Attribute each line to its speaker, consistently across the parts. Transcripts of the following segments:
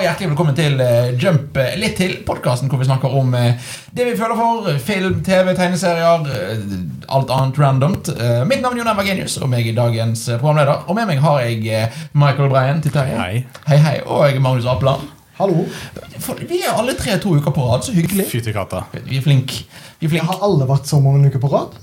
Speaker 1: hjertelig velkommen til eh, Jump eh, litt til podkasten hvor vi snakker om eh, det vi føler for. eh, Film, TV, tegneserier, eh, alt annet randomt. Eh, Mitt navn er Jon Emma Genius, og jeg er dagens eh, programleder. Og med meg har jeg eh, Michael Breien til Terje.
Speaker 2: Hei.
Speaker 1: Hei, hei. Og Magnus Apeland.
Speaker 3: Hallo.
Speaker 1: For- Vi er alle tre to uker på rad, så hyggelig.
Speaker 2: Fy til katta.
Speaker 1: Vi er flinke. Vi er flinke.
Speaker 3: Har alle vært sammen en uke på rad?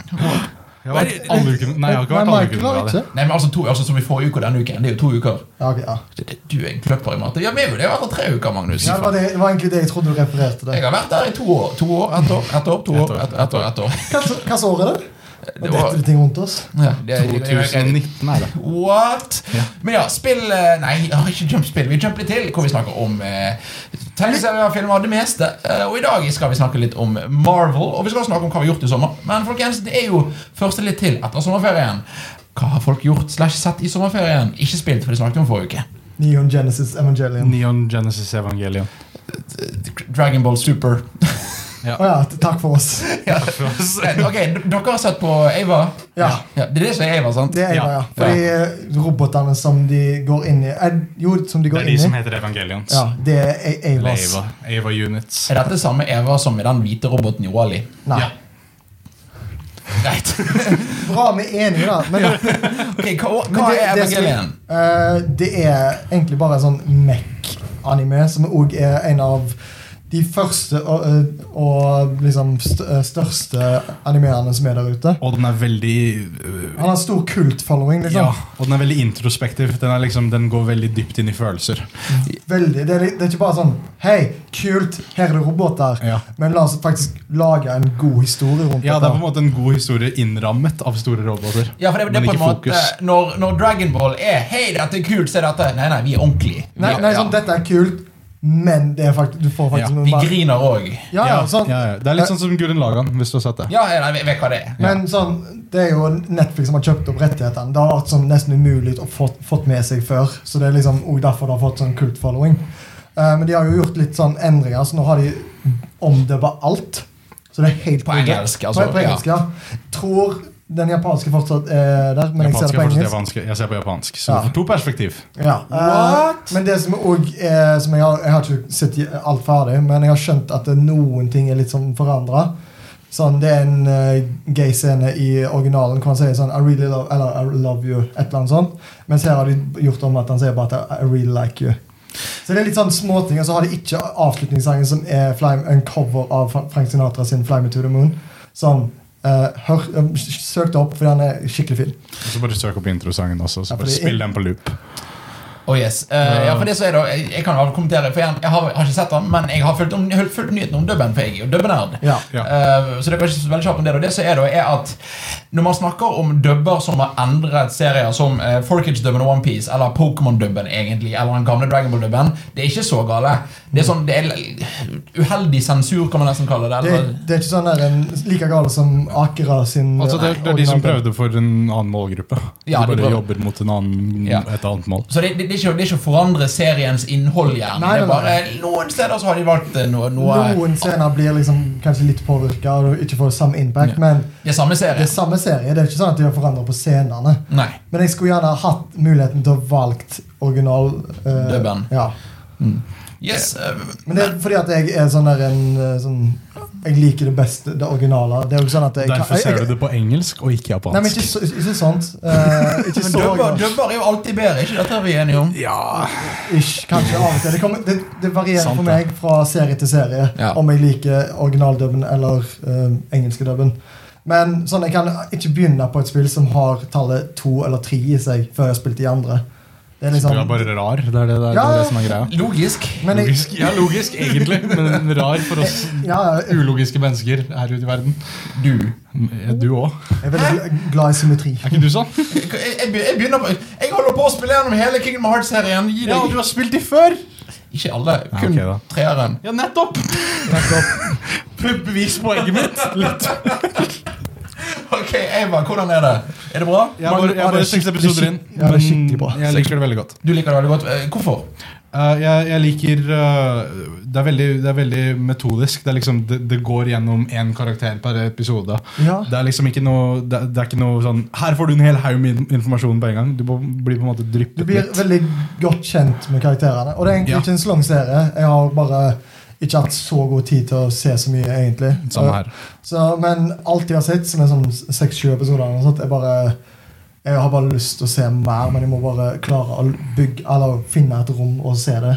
Speaker 2: Jeg har vært alle uken, nei, jeg har ikke vært alle
Speaker 3: Michael
Speaker 2: ukene på
Speaker 3: har
Speaker 2: rad.
Speaker 3: ikke.
Speaker 1: Nei, men altså, to, altså Som i forrige uke og denne uken. Det er jo to uker.
Speaker 3: Ja, ok, ja.
Speaker 1: Det- det- Du er en kløpper i matte. Ja, vi er jo det etter tre uker, Magnus.
Speaker 3: ja det, var det, det var egentlig det jeg trodde du refererte
Speaker 1: Jeg
Speaker 3: til.
Speaker 1: har vært der i to år. To år, ett år, ett år, to år, ett ett år. ett år.
Speaker 3: Hva hva år er det?
Speaker 1: Det
Speaker 3: Og
Speaker 1: var,
Speaker 3: dette er ting rundt oss.
Speaker 1: ja, det, det- det- det-
Speaker 2: 2019 er det.
Speaker 1: What?
Speaker 2: Ja.
Speaker 1: Men ja, spill eh, Nei, jeg har ikke jumpspill. Vi jumper litt til, hvor vi snakker om eh, tegneserier, filmer, det meste. Eh, og i dag skal vi snakke litt om Marvel, og vi skal også snakke om hva vi har gjort i sommer. Men folkens, det er jo første litt til etter sommerferien. Hva har folk gjort slash sett i sommerferien? Ikke spilt, for det snakket vi om forrige uke.
Speaker 3: Neon Genesis Evangelion.
Speaker 2: Neon Genesis Evangelion.
Speaker 1: Dragon Ball Super.
Speaker 3: Å ja, t- takk for oss.
Speaker 1: Ja. Eh, Ok, d- dere har sett på Ava?
Speaker 3: Ja.
Speaker 1: ja. Det er det som er Ava, sant?
Speaker 3: Det er jeg,
Speaker 2: Ja.
Speaker 3: ja. Fordi eh, robotene som de går inn i eh, Jo, som de
Speaker 2: Det
Speaker 3: går
Speaker 2: er de
Speaker 3: inn
Speaker 2: som
Speaker 3: i.
Speaker 2: heter Evangelions.
Speaker 3: Ja, det er A-
Speaker 2: Eller
Speaker 3: Avas.
Speaker 2: Ava. Ava Units.
Speaker 1: Er dette samme Eva som i den hvite roboten i Wall-E?
Speaker 3: Nei.
Speaker 2: Ja.
Speaker 1: Greit.
Speaker 3: Bra, vi er enige, da. Men, men
Speaker 1: Ok, hva, hva er
Speaker 3: det, det, som-
Speaker 1: Evangelion?
Speaker 3: eh, det er egentlig bare en sånn MEC-anime, som òg er en av de første og, eh, og liksom st største animeene som er der ute.
Speaker 2: Og den er veldig øh,
Speaker 3: Han har stor kult-following. liksom.
Speaker 2: Ja, og den er veldig introspektiv. Den, er liksom, den går veldig dypt inn i følelser.
Speaker 3: Veldig. Det er, det er ikke bare sånn Hei, kult, her er det roboter.
Speaker 2: Ja.
Speaker 3: Men la oss faktisk lage en god historie rundt
Speaker 2: Ja, Det er på en
Speaker 3: dette.
Speaker 2: måte en god historie innrammet av store roboter.
Speaker 1: Ja, for det, det er på
Speaker 2: men
Speaker 1: en
Speaker 2: ikke
Speaker 1: måte
Speaker 2: fokus.
Speaker 1: når, når Dragon Ball er 'Hei, dette er kult, se dette' Nei, nei, vi er ordentlige. Vi,
Speaker 3: Nei, nei sånn,
Speaker 1: ja.
Speaker 3: dette er kult, men det er faktisk, du får faktisk
Speaker 2: Ja,
Speaker 3: noen
Speaker 1: vi
Speaker 3: bare-
Speaker 1: griner òg.
Speaker 3: ja, ja, sånn.
Speaker 2: ja, ja. Det er litt sånn som Gudrun Lagan, hvis du har sett det.
Speaker 1: Ja, nei, jeg vet hva det er.
Speaker 3: Men sånn, det er jo Netflix som har kjøpt opp rettighetene. Det har vært sånn nesten umulig å få fått med seg før. Så det er liksom også derfor det har fått sånn kult following. Eh, men de har jo gjort litt sånn endringer, så nå har de omdøpa alt. Så det er helt
Speaker 1: På
Speaker 3: nydelig.
Speaker 1: engelsk, altså,
Speaker 3: På, på engelsk, ja. Tror den japanske fortsatt er der, men jeg ser
Speaker 2: Japansk
Speaker 3: det
Speaker 2: er
Speaker 3: på
Speaker 2: fortsatt
Speaker 3: engelsk.
Speaker 2: japansk. Jeg ser på japansk. Så
Speaker 3: Ja.
Speaker 2: for to perspektiv.
Speaker 3: Ja. eh,
Speaker 1: What?
Speaker 3: men det som er òg eh, som jeg, har, jeg har ikke sett i- alt ferdig, men jeg har skjønt at det, noen ting er litt sånn forandra. Sånn, det er en eh, gay scene i originalen hvor han sier sånn I really love, eller, I love you, et eller annet sånt. Mens her har de gjort om at han sier bare at I really like you. Så det er litt sånn småting, og så har de ikke avslutningssangen som er fly, en cover av Fra- Frank Sinatra sin 'Fly me to the Moon'. Som eh, hør, eh, søkte opp fordi han er skikkelig fin.
Speaker 2: Og så bare søk opp introsangen også, så
Speaker 3: Ja,
Speaker 2: bare
Speaker 3: fordi-
Speaker 2: spill den på loop.
Speaker 1: Oh, yes. Eh, ja, for det så er det, jeg, jeg kan jo kommentere, for jeg, jeg, har, jeg har ikke sett den, men jeg har fulgt, om, jeg har fulgt nyheten om dubben, for jeg er jo dubbenerd.
Speaker 3: Ja.
Speaker 2: Ja.
Speaker 1: Eh, så det er kanskje så veldig kjapt om det. Og det som er da, er at når man snakker om dubber som har endret serier som uh, Forkage-dubben og Onepiece, eller Pokémon-dubben egentlig, eller den gamle Dragon Ball-dubben, det er ikke så gale. Det er sånn, det er l- uheldig sensur, kan man nesten kalle det.
Speaker 3: Det,
Speaker 1: Eller,
Speaker 3: det er ikke sånn der en, like gale som Akera sin eh,
Speaker 2: Altså, det, det er de som prøvde for en annen målgruppe.
Speaker 1: Ja,
Speaker 2: de
Speaker 1: de
Speaker 2: bare
Speaker 1: prøvde.
Speaker 2: jobber mot en annen,
Speaker 1: Ja.
Speaker 2: et annet mål.
Speaker 1: så det, det, det, er ikke, det er ikke å forandre seriens innhold, gjerne.
Speaker 3: Nei,
Speaker 1: det er
Speaker 3: nei,
Speaker 1: bare
Speaker 3: nei.
Speaker 1: Noen steder så har de valgt eh, noe, noe
Speaker 3: Noen scener blir liksom kanskje litt påvirka og ikke får samme impact,
Speaker 2: Ja.
Speaker 3: men
Speaker 1: Det er samme
Speaker 3: det
Speaker 1: serie.
Speaker 3: er samme serie. Det er ikke sånn at de har forandra på scenene.
Speaker 1: Nei.
Speaker 3: Men jeg skulle gjerne hatt muligheten til å valgt original eh,
Speaker 1: Dubben.
Speaker 3: Ja.
Speaker 1: Yes, eh,
Speaker 3: Men det er fordi at jeg er sånn der en eh, sånn Jeg liker det beste, det originale. Det er jo ikke sånn at jeg
Speaker 2: Derfor ser
Speaker 3: jeg,
Speaker 2: du
Speaker 3: jeg,
Speaker 2: det på engelsk og ikke
Speaker 3: Nei, men
Speaker 2: japansk.
Speaker 3: ikke, så, ikke sånt. Eh, ikke
Speaker 1: Men
Speaker 3: så
Speaker 1: dubber,
Speaker 3: originalt.
Speaker 1: dubber er jo alltid bedre, ikke dette er vi enige om?
Speaker 2: Ja
Speaker 3: Ish, kanskje av og til. Det, kommer, det, det varierer
Speaker 2: Sant,
Speaker 3: for
Speaker 2: det.
Speaker 3: meg fra serie til serie
Speaker 1: Ja.
Speaker 3: om jeg liker originaldubben eller uh, engelskedubben. Men sånn, jeg kan ikke begynne på et spill som har tallet to eller tre i seg, før jeg har spilt de andre. Det er
Speaker 2: Du er
Speaker 3: liksom,
Speaker 2: bare rar. Det er det, det, er, det,
Speaker 3: Ja.
Speaker 2: er det som er greia.
Speaker 1: Logisk.
Speaker 3: men jeg,
Speaker 2: Logisk. Ja, logisk egentlig, men rar for oss
Speaker 3: ja, jeg
Speaker 2: ulogiske mennesker her ute i verden.
Speaker 1: Du.
Speaker 2: Ja,
Speaker 3: Mm.
Speaker 2: Du òg.
Speaker 3: er veldig gl- glad i symmetri.
Speaker 2: Er ikke du sånn?
Speaker 1: Jeg, jeg, be- jeg begynner på Jeg holder på å spille gjennom hele Kingdom Hearts-serien. Gi deg.
Speaker 2: har spilt de før!
Speaker 1: Ikke alle,
Speaker 2: Ja,
Speaker 1: kun
Speaker 2: ok da.
Speaker 1: treeren.
Speaker 2: Ja, nettopp! Prøv bevis poenget mitt. Litt.
Speaker 1: Ok, Eva, hvordan er det? Er det bra?
Speaker 2: Jeg er bare, jeg er bare seks episoder inn.
Speaker 3: Ja, det er skikkelig bra.
Speaker 2: men Jeg liker det veldig godt.
Speaker 1: Du liker det veldig godt. Eh, Hvorfor?
Speaker 2: Eh, jeg, jeg liker eh, det, er veldig, det er veldig metodisk. Det, er liksom, det, det går gjennom én karakter per episode.
Speaker 3: Ja.
Speaker 2: Det er liksom ikke noe, det, det er ikke noe sånn Her får du en hel haug med in- informasjon på en gang. Du må- blir på en måte
Speaker 3: Du
Speaker 2: dryppet
Speaker 3: blir
Speaker 2: litt.
Speaker 3: veldig godt kjent med karakterene. Og det er egentlig
Speaker 2: Ja.
Speaker 3: ikke en så lang serie. Jeg har bare ikke hatt så god tid til å se så mye, egentlig.
Speaker 2: Samme her.
Speaker 3: Så, men alt jeg har sett, som er sånn seks-sju episoder, eller noe sånt, er bare jeg har bare lyst til å se mer, men jeg må bare klare å bygge, eller finne et rom og se det.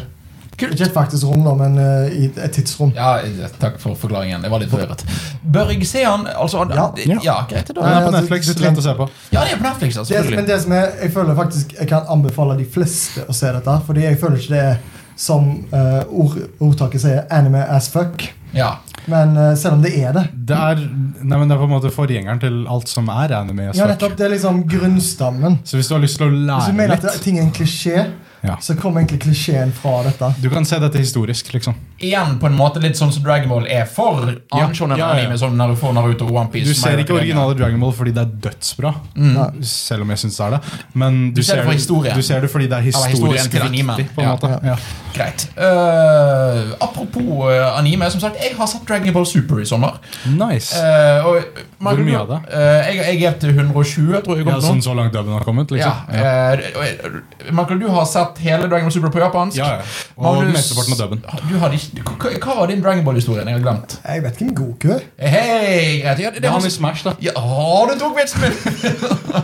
Speaker 3: Ikke et faktisk rom, da, men eh, i et tidsrom.
Speaker 1: Ja, eh, takk for forklaringen. Jeg var litt forvirret. Bør jeg se han? Altså, han-
Speaker 3: Ja.
Speaker 1: ja. greit.
Speaker 2: Den
Speaker 1: Da.
Speaker 2: er på Netflix. Lett å se på.
Speaker 1: Ja, det er på Netflix. altså,
Speaker 3: Det, men
Speaker 1: selvfølgelig.
Speaker 3: det som er, jeg føler faktisk jeg kan anbefale de fleste å se dette, fordi jeg føler ikke det er som eh, ord, ordtaket sier, anime as fuck.
Speaker 1: Ja.
Speaker 3: Men eh, selv om det er det.
Speaker 2: Det er, nei, men det er på en måte forgjengeren til alt som er anime.
Speaker 3: Ja,
Speaker 2: svart.
Speaker 3: nettopp, Det er liksom grunnstammen.
Speaker 2: Så hvis du har lyst til å
Speaker 3: Hvis
Speaker 2: lære
Speaker 3: du mener at
Speaker 2: litt
Speaker 3: det- ting er en klisjé,
Speaker 2: Ja.
Speaker 3: så kommer egentlig klisjeen fra dette.
Speaker 2: Du kan se dette historisk, liksom.
Speaker 1: Igjen på en måte litt sånn som Dragon Ball er for
Speaker 2: Ja,
Speaker 1: annen shonen
Speaker 2: ja, ja.
Speaker 1: anime, som når du får Naruto og One Piece
Speaker 2: Du
Speaker 1: som er
Speaker 2: ser ikke
Speaker 1: jo lenger.
Speaker 2: originale Dragon Ball fordi det er dødsbra.
Speaker 1: Mm.
Speaker 3: Ja.
Speaker 2: Selv om jeg syns det er det. Men du,
Speaker 1: ser det for historien.
Speaker 2: du ser det fordi det er
Speaker 1: historien
Speaker 2: historisk
Speaker 1: til animen.
Speaker 2: viktig. På en
Speaker 1: Ja.
Speaker 2: måte. Ja.
Speaker 1: Greit. Eh, apropos eh, anime. Som sagt, jeg har sett Dragon Ball Super i sommer.
Speaker 2: Nice.
Speaker 1: Eh, og, Margot,
Speaker 2: mye av det?
Speaker 1: eh, jeg, jeg er til 120, tror jeg.
Speaker 2: Ja,
Speaker 1: kom til
Speaker 2: sånn
Speaker 1: nå.
Speaker 2: så langt dubben har kommet,
Speaker 1: Ja,
Speaker 2: liksom. Ja.
Speaker 1: eh, og- Michael, du har sett hele Dragon Ball Super på japansk.
Speaker 2: Ja, ja. Og
Speaker 1: Magnus, Ah,
Speaker 2: mesteparten av dubben.
Speaker 1: Du hadde ikke, hva- hva var din Dragon Ball-historie? Jeg har glemt.
Speaker 3: Jeg vet ikke om Goku er.
Speaker 1: Hei, greit. Ja, det, det
Speaker 2: Det er
Speaker 1: har
Speaker 2: han i Smash, da.
Speaker 1: ja, å, du tok vitsen min!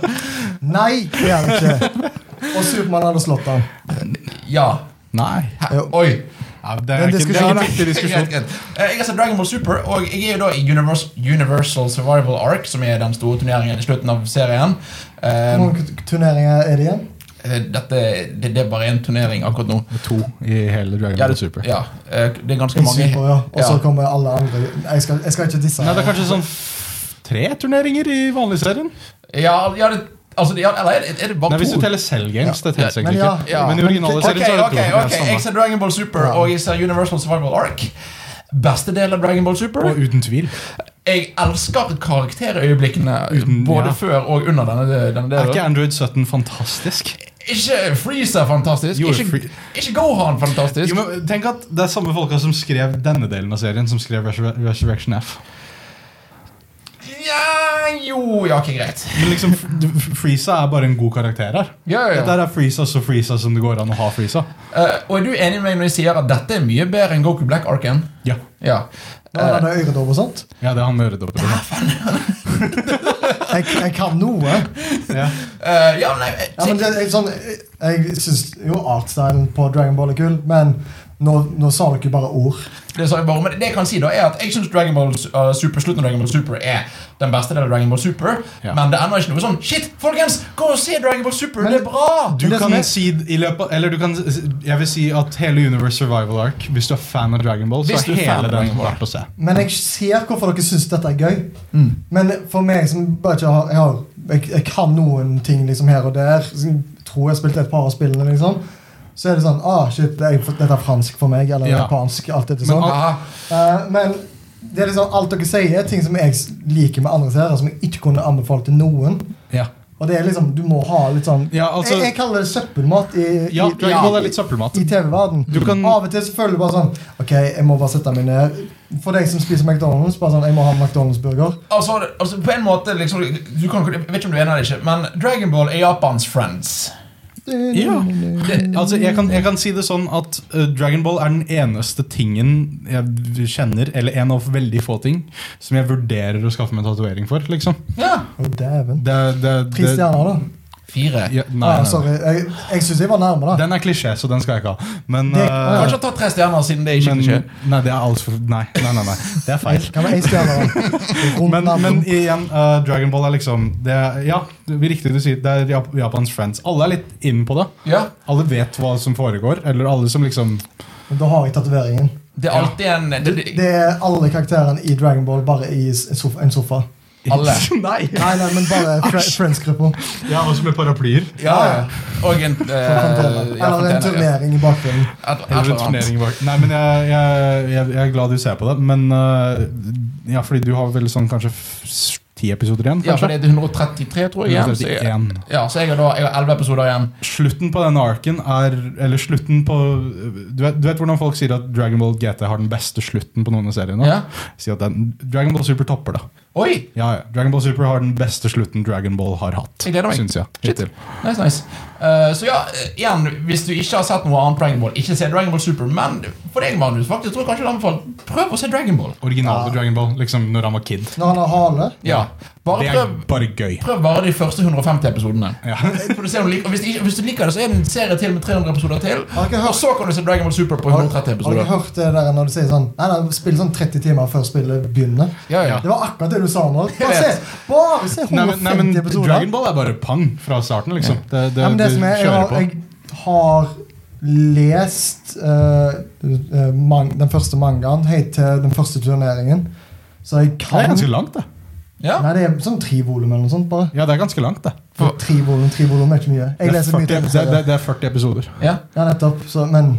Speaker 3: Nei, det er han ikke. Og Supermann hadde slått han.
Speaker 1: Ja.
Speaker 2: Nei.
Speaker 3: Jo.
Speaker 1: Oi.
Speaker 2: Ja, det er ikke, det
Speaker 3: Den
Speaker 2: er
Speaker 3: diskusjonen-
Speaker 2: ikke viktig
Speaker 1: Greit,
Speaker 2: diskusjon.
Speaker 1: greit. Eh, Jeg har sett Dragon Ball Super, og jeg er jo da i Universal, Universal Survival Arc, som er den store turneringen i slutten av serien.
Speaker 3: Hvor
Speaker 1: Eh,
Speaker 3: mange turneringer er det igjen?
Speaker 1: eh, dette, det, det er bare én turnering akkurat nå.
Speaker 2: To i hele Dragon
Speaker 1: Ja,
Speaker 2: Ball
Speaker 1: det,
Speaker 2: Super.
Speaker 1: ja, eh, det er ganske
Speaker 3: I
Speaker 1: mange.
Speaker 3: Super, ja. Og så
Speaker 1: Ja.
Speaker 3: kommer alle andre. Jeg skal, jeg skal ikke disse.
Speaker 2: Nei, det er kanskje sånn tre turneringer i vanlig serien.
Speaker 1: Ja, ja, det, altså, ja, eller er det- er det bare
Speaker 2: Nei, Hvis
Speaker 1: to?
Speaker 2: du teller Cellgames, det teller
Speaker 1: Ja,
Speaker 2: sikkert
Speaker 3: men ja.
Speaker 2: ikke.
Speaker 1: Ja.
Speaker 2: Men i originale
Speaker 1: Ok,
Speaker 2: serien så er det
Speaker 1: ok,
Speaker 2: to. Det er
Speaker 1: ok,
Speaker 2: samme.
Speaker 1: Jeg ser Dragon Ball Super,
Speaker 3: Ja.
Speaker 1: og jeg ser Universal Survival Arc. Beste del av Dragon Ball Super.
Speaker 2: Og uten tvil.
Speaker 1: Jeg elsker karakterøyeblikkene
Speaker 2: Uten-
Speaker 1: både
Speaker 2: ja.
Speaker 1: før og under denne, denne
Speaker 2: Er ikke
Speaker 1: delen.
Speaker 2: Android Sutton fantastisk?
Speaker 1: Ikke Freezer fantastisk,
Speaker 2: Jo,
Speaker 1: ikke,
Speaker 2: Free-
Speaker 1: ikke Gohan fantastisk.
Speaker 2: Jo, men tenk at Det er samme folka som skrev denne delen av serien, som skrev Resur Resurrection F.
Speaker 1: Ja, jo, ja, ikke greit.
Speaker 2: Men liksom, f- du- f- Frieza er bare en god karakter her.
Speaker 1: Ja, ja, ja.
Speaker 2: Dette her er Frieza så Frieza som det går an å ha Frieza.
Speaker 1: Eh, og er du enig med meg når jeg sier at dette er mye bedre enn Goku Black Arken?
Speaker 2: Ja,
Speaker 1: Ja.
Speaker 3: Nå er det øredobb og sånt.
Speaker 2: ja det er han øredobber.
Speaker 3: Jeg, jeg kan noe.
Speaker 2: Ja.
Speaker 1: Eh, ja, nei, eh,
Speaker 3: Ja, men det er sånn, jeg syns jo artstylen på Dragon Ball er kul, men nå, nå sa dere bare ord.
Speaker 1: Det sa jeg bare, men det jeg kan si da er at jeg syns Dragon Ball uh, Super slutten av Dragon Ball Super er den beste delen av Dragon Ball Super.
Speaker 2: Ja.
Speaker 1: Men det ender ikke noe sånn Shit, folkens! Gå og se Dragon Ball Super!
Speaker 3: Men-
Speaker 1: det er bra!
Speaker 2: Du
Speaker 3: Men det som
Speaker 2: kan
Speaker 3: er-
Speaker 2: si d- i løpet av- Eller du kan s- Jeg vil si at hele Universe Survival Arc, hvis du er fan av Dragon Ball, så
Speaker 1: Hvis du
Speaker 2: er
Speaker 1: er fan av
Speaker 2: hele den
Speaker 1: Dragon Ball.
Speaker 2: verdt å se.
Speaker 3: Men jeg ser hvorfor dere syns dette er gøy.
Speaker 2: Mm.
Speaker 3: Men for meg som bare ikke har Jeg, har, jeg, jeg kan noen ting liksom her og der. som Tror jeg spilte et par av spillene, liksom. Så er det sånn ah, shit, det er, Dette er fransk for meg, eller
Speaker 2: Ja.
Speaker 3: japansk. alt
Speaker 2: Men
Speaker 3: dette sånn.
Speaker 1: Ja.
Speaker 3: Eh, men det er liksom alt dere sier, er ting som jeg s- liker med andre serier, som jeg ikke kunne anbefalt til noen.
Speaker 2: Ja,
Speaker 3: Og det er liksom, Du må ha litt sånn
Speaker 2: Ja, altså-
Speaker 3: jeg, jeg kaller det søppelmat i,
Speaker 2: ja
Speaker 3: i,
Speaker 2: Dragon
Speaker 1: ja.
Speaker 2: Ball er litt søppelmat.
Speaker 3: i TV-verden.
Speaker 2: Du kan-
Speaker 3: Av og til så føler du bare sånn Ok, jeg må bare sette meg ned. For deg som spiser McDonald's, bare sånn Jeg må ha en McDonald's-burger.
Speaker 1: Altså, altså, på en måte liksom, du kan, Jeg vet ikke om du er enig eller ikke, men Dragon Ball er Japans Friends.
Speaker 2: Ja. Altså, jeg kan, jeg kan si det sånn at eh, Dragon Ball er den eneste tingen jeg kjenner, eller en av veldig få ting, som jeg vurderer å skaffe meg tatovering for. liksom.
Speaker 1: Ja.
Speaker 3: Å, dæven.
Speaker 2: Det, det,
Speaker 3: Tre
Speaker 2: det,
Speaker 3: stjerner, da.
Speaker 1: Fire.
Speaker 2: ja, nei, nei,
Speaker 3: ah,
Speaker 2: nei.
Speaker 3: sorry. Jeg, jeg syns jeg var nærme, da.
Speaker 2: Den er klisjé, så den skal jeg ikke ha. Men,
Speaker 3: Det-
Speaker 2: eh,
Speaker 1: Kanskje han tar tre stjerner, siden det ikke
Speaker 2: men
Speaker 1: skjer.
Speaker 2: Nei, det er altfor Nei, nei, nei, nei. Det er feil.
Speaker 3: Kan være én stjerne, da. Rundt
Speaker 2: Men,
Speaker 3: navn.
Speaker 2: men igjen, eh, Dragon Ball er liksom det er, Ja, det er riktig du sier. Det er Jap Japans friends. Alle er litt inn på det.
Speaker 1: Ja.
Speaker 2: Alle vet hva som foregår. Eller alle som liksom
Speaker 3: Men Da har jeg tatoveringen.
Speaker 1: Det er alltid en det, det,
Speaker 3: Det er alle karakterene i Dragon Ball bare i s- sofa, en sofa.
Speaker 1: Alle.
Speaker 2: Nei!
Speaker 3: Nei, nei, men bare fre friends-grupper.
Speaker 2: Ja, også med paraplyer.
Speaker 1: Ja, ja. Og en eh, ja,
Speaker 3: Eller en
Speaker 1: container, ja.
Speaker 3: turnering i bakgrunnen.
Speaker 1: Et- et
Speaker 2: Eller
Speaker 1: eller
Speaker 2: en
Speaker 1: annet.
Speaker 2: turnering bak. Nei, men jeg, eh, jeg, jeg, jeg er glad du ser på det. Men øh, ja, fordi du har vel sånn kanskje f- s- ti episoder igjen,
Speaker 1: Ja, for
Speaker 2: kanskje?
Speaker 1: det er 133, tror jeg. igjen, så jeg-
Speaker 2: 131.
Speaker 1: Ja, så jeg har da jeg har 11 episoder igjen.
Speaker 2: Slutten på denne arken er Eller slutten på du vet, du vet hvordan folk sier at Dragon Ball GT har den beste slutten på noen av seriene?
Speaker 1: Ja.
Speaker 2: Si at den, Dragon Ball Super topper, da.
Speaker 1: Oi!
Speaker 2: Ja, ja. Dragon Ball Super har den beste slutten Dragon Ball har hatt.
Speaker 1: Jeg gleder meg.
Speaker 2: Synes jeg,
Speaker 1: Shit.
Speaker 2: hittil.
Speaker 1: Nice, nice. Eh, så ja, eh, igjen, hvis du ikke har sett noe annet Dragon Ball, ikke se Dragon Ball Super, men for deg, Magnus, faktisk tror jeg kanskje jeg anbefaler prøv å se Dragon Ball.
Speaker 2: Originale
Speaker 3: Ja.
Speaker 2: Dragon Ball, liksom når han var kid.
Speaker 3: Når han har hale
Speaker 1: Ja, bare
Speaker 2: Det er
Speaker 1: prøv,
Speaker 2: bare gøy.
Speaker 1: prøv bare de første 150 episodene.
Speaker 2: Ja.
Speaker 1: For du ser om du liker- og hvis, ikke, hvis du liker det, så er det en serie til med 300 episoder til.
Speaker 3: Har dere hørt-
Speaker 1: Og så kan du se Dragon Ball Super på
Speaker 3: Har,
Speaker 1: 130
Speaker 3: har dere
Speaker 1: episoder.
Speaker 3: hørt det der når du sier sånn Nei, nei, spill sånn 30 timer før spillet begynner?
Speaker 1: Ja, ja.
Speaker 3: Det var akkurat det du sa nå. Bare
Speaker 1: Jeg
Speaker 3: se,
Speaker 1: vet.
Speaker 3: bare se 150
Speaker 2: Nei, men, nei, men
Speaker 3: episoder.
Speaker 2: Dragon Ball er bare pang fra starten, liksom. Det, det,
Speaker 3: Nei, men det
Speaker 2: du
Speaker 3: som er, jeg
Speaker 2: kjører
Speaker 3: har,
Speaker 2: på.
Speaker 3: jeg har lest eh, eh, man, den første mangaen helt til den første turneringen. Så jeg
Speaker 2: Det er
Speaker 3: kan
Speaker 2: ganske langt, det.
Speaker 1: Ja.
Speaker 3: Nei, det er sånn tre volum eller noe sånt. bare
Speaker 2: Ja, det er ganske langt, det.
Speaker 1: For-
Speaker 3: Tre volum, tre volum er ikke mye.
Speaker 2: Det
Speaker 3: Jeg
Speaker 2: er,
Speaker 3: leser
Speaker 2: 40,
Speaker 3: mye til
Speaker 2: det, det, det er 40 episoder.
Speaker 1: ja.
Speaker 3: Ja, nettopp. Så, men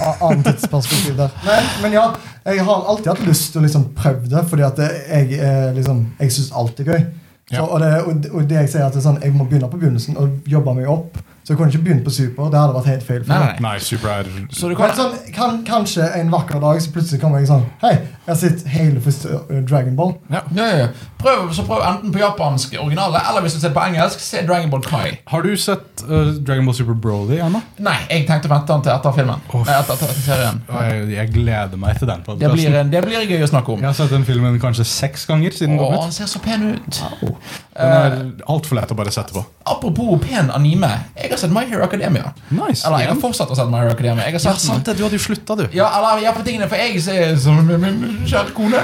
Speaker 3: a- annet tidsperspektiv der. Men, men ja, jeg har alltid hatt lyst til å liksom prøve det, fordi at det, jeg, eh, liksom, jeg syns alt er gøy. Så,
Speaker 2: Ja.
Speaker 3: og, det, og, det- og det jeg sier at det er sånn, jeg må begynne på begynnelsen og jobbe meg opp. Så jeg kunne ikke begynt på Super. Det hadde vært helt feil. for
Speaker 1: Nei,
Speaker 3: meg.
Speaker 1: nei.
Speaker 2: Nei, Super er
Speaker 1: Så du
Speaker 3: Men
Speaker 1: kan
Speaker 3: sånn, kan, kanskje en vakker dag så plutselig kommer jeg sånn Hei, jeg har sett hele første eh, Dragon Ball.
Speaker 2: ja.
Speaker 1: ja, ja, ja. Prøv, så prøv enten på japansk originale, eller hvis du ser på engelsk, se Dragon Ball Kai.
Speaker 2: Har du sett eh, Dragon Ball Super Broly ennå?
Speaker 1: Nei, jeg tenkte å vente den til etter filmen.
Speaker 2: Åh,
Speaker 1: Nei, etter, etter serien.
Speaker 2: Jeg, jeg gleder meg til den.
Speaker 1: Det
Speaker 2: podcasten.
Speaker 1: blir, en- det blir gøy å snakke om.
Speaker 2: Jeg har sett den filmen kanskje seks ganger siden den
Speaker 1: Å,
Speaker 2: kom
Speaker 1: han
Speaker 2: ut.
Speaker 1: ser så pen ut. Eh,
Speaker 2: Den er altfor lett å bare sette på.
Speaker 1: Apropos pen anime. Jeg har sett My Hero Academia.
Speaker 2: Nice.
Speaker 1: Eller jeg har fortsatt å sette My Hero Academia. Jeg har
Speaker 2: Ja,
Speaker 1: sett den.
Speaker 2: sant det, du hadde jo slutta, du.
Speaker 1: Ja, eller ja, for tingene, for jeg ser- som min, min kjære kone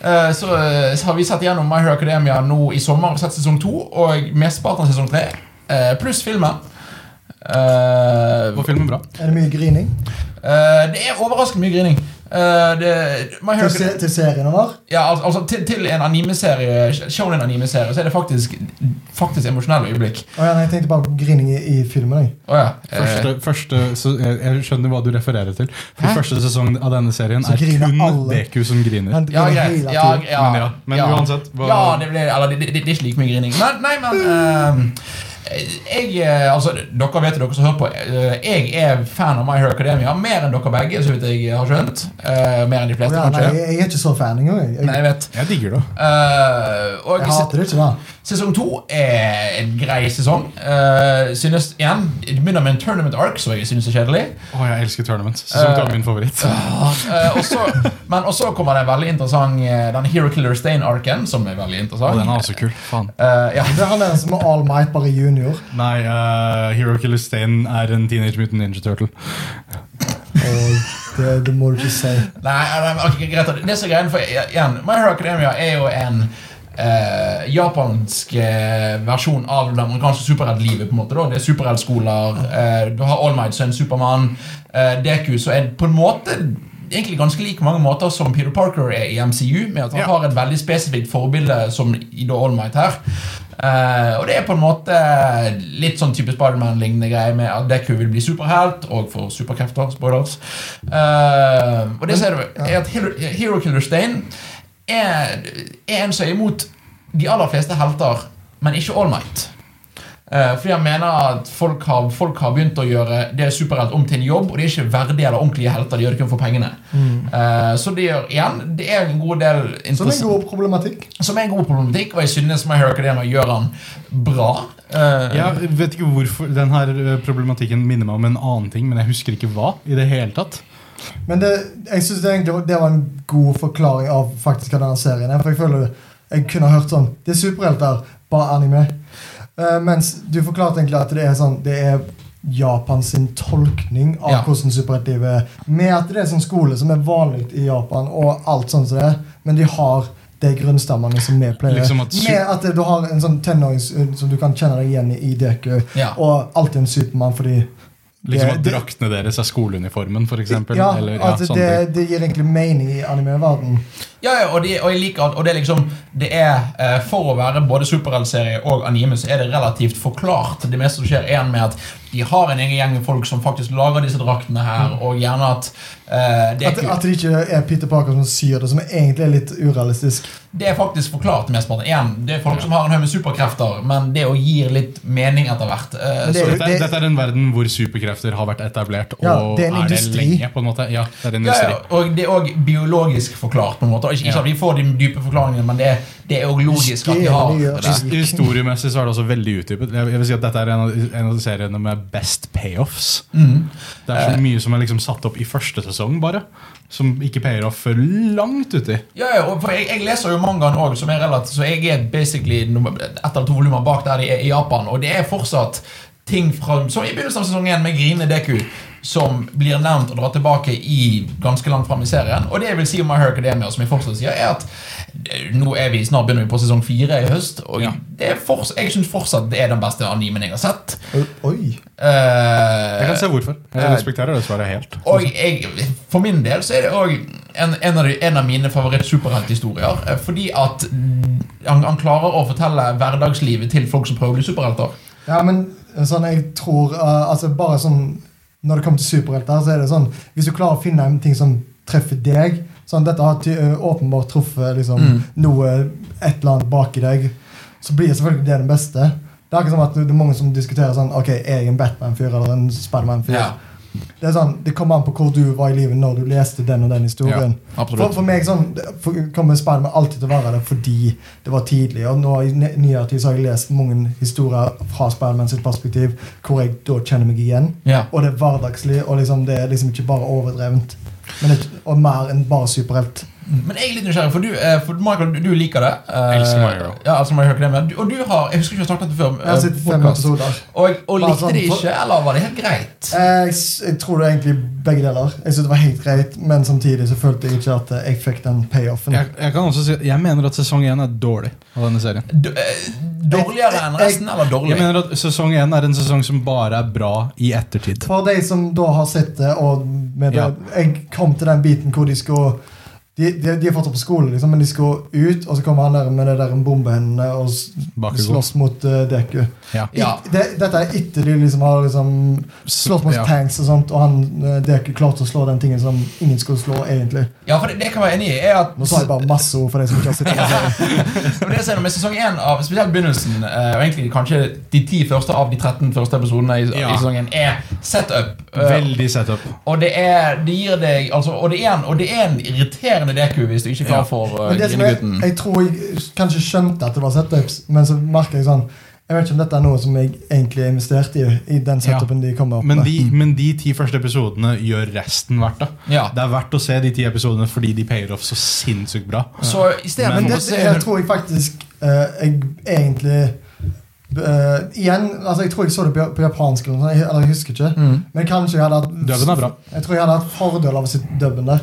Speaker 1: eh, Så eh, så har vi sett gjennom My Hero Academia nå i sommer Sett sesong 2 og mesteparten av sesong 3 eh, Pluss filmen Eh,
Speaker 2: Var filmen bra?
Speaker 3: Er det mye grining
Speaker 1: eh, Det er overraskende mye grining Eh, det, My Hero
Speaker 3: til,
Speaker 1: Academia
Speaker 3: se, til serien vår?
Speaker 1: ja, al- altså til, til en anime-serie Shonen anime-serie Så er det faktisk, faktisk emosjonelle øyeblikk
Speaker 3: Å ja, nei, jeg tenkte bare på grining i, i filmen. Jeg.
Speaker 1: Åja, eh,
Speaker 2: Første, første, så jeg, jeg skjønner hva du refererer til. For
Speaker 1: Hæ?
Speaker 2: Første sesong av denne serien
Speaker 3: Så
Speaker 2: er
Speaker 3: griner
Speaker 2: kun
Speaker 3: alle.
Speaker 2: Deku som griner.
Speaker 3: Han
Speaker 1: ja,
Speaker 3: griner
Speaker 1: greit.
Speaker 3: hele
Speaker 1: ja,
Speaker 3: tiden.
Speaker 1: ja,
Speaker 2: Men ja, men uansett, hva-
Speaker 1: Ja, det blir Eller det, det, det er ikke like mye grining. Men, nei, men eh, Jeg eh, Altså, dere vet det, dere som hører på. eh, jeg er fan av My Hero Academia mer enn dere begge, så vidt jeg har skjønt. Eh, mer enn de
Speaker 3: Å
Speaker 1: fleste,
Speaker 3: ja, nei,
Speaker 1: kanskje.
Speaker 3: jeg, jeg er ikke så fan engang.
Speaker 1: Nei,
Speaker 3: Jeg, jeg,
Speaker 1: jeg vet.
Speaker 2: Jeg digger det.
Speaker 1: Eh, og
Speaker 3: jeg hater det ikke, da.
Speaker 1: Sesong to er en grei sesong. Eh, synes igjen Det begynner med en tournament arc, som jeg synes er kjedelig.
Speaker 2: Å, jeg elsker tournament. Sesong to
Speaker 1: Eh,
Speaker 2: er min favoritt.
Speaker 1: Eh, og så- men og så kommer det en veldig interessant eh, Den Hero Killer Stain-arken, som er veldig interessant.
Speaker 2: Og den er også kul. Faen.
Speaker 1: Eh, ja.
Speaker 3: Det er han der som er All Might, bare junior.
Speaker 2: Nei, eh, Hero Killer Stain er en Teenage Mutant Ninja Turtle.
Speaker 3: Og det, det må du ikke si.
Speaker 1: Nei, nei, men ok, greit. Det som er greien for igjen, My Hero Academia er jo en eh, japansk eh, versjon av det amerikanske superheltlivet. på en måte da. Det er superheltskoler, eh, du har All Might som en Supermann, eh, Deku som er på en måte egentlig ganske like mange måter som Peter Parker er i MCU, med at han
Speaker 2: Ja.
Speaker 1: har et veldig spesifikt forbilde som i da All Might her. Eh, og det er på en måte litt sånn type Spiderman-lignende greie med at Deku vil bli superhelt og får superkrefter. Spoilers. Eh, og det ser du er at Hero Hero Killer Stein er, er en som er imot de aller fleste helter, men ikke All Might. Eh, fordi han mener at folk har, folk har begynt å gjøre det superhelt om til en jobb, og de er ikke verdige eller ordentlige helter. De gjør det kun for pengene.
Speaker 3: Mm.
Speaker 1: Eh, så det gjør igjen Det er en god del
Speaker 3: Som er
Speaker 1: interessant
Speaker 3: god problematikk.
Speaker 1: som er en god problematikk, og jeg synes My Hero Academia gjør han bra. Eh,
Speaker 2: Jeg vet ikke hvorfor den her eh, problematikken minner meg om en annen ting, men jeg husker ikke hva. i det hele tatt.
Speaker 3: Men det, jeg synes det, egentlig var- det var en god forklaring av faktisk hva denne serien er. For jeg føler jeg kunne ha hørt sånn Det er superhelter, bare anime. Eh, mens du forklarte egentlig at det er sånn Det er Japan sin tolkning av
Speaker 1: Ja.
Speaker 3: hvordan superheltlivet er. Med at det er sånn skole som er vanlig i Japan, og alt sånt som det er. Men de har de grunnstammene som vi pleier.
Speaker 2: Liksom at su-
Speaker 3: med at du har eh, en sånn tenåring som du kan kjenne deg igjen i i Deku.
Speaker 1: Ja.
Speaker 3: Og alltid en Supermann fordi
Speaker 2: Liksom
Speaker 3: Det-
Speaker 2: at
Speaker 3: det-
Speaker 2: draktene deres er skoleuniformen, f.eks.
Speaker 3: Ja, altså, det, det gir egentlig mening i anime-verden.
Speaker 1: Ja, ja, og, de, og jeg liker at og det er liksom det er, eh, For å være både superheltserie og anime så er det relativt forklart. Det meste som skjer, er med at de har en egen gjeng med folk som faktisk lager disse draktene her, og gjerne at eh, det, er
Speaker 3: Mm. At,
Speaker 1: kult.
Speaker 3: at det ikke er Peter Parker som syr det, som egentlig er litt urealistisk.
Speaker 1: det er faktisk forklart mesteparten. Igjen, det er folk som har en haug med superkrefter, men det å gir litt mening etter hvert. eh,
Speaker 3: Men det
Speaker 1: så,
Speaker 3: er jo-
Speaker 2: dette, er, dette er en verden hvor superkrefter har vært etablert, og
Speaker 3: Ja, det er en
Speaker 2: det
Speaker 3: industri.
Speaker 2: lenge. på en måte Ja, det er en
Speaker 1: ja,
Speaker 2: industri.
Speaker 1: ja, og det er òg biologisk forklart. på en måte Og Ikke, ikke
Speaker 2: Ja.
Speaker 1: at vi får de dype forklaringene, men det, er- det er òg logisk at de har
Speaker 3: Skjevlig, ja.
Speaker 1: det. der.
Speaker 2: Historiemessig så er det også veldig utdypet. Jeg jeg vil si at Dette er en av, en av de seriene med best payoffs.
Speaker 1: Mm.
Speaker 2: Det er
Speaker 1: Eh.
Speaker 2: så mye som er liksom satt opp i første sesong, bare. Som ikke payer off før langt uti.
Speaker 1: Ja, ja, og for jeg, jeg leser jo mangaen òg, som er relativt Så jeg er basically nummer- ett eller to volumer bak der de er i Japan, og det er fortsatt ting fra Som i begynnelsen av sesong 1 med Grine Deku, som blir nevnt og dratt tilbake i ganske langt fram i serien. Og det jeg vil si om My Hero Academia, som jeg fortsatt sier, er at eh, nå er vi snart begynner vi på sesong 4 i høst, og
Speaker 2: Ja.
Speaker 1: det er forts- jeg syns fortsatt det er den beste animen jeg har sett.
Speaker 3: Oi.
Speaker 1: Eh,
Speaker 2: Jeg kan se hvorfor.
Speaker 1: eh,
Speaker 2: Jeg respekterer det svaret helt.
Speaker 1: og jeg, for min del så er det òg en, en, av de- en av mine favoritt-superhelthistorier. eh, Fordi at han, han klarer å fortelle hverdagslivet til folk som prøver å bli superhelter.
Speaker 3: Ja, men sånn, jeg tror eh, Altså, bare sånn Når det kommer til superhelter, så er det sånn Hvis du klarer å finne en ting som treffer deg Sånn, dette har ty- eh, åpenbart truffet liksom,
Speaker 1: Mm.
Speaker 3: noe, et eller annet baki deg, så blir selvfølgelig det den beste. Det er ikke som at det er mange som diskuterer sånn Ok, er jeg en Batman-fyr eller en Spiderman-fyr?
Speaker 1: Ja,
Speaker 3: Det er sånn, det kommer an på hvor du var i livet når du leste den og den historien. For,
Speaker 1: absolutt.
Speaker 3: for meg sånn, det- for, kommer Spiderman alltid til å være det fordi det var tidlig. Og nå I ne- nyere tid så har jeg lest mange historier fra Spiderman sitt perspektiv hvor jeg da kjenner meg igjen.
Speaker 1: Ja.
Speaker 3: Og det er hverdagslig, og liksom, det er liksom ikke bare overdrevent. Men det, og mer enn bare superhelt.
Speaker 1: Men jeg er litt nysgjerrig, for du, eh, for Michael, du, du liker det. Eh,
Speaker 2: Elsker My Hero.
Speaker 1: Ja, elsker My Hero Academia. Du- Og du har Jeg husker ikke om jeg snakket om det før. eh,
Speaker 3: Jeg har sett fem
Speaker 1: podcast.
Speaker 3: episoder.
Speaker 1: og, og
Speaker 3: Bare
Speaker 1: likte
Speaker 3: sånn
Speaker 1: det
Speaker 3: for-
Speaker 1: ikke, eller var det helt greit?
Speaker 3: Eh, Jeg, s- jeg tror det er egentlig begge deler. Jeg synes det var helt greit, Men samtidig så følte jeg ikke at eh, jeg fikk den payoffen.
Speaker 2: Jeg, jeg kan også si Jeg mener at sesong én er dårlig av denne serien.
Speaker 1: D- eh, Dårligere enn resten, eller
Speaker 2: Jeg
Speaker 1: dårlig?
Speaker 2: mener at sesong én er en sesong som bare er bra i ettertid.
Speaker 3: For de som da har sett det, og med det,
Speaker 2: Ja.
Speaker 3: jeg kom til den biten hvor de skulle de, de, de er fortsatt på skolen, liksom, men de skal ut, og så kommer han der med det der bombehendene og s-
Speaker 2: Bakugo.
Speaker 3: slåss mot eh, Deku.
Speaker 2: Ja.
Speaker 1: Ja.
Speaker 3: It- Det, dette er etter de liksom har liksom slåss mot
Speaker 2: Ja.
Speaker 3: tanks og sånt, og han, eh, Deku klarte å slå den tingen som ingen skulle slå, egentlig.
Speaker 1: Ja, for det, det kan jeg være enig i. Er at
Speaker 3: Nå sa jeg bare masse ord for de som ikke har sett den. serien.
Speaker 1: Men det jeg ser nå med sesong 1 av spesielt begynnelsen, eh, og egentlig kanskje de 10 første av de 13 første episodene i,
Speaker 2: Ja.
Speaker 1: i sesongen, er setup. Eh,
Speaker 2: Veldig setup.
Speaker 1: og det er det gir deg altså, og, det er en, og det er en irriterende deku hvis du ikke er
Speaker 2: Ja.
Speaker 1: klar for uh,
Speaker 3: Men det som jeg,
Speaker 1: Grinegutten.
Speaker 3: jeg tror jeg kanskje skjønte at det var setups, men så merker jeg sånn Jeg vet ikke om dette er noe som jeg egentlig investerte i, i
Speaker 2: Ja.
Speaker 3: den setupen de kommer opp
Speaker 2: Men
Speaker 3: med.
Speaker 2: de, men de ti første episodene gjør resten verdt det.
Speaker 1: Ja.
Speaker 2: Det er verdt å se de ti episodene fordi de payer off så sinnssykt bra.
Speaker 1: Så
Speaker 3: Men
Speaker 1: istedenfor
Speaker 3: det,
Speaker 1: å se
Speaker 3: jeg tror jeg faktisk eh, Jeg egentlig eh, Igjen, altså jeg tror jeg så det på, på japansk, eller, noe sånt, jeg- eller jeg husker ikke.
Speaker 1: Mm.
Speaker 3: Men kanskje jeg hadde hatt
Speaker 2: Dubben er bra.
Speaker 3: Jeg tror jeg hadde hatt fordel av å sitte dubben der.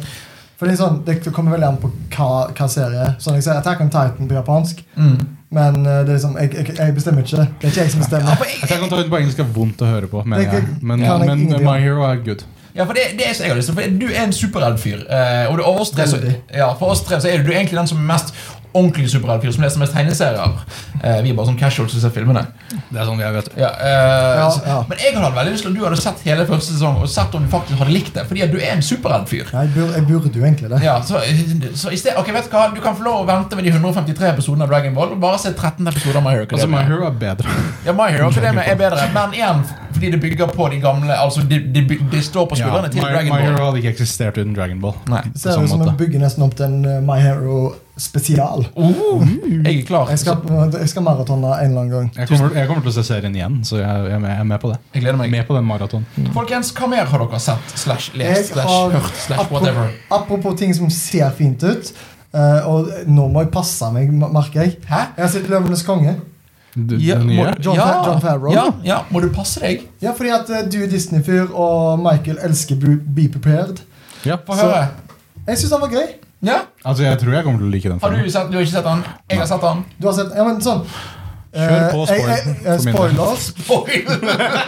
Speaker 3: For Det er sånn, det kommer veldig an på hva, hva serie. Sånn, Jeg ser Attack on Titan på japansk,
Speaker 1: mm.
Speaker 3: men eh, det er liksom, jeg, jeg, jeg bestemmer ikke. Det er ikke jeg som
Speaker 1: ja,
Speaker 3: bestemmer.
Speaker 1: for
Speaker 2: Jeg
Speaker 1: jeg,
Speaker 2: kan ta ut på engelsk er vondt å høre på,
Speaker 3: Det
Speaker 2: mener
Speaker 3: kan-
Speaker 2: jeg. Men,
Speaker 3: kan jeg
Speaker 2: men
Speaker 3: ingenting om.
Speaker 2: My Hero er good.
Speaker 1: ja, for det, det er så jeg har lyst til. For du er en superheltfyr. eh, og det, og oss tre, så,
Speaker 3: Veldig.
Speaker 1: ja, for oss tre så er du egentlig den som er mest ordentlig superheltfyr, som leser mest tegneserier. Eh, vi er bare sånn casual som ser filmene.
Speaker 2: Det er sånn jeg vet
Speaker 1: Ja, eh,
Speaker 3: Ja,
Speaker 1: så-
Speaker 3: ja.
Speaker 1: Men jeg hadde veldig lyst til at du hadde sett hele første sesong og sett om du faktisk hadde likt det. Fordi at du er en superheltfyr.
Speaker 3: Ja, jeg, burde, jeg burde jo egentlig det.
Speaker 1: Ja, så, så i sted, ok, vet Du hva Du kan få lov å vente med de 153 episodene av Dragon Ball og bare se 13 episoder av My Hero
Speaker 2: Altså, My
Speaker 1: Academia.
Speaker 2: Hero er bedre.
Speaker 1: Ja, My Hero Academia er bedre, men igjen fordi det bygger på de gamle Altså, det de, by- de står på
Speaker 2: Ja,
Speaker 1: skuldrene til
Speaker 2: My,
Speaker 1: Dragon
Speaker 2: My
Speaker 1: Ball.
Speaker 2: Hero hadde ikke eksistert uten Dragon Ball.
Speaker 1: Nei.
Speaker 3: Det
Speaker 2: På
Speaker 3: ser ut
Speaker 2: samme
Speaker 3: som jeg
Speaker 2: måte.
Speaker 3: bygger nesten opp til en eh, My Hero spesial.
Speaker 1: Oh, jeg er klar.
Speaker 3: Jeg skal, jeg skal maratone en eller annen gang.
Speaker 2: Jeg kommer, jeg kommer til å se serien igjen, så jeg, jeg, er med- jeg er med på det.
Speaker 1: Jeg gleder meg.
Speaker 2: Med på den maraton.
Speaker 1: Folkens, hva mer har dere sett, slash
Speaker 3: Jeg
Speaker 1: lest, slash
Speaker 3: har-
Speaker 1: hørt, slash whatever?
Speaker 3: Apropos, apropos ting som ser fint ut. eh, og nå må jeg passe meg, m- merker jeg.
Speaker 1: Hæ?
Speaker 3: Jeg har sett 'Løvenes konge'.
Speaker 2: Du,
Speaker 1: Ja,
Speaker 2: den
Speaker 1: må,
Speaker 2: nye?
Speaker 3: John
Speaker 1: ja,
Speaker 3: Fa- John Favreau.
Speaker 1: ja, ja, må du passe deg?
Speaker 3: Ja, fordi at eh, du er Disney-fyr, og Michael elsker Be, Be Prepared.
Speaker 2: Ja.
Speaker 1: Få høre.
Speaker 3: Jeg syns han var grei.
Speaker 1: Ja?
Speaker 2: Altså, jeg tror jeg kommer til å like den.
Speaker 1: Har
Speaker 2: filmen.
Speaker 1: du sett Du har ikke sett den? Jeg har sett den.
Speaker 3: Du har sett Ja, men sånn.
Speaker 2: Kjør på
Speaker 3: Eh, jeg- jeg- eh,
Speaker 2: spoiler, for min del.
Speaker 3: spoilers.
Speaker 1: Spoiler!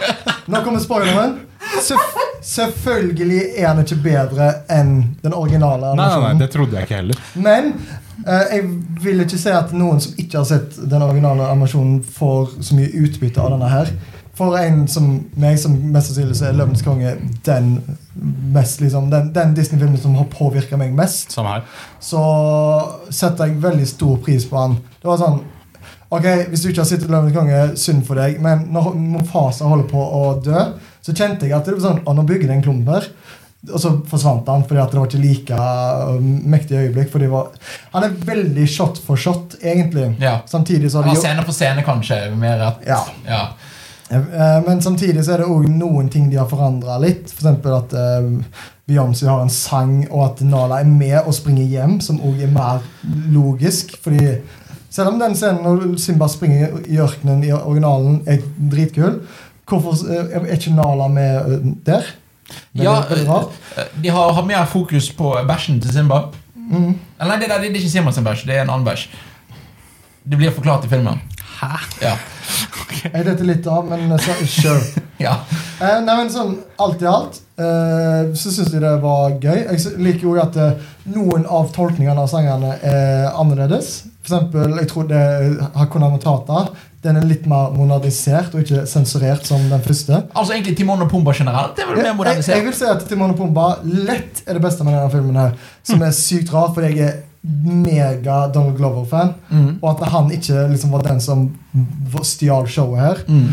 Speaker 3: Nå kommer spoileren. Selvf- selvfølgelig er han ikke bedre enn den
Speaker 2: Nei,
Speaker 3: originale
Speaker 2: nei, nei,
Speaker 3: animasjonen.
Speaker 2: det trodde jeg ikke heller.
Speaker 3: Men eh, jeg vil ikke si at noen som ikke har sett den originale animasjonen, får så mye utbytte av denne her. For en som meg, som mest sannsynlig så er Løvens konge den, mest, liksom, den, den Disney-filmen som har påvirka meg mest,
Speaker 2: Samme her.
Speaker 3: så setter jeg veldig stor pris på han. Det var sånn Ok, Hvis du ikke har sett Løvenes konge, synd for deg, men når Mofasa holder på å dø, så kjente jeg at det var sånn, å, nå bygger det en klump her. Og så forsvant han, fordi at det var ikke like uh, mektig øyeblikk. Fordi det var, han er veldig shot for shot, egentlig.
Speaker 1: Ja.
Speaker 3: Samtidig så har de
Speaker 1: Ja,
Speaker 3: jo-
Speaker 1: scene for scene, kanskje. Mer at
Speaker 3: Ja.
Speaker 1: ja.
Speaker 3: Eh, Men samtidig så er det òg noen ting de har forandra litt. F.eks. at eh, Beyoncé har en sang, og at Nala er med og springer hjem, som òg er mer logisk. Fordi selv om den scenen når Simba springer i ørkenen i originalen, er dritkul, hvorfor eh, er ikke Nala med eh, der? Veldig-
Speaker 1: Ja, eh,
Speaker 3: veldig rart.
Speaker 1: De har, har mer fokus på bæsjen til Simba.
Speaker 3: Mm.
Speaker 1: Eller Nei, det, der, det er ikke Simba sin bæsj, det er en annen bæsj. Det blir forklart i filmen. Hæ? Ja.
Speaker 3: Jeg detter litt av, men eh, så, sure.
Speaker 1: ja.
Speaker 3: Eh, nei, men sånn alt i alt eh, så syns jeg det var gøy. Jeg sy- liker jo at eh, noen av tolkningene av sangene er annerledes. For eksempel, jeg tror det Hakuna Matata. Den er litt mer monadisert og ikke sensurert som den første.
Speaker 1: Altså egentlig Timon og Pumba generelt. Det er vel
Speaker 3: Jeg,
Speaker 1: mer
Speaker 3: jeg, jeg
Speaker 1: modernisert.
Speaker 3: vil si at Timon og Pumba lett er det beste med denne filmen. her Som er sykt rart, fordi jeg er mega Donald Glover-fan.
Speaker 1: Mm.
Speaker 3: Og at han ikke liksom var den som v- stjal showet her,
Speaker 1: Mm.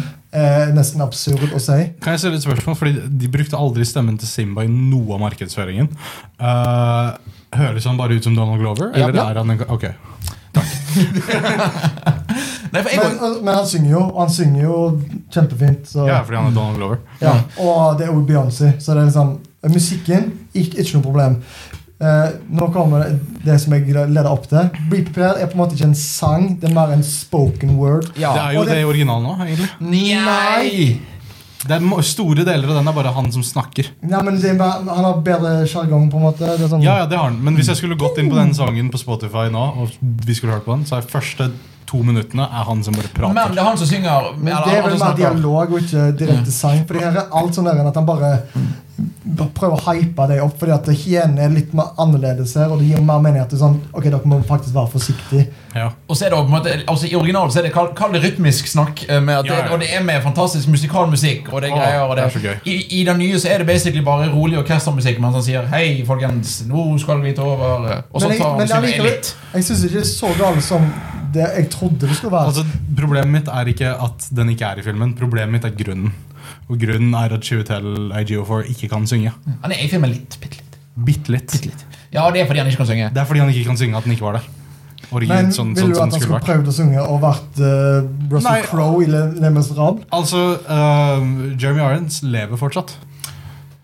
Speaker 3: eh, nesten absurd å si.
Speaker 2: Kan jeg stille et spørsmål? Fordi De brukte aldri stemmen til Simba i noe av markedsføringen. Eh, høres han bare ut som Donald Glover?
Speaker 1: Ja.
Speaker 2: Eller
Speaker 1: Ja.
Speaker 2: er han en Ok.
Speaker 1: Nei, for en gang,
Speaker 3: Men, men han synger jo, og han synger jo kjempefint. Så,
Speaker 2: Ja,
Speaker 3: ja.
Speaker 2: fordi han er Donald Glover.
Speaker 3: Og det er jo Beyoncé, så det er liksom Musikken ikke, ikke noe problem. Eh, nå kommer det, det som jeg leder opp til. Be Prepared er på en måte ikke en sang, det er mer en spoken word.
Speaker 1: ja.
Speaker 2: Det er jo
Speaker 3: Og det-
Speaker 2: det i originalen òg, egentlig.
Speaker 1: Nei!
Speaker 2: Det er mo- Store deler av den er bare han som snakker.
Speaker 3: Nei, men det er, mer- Han har bedre sjargong, på en måte. Det er sånn,
Speaker 2: Ja, ja, det har han. Men hvis jeg skulle gått inn på den sangen på Spotify nå, og vi skulle hørt på den, så er første to minuttene er han som bare
Speaker 1: Men
Speaker 2: prater.
Speaker 1: det er han som synger.
Speaker 3: Men
Speaker 1: eller
Speaker 3: det er
Speaker 1: han
Speaker 3: vel
Speaker 1: som
Speaker 3: mer
Speaker 1: snakker.
Speaker 3: dialog og ikke
Speaker 1: Mm.
Speaker 3: direkte sang. For det her er alt sånn der enn at han bare b- prøver å hype deg opp. Fordi at hyenen er litt mer annerledes her, og det gir mer mening at det er sånn Ok, dere må faktisk være forsiktige.
Speaker 2: Ja.
Speaker 1: Og så er det også på en måte, altså I originalen så er det kall, kall det rytmisk snakk, eh, med at
Speaker 2: Ja, ja.
Speaker 1: Det, og det er med fantastisk musikalmusikk. og det er
Speaker 2: Åh,
Speaker 1: greier, og det,
Speaker 2: det er så gøy.
Speaker 1: I, I den nye så er det basically bare rolig orkestermusikk mens han sier 'hei, folkens, nå skal vi ta over'. eh, Og så
Speaker 3: jeg,
Speaker 1: tar han og
Speaker 3: jeg,
Speaker 1: synger
Speaker 3: jeg,
Speaker 1: litt.
Speaker 3: jeg syns ikke det er så galt som det jeg trodde det skulle være.
Speaker 2: Altså, Problemet mitt er ikke at den ikke er i filmen, problemet mitt er grunnen. Og grunnen er at Chiwetel IGO4 ikke kan synge.
Speaker 1: Han er i filmen litt, bitte litt.
Speaker 2: Bitte litt.
Speaker 1: Ja, det er fordi han ikke kan synge.
Speaker 2: Det er fordi han ikke kan synge at den ikke var der.
Speaker 3: men
Speaker 2: Originalt sånn, sånn,
Speaker 3: ville du
Speaker 2: sånn
Speaker 3: at han
Speaker 2: skulle
Speaker 3: skulle
Speaker 2: vært.
Speaker 3: prøvd å synge og vært eh,
Speaker 2: Nei.
Speaker 3: Russell Crowe i Le, Le Miserable?
Speaker 2: Altså, eh, Jeremy Irons lever fortsatt.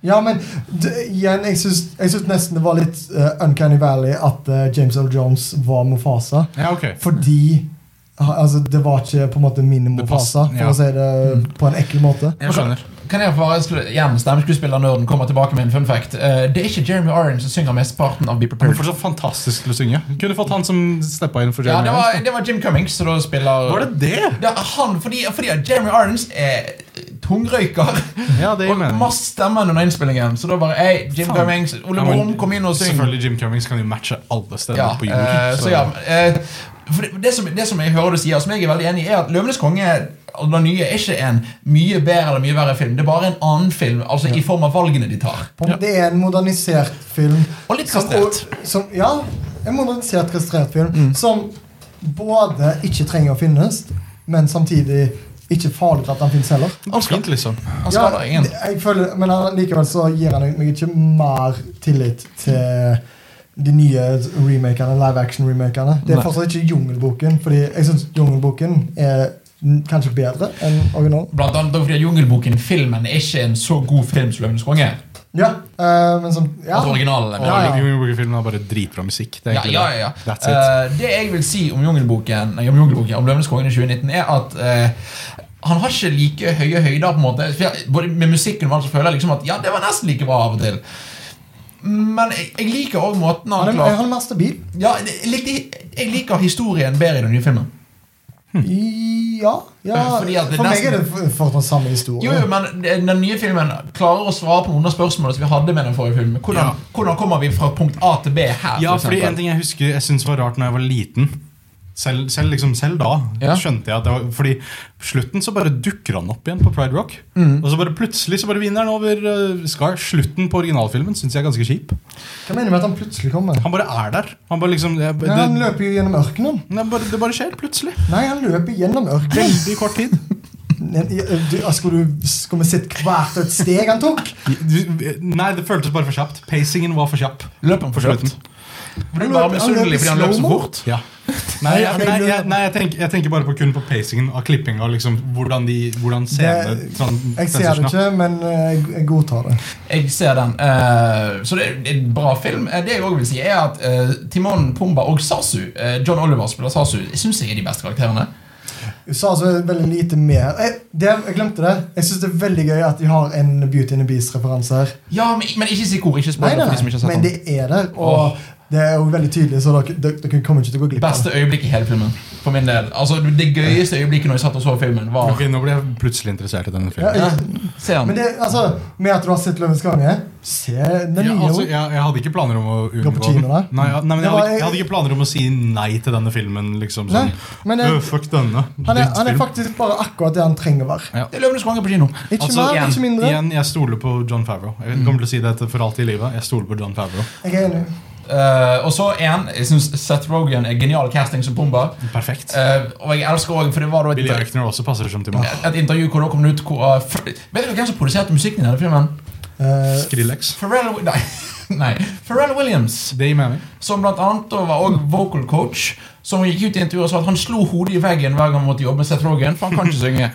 Speaker 3: Ja, men det, igjen, jeg syns, jeg syns nesten det var litt eh, Uncanny Valley at eh, James L. Jones var Mofasa.
Speaker 2: Ja, ok.
Speaker 3: Fordi ha- altså, det var ikke på en måte min
Speaker 2: Det pass-
Speaker 3: Mofasa, for
Speaker 2: ja.
Speaker 3: å si det på en ekkel måte.
Speaker 2: Jeg skjønner.
Speaker 1: Kan jeg bare slå, igjen, Stemmeskuespillernerden kommer tilbake med en fun fact. Eh, det er ikke Jeremy Irons som synger mesteparten av Be
Speaker 2: Han
Speaker 1: Prepared.
Speaker 2: er fortsatt fantastisk til å synge. Kunne fått han som steppa inn for
Speaker 1: Ja,
Speaker 2: Jeremy
Speaker 1: det var, det var Jim Cummings som da spiller
Speaker 2: Irons. Var det det?
Speaker 1: Det er han, fordi, fordi at Jeremy Irons er tungrøyker.
Speaker 2: Ja, det gir
Speaker 1: og
Speaker 2: mening.
Speaker 1: masse stemmer under innspillingen. Så da bare ei, Jim
Speaker 2: Faen.
Speaker 1: Cummings, Ole
Speaker 2: Ja, men
Speaker 1: Brumm, kom inn og syng.
Speaker 2: Selvfølgelig, Jim Cummings kan jo matche alle steder
Speaker 1: Ja,
Speaker 2: på jord.
Speaker 1: eh, så ja, eh, for det, det, som, det som jeg hører du sier, som jeg er veldig enig i, er at 'Løvenes konge' og den nye er ikke en mye bedre eller mye verre film. Det er bare en annen film, altså i form av valgene de tar.
Speaker 3: På en- Det er en modernisert film.
Speaker 1: Og litt kastrert. Mm.
Speaker 3: Som, som, ja, en modernisert kastrert film som både ikke trenger å finnes, men samtidig ikke farlig at den finnes heller.
Speaker 2: Alt fint, liksom.
Speaker 1: Han skader ingen.
Speaker 3: det- jeg føler, men han- likevel så gir han meg ikke mer tillit til de nye remakerne, live action-remakerne. Det er
Speaker 2: Nei.
Speaker 3: fortsatt ikke Jungelboken, fordi jeg syns Jungelboken er n- kanskje bedre enn originalen.
Speaker 1: Blant annet fordi at Jungelboken, filmen, er ikke en så god film som 'Løvenes konge'.
Speaker 3: Ja, eh, men som
Speaker 1: Altså
Speaker 3: ja.
Speaker 1: originalen.
Speaker 2: Og
Speaker 1: mener jeg.
Speaker 3: Ja, ja.
Speaker 2: Jungelboken-filmen har bare dritbra musikk. Det er
Speaker 1: Ja,
Speaker 2: egentlig
Speaker 1: ja, ja.
Speaker 2: det. That's it.
Speaker 1: Eh, det jeg vil si om Jungelboken, nei, om, jungelboken, om Løvenes konge i 2019, er at eh, han har ikke like høye høyder. på en måte For jeg- Både Med musikken og alt så føler jeg liksom at ja, det var nesten like bra av og til. Men jeg, jeg liker også måten han
Speaker 3: Han er,
Speaker 1: klarer
Speaker 3: han er mer stabil.
Speaker 1: ja, jeg, likte, jeg liker historien bedre i den nye filmen.
Speaker 3: Ja, ja.
Speaker 1: Eh, Fordi at det
Speaker 3: For meg
Speaker 1: nesten-
Speaker 3: er det f- fortsatt samme historie.
Speaker 1: Jo, jo, men den nye filmen klarer å svare på noen av spørsmålene som vi hadde med den forrige filmen. Hvordan,
Speaker 2: Ja.
Speaker 1: hvordan kommer vi fra punkt A til B her?
Speaker 2: Ja,
Speaker 1: for
Speaker 2: fordi en
Speaker 1: eksempel?
Speaker 2: ting jeg husker jeg syntes var rart når jeg var liten Selv, selv, liksom, selv da
Speaker 1: Ja.
Speaker 2: skjønte jeg at det var Fordi på slutten så bare dukker han opp igjen på Pride Rock.
Speaker 3: Mm.
Speaker 2: Og så bare plutselig så bare vinner han over uh, Scar. Slutten på originalfilmen syns jeg er ganske kjip.
Speaker 3: Hva mener du med at han plutselig kommer?
Speaker 2: Han bare er der. Han bare liksom det,
Speaker 3: Nei, han
Speaker 2: det,
Speaker 3: løper jo gjennom ørkenen.
Speaker 2: Nei, bare, det bare skjer plutselig.
Speaker 3: Nei, han løper gjennom ørkenen.
Speaker 2: Veldig kort tid.
Speaker 3: Nei, du, ah, Skulle du skulle vi sett hvert et steg han tok?
Speaker 2: Nei, det føltes bare for kjapt. Pacingen var for kjapp.
Speaker 1: Løp han for kjapt? Ble du
Speaker 3: Han
Speaker 1: bare
Speaker 3: løp- han løp i
Speaker 1: misunnelig fordi han løp så
Speaker 3: slow-mo.
Speaker 1: fort?
Speaker 2: Ja. Nei, jeg,
Speaker 3: Nei,
Speaker 2: nei,
Speaker 3: det-
Speaker 2: jeg, nei jeg, tenker, jeg tenker bare på kun på pacingen av klippinga. Liksom, hvordan de, hvordan scenene
Speaker 3: Det-
Speaker 2: tran-
Speaker 3: Jeg ser det
Speaker 2: transitionet.
Speaker 3: ikke, men eh, jeg, jeg godtar det.
Speaker 1: Jeg ser den. eh, så det er en bra film. Eh, Det jeg også vil si, er at eh, Timon, Pumba og Sasu, eh, John Oliver spiller Sasu, syns jeg er de beste karakterene.
Speaker 3: USA så er det altså veldig lite mer Jeg, det, jeg glemte det. Jeg syns det er veldig gøy at de har en Beauty and the Beast-referanse her.
Speaker 1: Ja, men, men ikke si hvor. Ikke
Speaker 3: Nei,
Speaker 1: spoil
Speaker 3: nei,
Speaker 1: for de som ikke
Speaker 3: nei,
Speaker 1: har
Speaker 3: men
Speaker 1: sett
Speaker 3: det
Speaker 1: den.
Speaker 3: er der. Og det er jo veldig tydelig, så dere, dere, dere kommer ikke til å gå glipp av det.
Speaker 1: Beste øyeblikk i hele filmen. For min del. Altså, Det gøyeste øyeblikket når jeg satt og så filmen, var
Speaker 2: Ok, Nå ble jeg plutselig interessert i denne filmen.
Speaker 3: Ja,
Speaker 1: ja, Se
Speaker 3: Men
Speaker 1: den.
Speaker 3: det, altså, med at du har sett Løvens konge Se den
Speaker 2: Ja,
Speaker 3: nye.
Speaker 2: altså, jeg, jeg hadde ikke planer om å
Speaker 3: Gå på
Speaker 2: unngå den.
Speaker 3: kino der?
Speaker 2: Nei, ja, nei, men
Speaker 3: Det
Speaker 2: jeg,
Speaker 3: var-
Speaker 2: hadde, ikke- jeg hadde ikke planer om å si nei til denne filmen. Liksom,
Speaker 3: Nei,
Speaker 2: sånn,
Speaker 3: men jeg-
Speaker 2: «Øh, fuck denne.
Speaker 3: han, er, han er
Speaker 2: drittfilm».
Speaker 3: faktisk bare akkurat det han trenger å være.
Speaker 1: Det er Løvenes konge på kino.
Speaker 3: Ikke
Speaker 2: Altså,
Speaker 3: mer,
Speaker 2: igjen,
Speaker 3: ikke mindre. Mm.
Speaker 2: igjen, jeg stoler på John Favreau. Jeg kommer til å si dette for alltid i livet. Jeg stoler på John Favreau.
Speaker 3: Jeg er enig.
Speaker 1: Eh, og så en, jeg syns Seth Rogan er genial casting som Pumba.
Speaker 2: Perfekt.
Speaker 1: Eh, og jeg elsker også, for det var da
Speaker 2: Billy
Speaker 1: et,
Speaker 2: Eichner også passer som til meg.
Speaker 1: et intervju hvor det kom ut hvor, eh, fr- Vet dere hvem som produserte musikken i denne filmen?
Speaker 3: Eh,
Speaker 2: Skrillex.
Speaker 1: Pharrell, Wi- nei, nei, Pharrell Williams,
Speaker 2: Det gir mening.
Speaker 1: som blant annet da var også vocal coach, som gikk ut i intervjuer og sa at han slo hodet i veggen hver gang han måtte jobbe med Seth Rogan, for han kan ikke synge.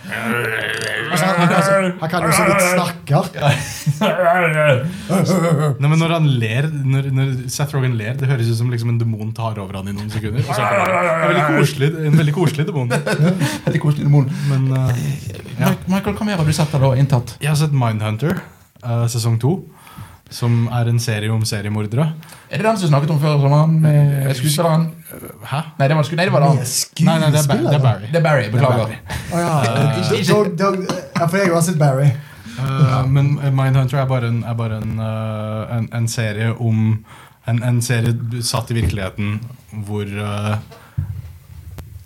Speaker 3: altså, han, kan jo så- han kan jo så vidt snakker.
Speaker 2: Nei, men når han ler Når, når Seth Rogen ler, det høres ut som liksom en demon tar over han i noen sekunder. Og så er det bare- en veldig koselig, en veldig koselig demon.
Speaker 1: Veldig koselig demon.
Speaker 2: Men eh, Ja.
Speaker 1: Mi- Michael, hva mer har du sett eller inntatt?
Speaker 2: jeg har sett Mindhunter eh, sesong to. Som er en serie om seriemordere.
Speaker 1: Er det den som vi snakket om før sommeren, med skuespilleren?
Speaker 2: Hæ?
Speaker 1: Nei, det var, sku- nei, det var den.
Speaker 2: Nei, nei, det er, Ba- det er Barry. Eh,
Speaker 1: Det er Barry, beklager.
Speaker 2: Barry.
Speaker 3: Å ja. Dog, dog, ja, for jeg har sett Barry.
Speaker 2: Eh, men Mindhunter er bare en, er bare en, eh, en, en serie om en, en serie satt i virkeligheten hvor eh,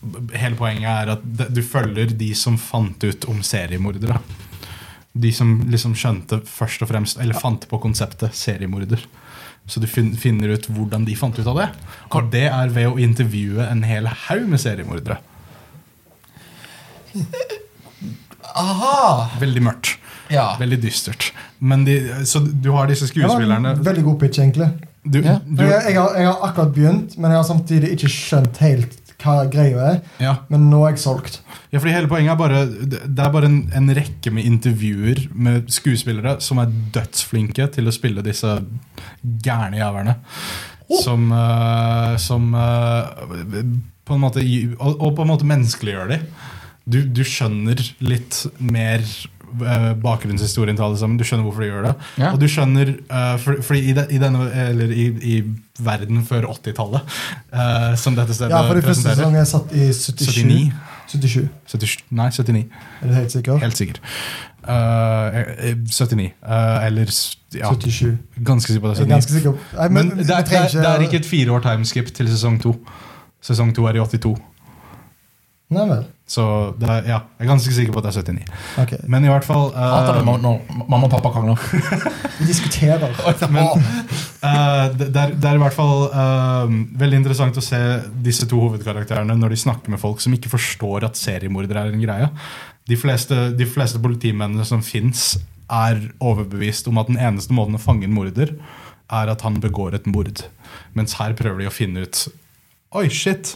Speaker 2: b- Hele poenget er at de- du følger de som fant ut om seriemordere. De som liksom skjønte først og fremst Eller fant på konseptet seriemorder. Så du fin, finner ut hvordan de fant ut av det. Og det er ved å intervjue en hel haug med seriemordere.
Speaker 1: Aha!
Speaker 2: Veldig mørkt.
Speaker 1: Ja.
Speaker 2: Veldig dystert. Men de, så du har disse
Speaker 3: Det var en
Speaker 2: skuespillerne
Speaker 3: veldig god pitch, egentlig.
Speaker 2: du,
Speaker 1: Ja.
Speaker 3: For
Speaker 2: du,
Speaker 3: Jeg, jeg, har, jeg har akkurat begynt, men jeg har samtidig ikke skjønt helt hva greia er.
Speaker 2: Ja.
Speaker 3: Men nå er jeg solgt.
Speaker 2: ja, fordi hele poenget er bare Det det er bare en, en rekke med intervjuer med skuespillere som er dødsflinke til å spille disse gærne jævlene.
Speaker 3: Oh!
Speaker 2: Som, eh, som eh, på en måte gi- og, og på en måte menneskeliggjør de. Du, du skjønner litt mer eh, bakgrunnshistorien til alle sammen. Du skjønner hvorfor de gjør det.
Speaker 1: Ja.
Speaker 2: Og du skjønner eh, for, Fordi i, de, i denne Eller i, i verden før 80-tallet, eh, som dette stedet
Speaker 3: Ja, for det første
Speaker 2: presenterer
Speaker 3: sesongen er satt i 77.
Speaker 2: 79.
Speaker 3: 77,
Speaker 2: 77, nei, 79.
Speaker 3: Er du helt sikker?
Speaker 2: Helt sikker. Eh, eh, 79. eh, eller s- ja,
Speaker 3: 77.
Speaker 2: ganske sikker på det.
Speaker 3: Jeg
Speaker 2: 79.
Speaker 3: er ganske sikker. Nei,
Speaker 2: Men det er,
Speaker 3: vi
Speaker 2: det, er,
Speaker 3: trenger
Speaker 2: det er ikke et fire år timeskip til sesong to. Sesong to er i 82.
Speaker 3: Nei vel.
Speaker 2: Så det er, ja, jeg er ganske sikker på at det er 79.
Speaker 3: Ok.
Speaker 2: Men i hvert fall eh,
Speaker 1: Hater det når når mamma og pappa krangler.
Speaker 3: Vi diskuterer.
Speaker 2: Men eh, det, det er, det er i hvert fall eh, veldig interessant å se disse to hovedkarakterene når de snakker med folk som ikke forstår at seriemordere er en greie. De fleste, de fleste politimennene som fins, er overbevist om at den eneste måten å fange en morder er at han begår et mord. Mens her prøver de å finne ut Oi, shit!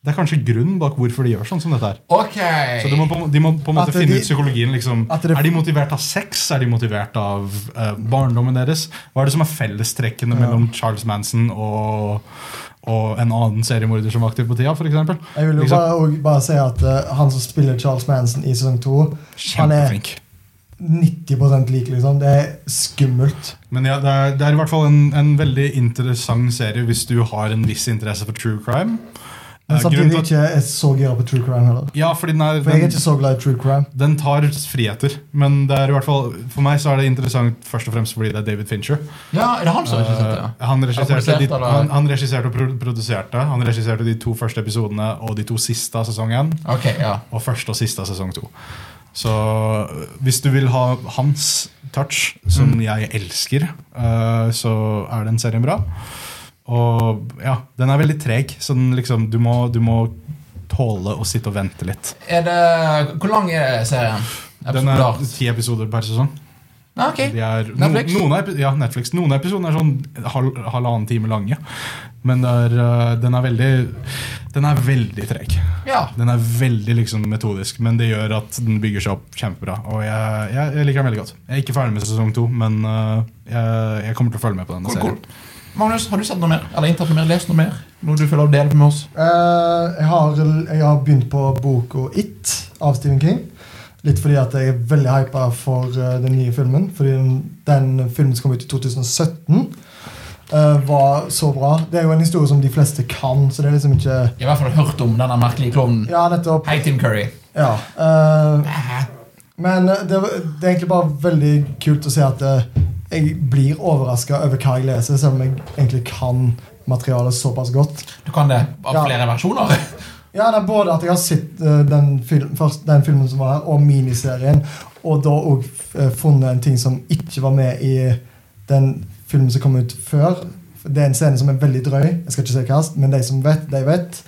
Speaker 2: Det er kanskje grunnen bak hvorfor de gjør sånn som dette her.
Speaker 1: Ok
Speaker 2: Så de må, på, de må på en måte
Speaker 3: At det-
Speaker 2: finne ut psykologien. liksom
Speaker 3: at det-
Speaker 2: Er de motivert av sex? Er de motivert av eh, barndommen deres? Hva er det som er fellestrekkene mellom Charles Manson og, og en annen seriemorder som var aktiv på tida? For eksempel?
Speaker 3: Jeg vil jo
Speaker 2: liksom,
Speaker 3: bare, og bare si at eh, han som spiller Charles Manson i sesong 2, han er
Speaker 2: Kjempeflink.
Speaker 3: 90 lik, liksom. Det er skummelt.
Speaker 2: Men ja, det er, det er i hvert fall en, en veldig interessant serie hvis du har en viss interesse for true crime.
Speaker 3: Men
Speaker 2: Ja, grunnen
Speaker 3: samtidig
Speaker 2: til at-
Speaker 3: ikke er så gira på true crime heller.
Speaker 2: Ja, fordi den, er,
Speaker 3: For jeg er
Speaker 2: den,
Speaker 3: ikke så glad i true crime.
Speaker 2: den tar friheter. Men det er i hvert fall, for meg så er det interessant først og fremst fordi det er David Fincher.
Speaker 1: Ja, er det han som har regissert det? ja?
Speaker 2: Eh, han, regisserte
Speaker 1: produsert,
Speaker 2: de,
Speaker 1: eller?
Speaker 2: han, han regisserte og pro- produserte. Han regisserte de to første episodene og de to siste av sesong én.
Speaker 1: Ok, ja.
Speaker 2: Og første og siste av sesong to. Så øh, hvis du vil ha hans touch, som jeg elsker, øh, så er den serien bra. Og ja, den er veldig treg, så den liksom, du, må, du må tåle å sitte og vente litt.
Speaker 1: Er det, hvor lang er serien?
Speaker 2: Den er
Speaker 1: Episoder?
Speaker 2: ti episoder per sesong.
Speaker 1: Ah, ok.
Speaker 2: Altså, De er, no,
Speaker 1: Netflix?
Speaker 2: Noen av, epi- ja, Netflix. Noen av episodene er sånn hal, halvannen time lange. Men det er, øh, den er veldig Den er veldig treg.
Speaker 1: Ja.
Speaker 2: Den er veldig liksom metodisk, men det gjør at den bygger seg opp kjempebra. Og jeg, jeg, jeg liker den veldig godt. Jeg er ikke ferdig med sesong to, men øh, jeg, jeg kommer til å følge med på denne
Speaker 1: Cool, cool.
Speaker 2: serien.
Speaker 1: Magnus, har du sett noe mer? Eller inntatt noe mer? Lest noe mer? Noe du føler å dele med oss?
Speaker 3: Eh, jeg, har, jeg har begynt på boka It av Stephen King. Litt fordi at jeg er veldig hypa for eh, den nye filmen. Fordi den, den filmen som kom ut i 2017, eh, var så bra. Det er jo en historie som de fleste kan, så det er liksom ikke
Speaker 1: Jeg har i hvert fall hørt om denne merkelige klovnen.
Speaker 3: Ja, nettopp.
Speaker 1: Hei, Tim Curry.
Speaker 3: Ja. eh,
Speaker 1: Hæ?
Speaker 3: Men eh, det, var- det er egentlig bare veldig kult å se at eh, jeg blir overraska over hva jeg leser, selv om jeg egentlig kan materialet såpass godt.
Speaker 1: Du kan det av
Speaker 3: Ja.
Speaker 1: flere versjoner.
Speaker 3: Ja, det er både at jeg har sett eh, den, film, først, den filmen som var her, og miniserien, og da òg funnet en ting som ikke var med i den filmen som kom ut før. Det er en scene som er veldig drøy, jeg skal ikke si hva, men de som vet, de vet.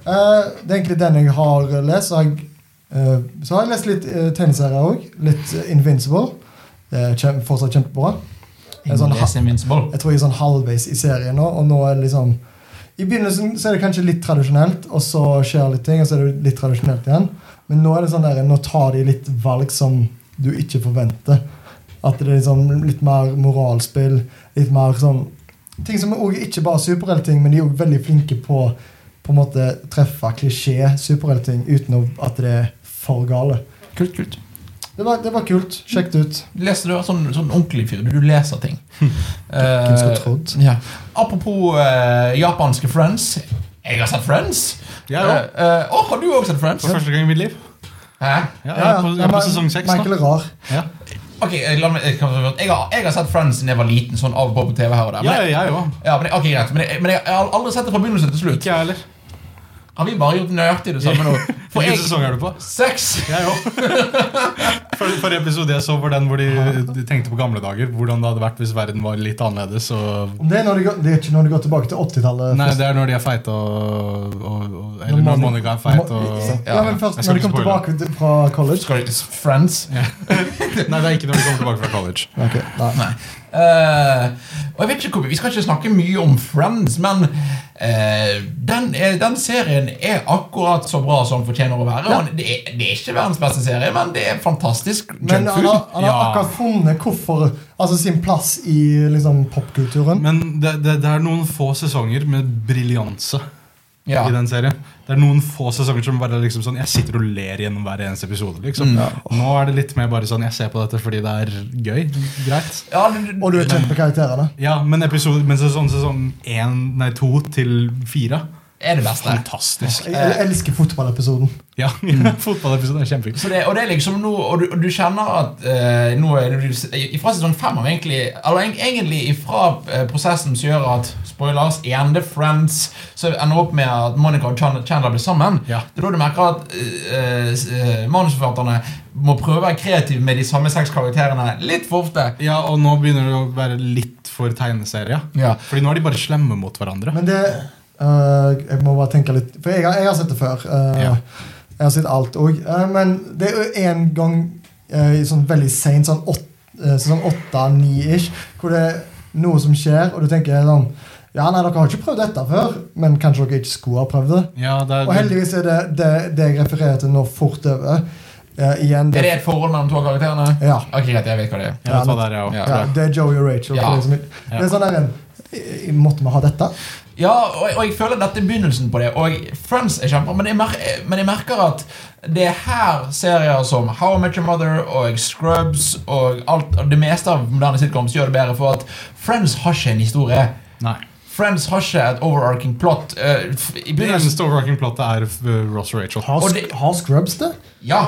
Speaker 3: Eh, det er egentlig den jeg har lest. Så har jeg, eh, så har jeg lest litt uh, tegneserier òg. Litt eh, Invincible. Det er kjem, fortsatt kjempebra. En sånn
Speaker 1: Les Invincible.
Speaker 3: Jeg tror jeg er sånn halvveis i serien nå, og nå er det liksom I begynnelsen så er det kanskje litt tradisjonelt, og så skjer litt ting, og så er det litt tradisjonelt igjen. Men nå er det sånn der, nå tar de litt valg som du ikke forventer. At det er liksom litt mer moralspill, litt mer sånn Ting som er også ikke bare superheltting, men de er også veldig flinke på på en måte treffe klisjé superheltting uten å- at det er for gale.
Speaker 1: Kult, kult.
Speaker 3: Det var, det var kult. Sjekk det ut.
Speaker 1: Leser du er sånn, sånn ordentlig fyr? Du, du leser ting. Eh,
Speaker 3: Hvem skulle trodd?
Speaker 1: ja. Apropos eh, japanske Friends. Jeg har sett Friends.
Speaker 2: Jeg òg.
Speaker 1: Eh, eh, å, har du også sett Friends?
Speaker 2: For første gang i mitt liv.
Speaker 1: Hæ?
Speaker 2: Ja, jeg er på, jeg er
Speaker 3: Nei,
Speaker 2: på sesong seks
Speaker 3: Michael
Speaker 2: nå.
Speaker 3: er rar.
Speaker 2: Ja,
Speaker 1: Ok, eh, la meg, jeg, kan, jeg, har, jeg har sett Friends siden jeg var liten, sånn av og på på TV her og der.
Speaker 2: ja
Speaker 1: Men,
Speaker 2: jeg òg.
Speaker 1: ja, men, ok, greit, men, jeg, men jeg, jeg har aldri sett det fra begynnelse til slutt.
Speaker 2: Ikke jeg heller.
Speaker 1: Har vi bare gjort nøyaktig det samme nå? For
Speaker 2: Hvilken
Speaker 1: jeg
Speaker 2: sesong er du på?
Speaker 1: Seks!
Speaker 2: Jeg òg. Forrige forrige episode jeg så var den hvor de, de tenkte på gamle dager. Hvordan det hadde vært hvis verden var litt annerledes. Og
Speaker 3: Det er, når de går, det er ikke når de går tilbake til 80-tallet.
Speaker 2: Nei,
Speaker 3: først.
Speaker 2: det er når de er feite og, og, og Eller når
Speaker 3: Monica-
Speaker 2: Monica er feit
Speaker 3: Mo-
Speaker 2: og
Speaker 3: Ja, men først
Speaker 2: Jeg skal
Speaker 3: når de
Speaker 2: ikke
Speaker 3: kom
Speaker 2: spoile.
Speaker 3: tilbake til- fra college.
Speaker 1: Skal du Friends?
Speaker 2: Nei, det er ikke når de kommer tilbake fra college.
Speaker 3: Ok, nei.
Speaker 1: Nei. Eh, og jeg vet ikke hvor, Vi skal ikke snakke mye om Friends, men eh, den, er, den serien er akkurat så bra som den fortjener å være. Og det, er, det er ikke verdens beste serie, men det er fantastisk
Speaker 3: Men han har,
Speaker 1: junkfood.
Speaker 3: han har
Speaker 2: Ja.
Speaker 3: akkurat funnet hvorfor Altså sin plass i liksom popkulturen.
Speaker 2: Men det, det, det er noen få sesonger med briljanse
Speaker 1: Ja.
Speaker 2: i den serien. Det er noen få sesonger som bare er liksom sånn Jeg sitter og ler gjennom hver eneste episode. liksom
Speaker 3: Mm.
Speaker 2: Nå er det litt mer bare sånn Jeg ser på dette fordi det er gøy. Greit.
Speaker 1: Ja, du, du,
Speaker 3: Og du er kjent med karakterene.
Speaker 2: Ja, men, episode, men sesong, sesong 1, nei 2 til 4
Speaker 1: er det beste.
Speaker 2: Fantastisk
Speaker 3: Jeg, jeg elsker fotballepisoden.
Speaker 2: Ja, fotballepisoden er kjempefint
Speaker 1: Så det, og det er liksom nå, og du, og du kjenner at eh, nå er du, Fra sesong fem har vi egentlig Eller eng- egentlig ifra eh, prosessen som gjør at Spoilers, igjen The Friends Så ender opp med at Monica og Chan- Chandler blir sammen.
Speaker 2: Ja.
Speaker 1: Det er da du merker at eh, s- eh, manusforfatterne må prøve å være kreative med de samme seks karakterene litt for ofte.
Speaker 2: Ja, og nå begynner det å være litt for tegneserie
Speaker 1: Ja.
Speaker 2: Fordi nå er de bare slemme mot hverandre
Speaker 3: Men det øh, Jeg må bare tenke litt For jeg har, jeg har sett det før. øh,
Speaker 2: Ja.
Speaker 3: Jeg har sett alt òg. men det er jo en gang øh, i sånn veldig seint, sånn åt- øh, sesong åtte-ni-ish, hvor det er noe som skjer, og du tenker sånn Ja, nei, dere har ikke prøvd dette før, men kanskje dere ikke skulle ha prøvd det.
Speaker 2: Ja, det
Speaker 3: Og
Speaker 2: er,
Speaker 3: heldigvis er det det, det jeg refererer til nå, fort over. Eh, igjen,
Speaker 1: Er det et forhold mellom to av karakterene?
Speaker 3: Ja.
Speaker 1: Ok, Greit, jeg vet hva det er.
Speaker 2: jeg vet hva det er, jeg også.
Speaker 1: Ja.
Speaker 3: ja, det er Joey og Rachel.
Speaker 1: Ja.
Speaker 3: Liksom, det er sånn der en eh, Måtte vi ha dette?
Speaker 1: Ja, og, og jeg føler dette er begynnelsen på det. Og Friends er kjempebra, men, jeg mer- men jeg merker at det er her serier som How I Met Your Mother og Scrubs og alt, og det meste av moderne sitcoms gjør det bedre, for at Friends har ikke en historie.
Speaker 2: Nei
Speaker 1: Friends har ikke et overarching plot. eh, f- I
Speaker 2: Det
Speaker 1: begynnelsen
Speaker 2: eneste overarching plottet er eh, Ross og Rachel.
Speaker 1: Og
Speaker 3: Har,
Speaker 1: det-
Speaker 3: sk har Scrubs det?
Speaker 1: Ja.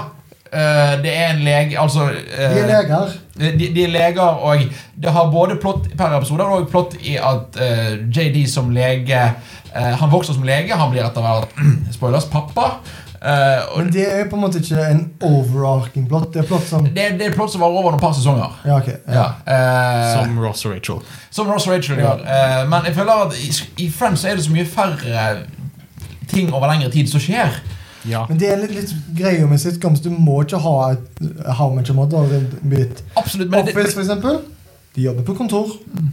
Speaker 1: eh, det er en lege Altså eh,
Speaker 3: De er leger.
Speaker 1: de, de er leger, og det har både plott per episode og plott i at eh, JD som lege eh, Han vokser som lege, han blir etter hvert spoilers pappa. eh,
Speaker 3: Men
Speaker 1: og
Speaker 3: det er på en måte ikke en overarching plot. Det er plot som
Speaker 1: det, det er et plott som var over noen par sesonger.
Speaker 3: Ja, ok. Ja.
Speaker 1: Ja, eh,
Speaker 2: Som Ross og Rachel.
Speaker 1: Som Ross Rachel gjør. Eh, men jeg føler at i, i Friends så er det så mye færre ting over lengre tid som skjer.
Speaker 2: Ja.
Speaker 3: Men det er litt, litt greia med sitcoms. Du må ikke ha et How much a mother bit.
Speaker 1: Absolutt, men det,
Speaker 3: Office, for eksempel. De jobber på kontor.
Speaker 2: Men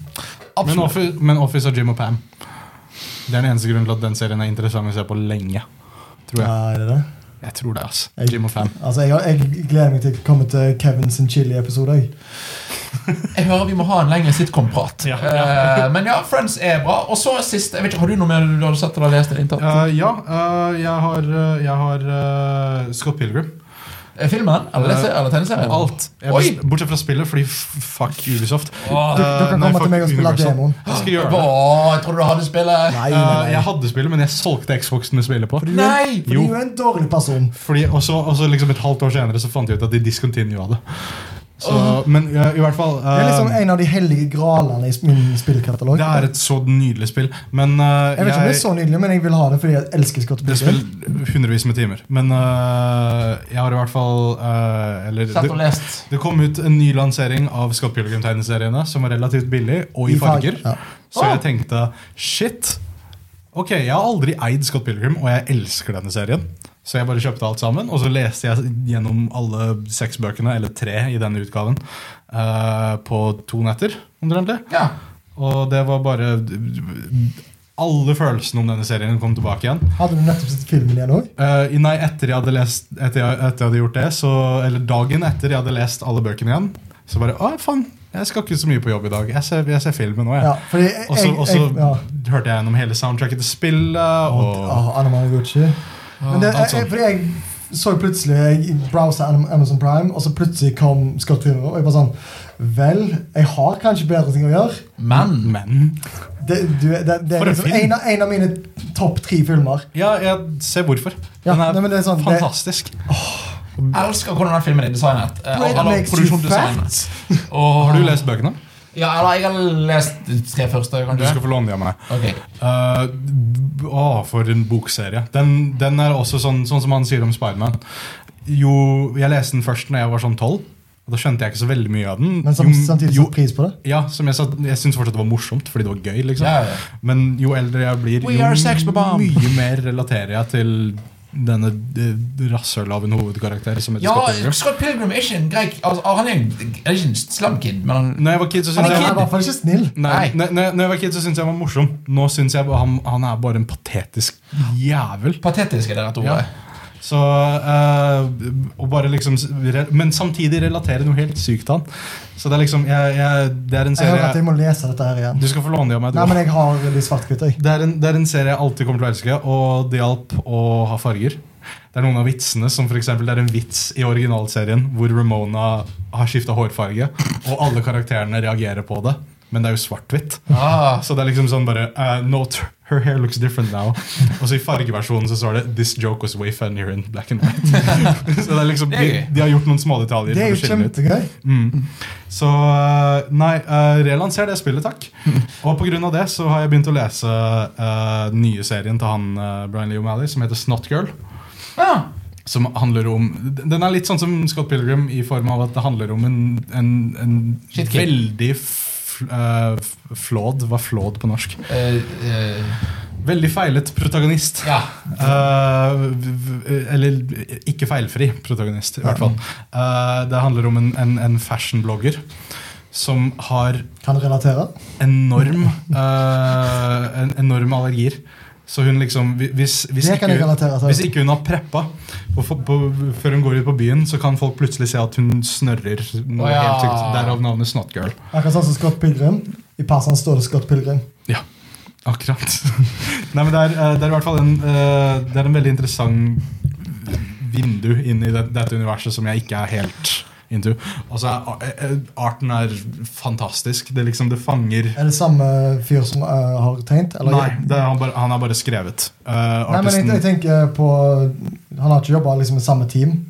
Speaker 1: absolutt.
Speaker 2: Office, men Office og Jim og Pam. Det er den eneste grunnen til at den serien er interessant å se på lenge. Tror jeg.
Speaker 3: Ja, er det det?
Speaker 2: Jeg tror det, ass.
Speaker 3: Jeg-
Speaker 2: Jim og Pam.
Speaker 3: Altså, jeg, jeg gleder meg til å komme til Kevin sin chili-episode. jeg.
Speaker 1: Jeg hører vi må ha en lengre sitcom-prat.
Speaker 2: Ja,
Speaker 1: Eh, men ja, Friends er bra. Og så sist jeg vet ikke, Har du noe mer du har sett eller lest? eller inntatt?
Speaker 2: Eh, ja, eh, jeg har, eh, jeg har eh, Scott Pilgrim.
Speaker 1: Eh, Filmen? Eller, lese, eller tegneserien?
Speaker 2: Alt. Jeg
Speaker 1: Oi!
Speaker 2: best, bortsett fra spillet, fordi f- fuck Ubisoft.
Speaker 1: Åh,
Speaker 3: Du- dere
Speaker 2: Eh, nei,
Speaker 3: kommer
Speaker 2: fuck
Speaker 3: til meg og spiller
Speaker 2: Universal.
Speaker 3: demoen.
Speaker 2: Jeg skal gjøre det.
Speaker 1: Åh, jeg trodde du hadde spillet.
Speaker 2: Eh,
Speaker 3: Nei, nei,
Speaker 2: jeg
Speaker 3: nei.
Speaker 2: hadde spillet, men jeg solgte Xboxen med spillet på.
Speaker 3: For du,
Speaker 1: Nei!
Speaker 3: Er, for
Speaker 2: Jo.
Speaker 3: du er en dårlig person.
Speaker 2: Fordi også, også liksom Et halvt år senere så fant jeg ut at de discontinua det. Så, Men ja, i hvert fall
Speaker 3: Det er liksom
Speaker 2: eh,
Speaker 3: en av de hellige gralene i min spillkatalog.
Speaker 2: Det er et så nydelig spill. Men eh,
Speaker 3: Jeg vet ikke om det er så nydelig, men jeg vil ha det fordi jeg elsker Scott
Speaker 2: det
Speaker 3: Pilgrim.
Speaker 2: spiller hundrevis med timer. Men eh, jeg har i hvert fall eh, Eller
Speaker 1: Sett og
Speaker 2: det,
Speaker 1: lest.
Speaker 2: det kom ut en ny lansering av Scott Pilgrim-tegneseriene, som var relativt billig, og i farger.
Speaker 3: Ja.
Speaker 2: Så jeg tenkte shit. Ok, jeg har aldri eid Scott Pilgrim, og jeg elsker denne serien. Så jeg bare kjøpte alt sammen, og så leste jeg gjennom alle seks bøkene, eller tre i denne utgaven, eh, på to netter, omtrentlig.
Speaker 1: Ja.
Speaker 2: Og det var bare Alle følelsene om denne serien kom tilbake igjen.
Speaker 3: Hadde du nettopp sett filmen igjen òg?
Speaker 2: Eh, i- nei, etter jeg hadde lest etter jeg, etter jeg hadde gjort det, så, eller dagen etter jeg hadde lest alle bøkene igjen, så bare Å, faen, jeg skal ikke så mye på jobb i dag. Jeg ser, jeg ser filmen nå, jeg.
Speaker 3: Ja, fordi jeg,
Speaker 2: Og så
Speaker 3: jeg,
Speaker 2: og så
Speaker 3: jeg, ja.
Speaker 2: hørte jeg gjennom hele soundtracket til spillet. Og,
Speaker 3: Åh, Anna Maraguchi. Men det,
Speaker 2: Ah, alt
Speaker 3: jeg,
Speaker 2: sånt.
Speaker 3: fordi jeg så plutselig Jeg browsa Am- Amazon Prime, og så plutselig kom Scott Pilgrim. Og jeg bare sånn Vel, jeg har kanskje bedre ting å gjøre.
Speaker 1: Men
Speaker 2: Men
Speaker 3: Det, du, det, det
Speaker 2: For
Speaker 3: er
Speaker 2: en
Speaker 3: liksom
Speaker 2: film.
Speaker 3: en, av, en av mine topp tre filmer.
Speaker 2: Ja, jeg ser hvorfor.
Speaker 3: Ja,
Speaker 2: Den er,
Speaker 3: nei, men det er sånn, det-
Speaker 2: fantastisk.
Speaker 1: jeg elsker hvordan den filmen er designet. eh,
Speaker 3: Great
Speaker 1: Eller
Speaker 3: makes you
Speaker 1: produksjonsdesignet. Åh.
Speaker 2: Har du lest bøkene?
Speaker 1: Ja, eller jeg har lest de tre første,
Speaker 2: Du skal
Speaker 1: kanskje.
Speaker 2: få låne dem av meg.
Speaker 1: Ok.
Speaker 2: Eh, d- å, for en bokserie. Den, den er også sånn, sånn som han sier om Spiderman. Jo, jeg leste den først da jeg var sånn tolv. Og da skjønte jeg ikke så veldig mye av den.
Speaker 3: Men som,
Speaker 2: jo,
Speaker 3: samtidig
Speaker 2: jo,
Speaker 3: satte pris på det.
Speaker 2: ja, som jeg, satt- jeg syntes fortsatt det var morsomt, fordi det var gøy. liksom
Speaker 1: Ja, ja.
Speaker 2: Men jo eldre jeg blir,
Speaker 1: We are sex
Speaker 2: jo
Speaker 1: bomb.
Speaker 2: mye mer relaterer jeg til denne eh, rasshøla av en hovedkarakter. som heter
Speaker 1: Ja,
Speaker 2: Scott Pilgrim.
Speaker 1: Scott Pilgrim er ikke en grek altså, Han er, en- er ikke en slum kid, men han
Speaker 2: Når jeg var kid, så
Speaker 3: Han
Speaker 2: syntes
Speaker 3: er i
Speaker 2: jeg,
Speaker 3: hvert fall ikke snill.
Speaker 2: nei,
Speaker 1: Nei.
Speaker 2: nei, nei, når jeg, var kid, så syntes jeg han var morsom. Nå syns jeg bare han, han er bare en patetisk jævel.
Speaker 1: Patetisk er det rette
Speaker 2: Ja.
Speaker 1: ordet.
Speaker 2: Så, eh, og bare liksom, men samtidig relatere noe helt sykt til han. Så det er liksom jeg, jeg, Det er en
Speaker 3: Jeg hører
Speaker 2: serie
Speaker 3: at jeg må lese dette her igjen.
Speaker 2: Du skal få låne det av meg. du
Speaker 3: Nei,
Speaker 2: også.
Speaker 3: men jeg har de svart-hvite. jeg.
Speaker 2: Det er, en, det er en serie jeg alltid kommer til å elske, og det hjalp å ha farger. Det er noen av vitsene, som for eksempel, det er en vits i originalserien hvor Ramona har skifta hårfarge, og alle karakterene reagerer på det. Men det er jo svart-hvitt.
Speaker 1: Ah,
Speaker 2: Så det er liksom sånn bare uh, Note, her hair looks different now. Og så i fargeversjonen så står det This joke was way funnier in black and white. så det er liksom,
Speaker 1: Det er
Speaker 2: de,
Speaker 1: gøy.
Speaker 2: de har gjort noen smådetaljer.
Speaker 3: Det
Speaker 2: for å
Speaker 3: er jo
Speaker 2: skille den ut.
Speaker 3: kjempegøy.
Speaker 2: Mm. Så eh, nei, eh, relanser det spillet, takk. Og på grunn av det så har jeg begynt å lese eh, nye serien til han eh, Brian Lee O'Malley som heter Snotgirl.
Speaker 1: ja.
Speaker 2: Som handler om Den er litt sånn som Scott Pilgrim i form av at det handler om en, en, en
Speaker 1: Shit kid.
Speaker 2: veldig fl, eh, f- flawed Hva er flawed på norsk?
Speaker 1: Eh, eh,
Speaker 2: Veldig feilet protagonist.
Speaker 1: ja.
Speaker 2: Eh, v- v- eller ikke feilfri protagonist, i hvert fall. Eh, det handler om en, en, en fashionblogger som har
Speaker 3: Kan relatere.
Speaker 2: enorm eh, en, enorme allergier. Så hun liksom hvi- Hvis, hvis,
Speaker 3: Det
Speaker 2: ikke,
Speaker 3: kan jeg relatere
Speaker 2: hvis
Speaker 3: til.
Speaker 2: ikke hun har preppa og få- på, før hun går ut på byen, så kan folk plutselig se at hun snørrer. Noe
Speaker 1: Å ja.
Speaker 2: helt sykt. Derav navnet Snotgirl.
Speaker 3: Akkurat sånn som Scott Pilgrim. I passene står det Scott Pilgrim.
Speaker 2: Ja, akkurat. Nei, men det er, eh, det er i hvert fall en, eh, det er en veldig interessant vindu inn i det, dette universet som jeg ikke er helt into. Altså, eh, eh, Arten er fantastisk. Det, er liksom, det fanger
Speaker 3: Er det samme fyr som eh, har tegnet? eller?
Speaker 2: Nei, det er, han, bare, han er bare skrevet. Eh,
Speaker 3: Nei, men jeg,
Speaker 2: artisten-
Speaker 3: jeg tenker på Han har ikke jobba liksom, med samme team.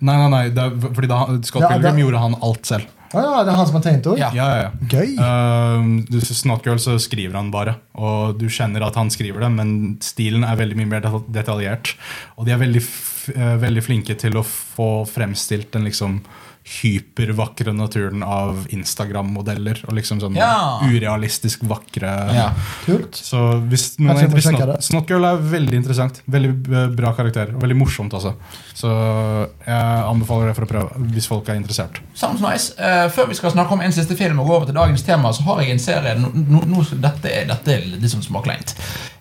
Speaker 2: Nei, nei, nei, det er, fordi da, Scott
Speaker 3: Ja,
Speaker 2: Pilgrim
Speaker 3: det-
Speaker 2: gjorde han alt selv.
Speaker 3: Å ja, det er han som har tegnet òg?
Speaker 1: Ja.
Speaker 2: Ja, ja, ja.
Speaker 3: Gøy!
Speaker 2: Ehm, du- Snotgirl så skriver han bare, og du kjenner at han skriver det, men stilen er veldig mye mer detal- detaljert. Og de er veldig, f eh, veldig flinke til å få fremstilt den liksom hypervakre naturen av Instagram-modeller. Og liksom sånn
Speaker 1: Ja.
Speaker 2: urealistisk vakre
Speaker 1: Ja.
Speaker 3: Kult.
Speaker 2: Så hvis noen
Speaker 3: Kanskje
Speaker 2: er
Speaker 3: jeg må
Speaker 2: interessert
Speaker 3: sjekke det.
Speaker 2: Snot- Snotgirl er veldig interessant. Veldig eh, bra karakter. og Veldig morsomt, altså. Så jeg anbefaler det for å prøve, hvis folk er interessert.
Speaker 1: Sounds nice. Eh, før vi skal snakke om en siste film og gå over til dagens tema, så har jeg en serie no, no, no, Dette er dette er litt sånn småkleint.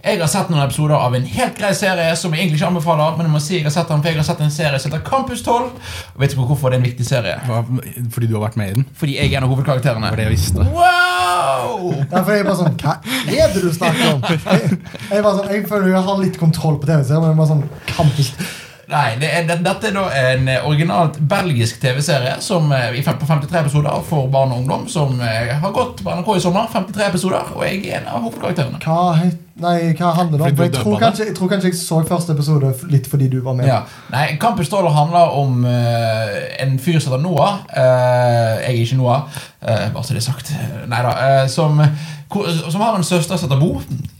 Speaker 1: Jeg har sett noen episoder av en helt grei serie som jeg egentlig ikke anbefaler, men jeg må si jeg har sett den, for jeg har sett en serie som heter Campus 12. Og vet ikke hvorfor det er en viktig serie.
Speaker 2: Hva, fordi du har vært med i den?
Speaker 1: Fordi jeg er en av hovedkarakterene.
Speaker 2: Var det jeg visste.
Speaker 1: Wow!
Speaker 3: Derfor er jeg bare sånn Hva er det du snakker om? Jeg, jeg, bare sånn, jeg føler jeg har litt kontroll på TV-serien, men jeg bare sånn kampus.
Speaker 1: Nei, det er, det, dette er da en eh, originalt belgisk TV-serie Som eh, i fem- på 53 episoder for barn og ungdom Som eh, har gått på NRK i sommer 53 episoder, og jeg er en av hovedkarakterene
Speaker 3: Hva, het- nei, hva handler det
Speaker 2: Fordi du
Speaker 3: om? For jeg, tror
Speaker 2: dubba det?
Speaker 3: kanskje, jeg tror kanskje jeg så første episode f- litt fordi du var med.
Speaker 1: ja. Nei, Campus Stoller handler om eh, en fyr som heter Noah. Eh, jeg er ikke Noah, eh, bare så det er sagt. Neida, eh, som, hvor- som har en søster som heter Bo.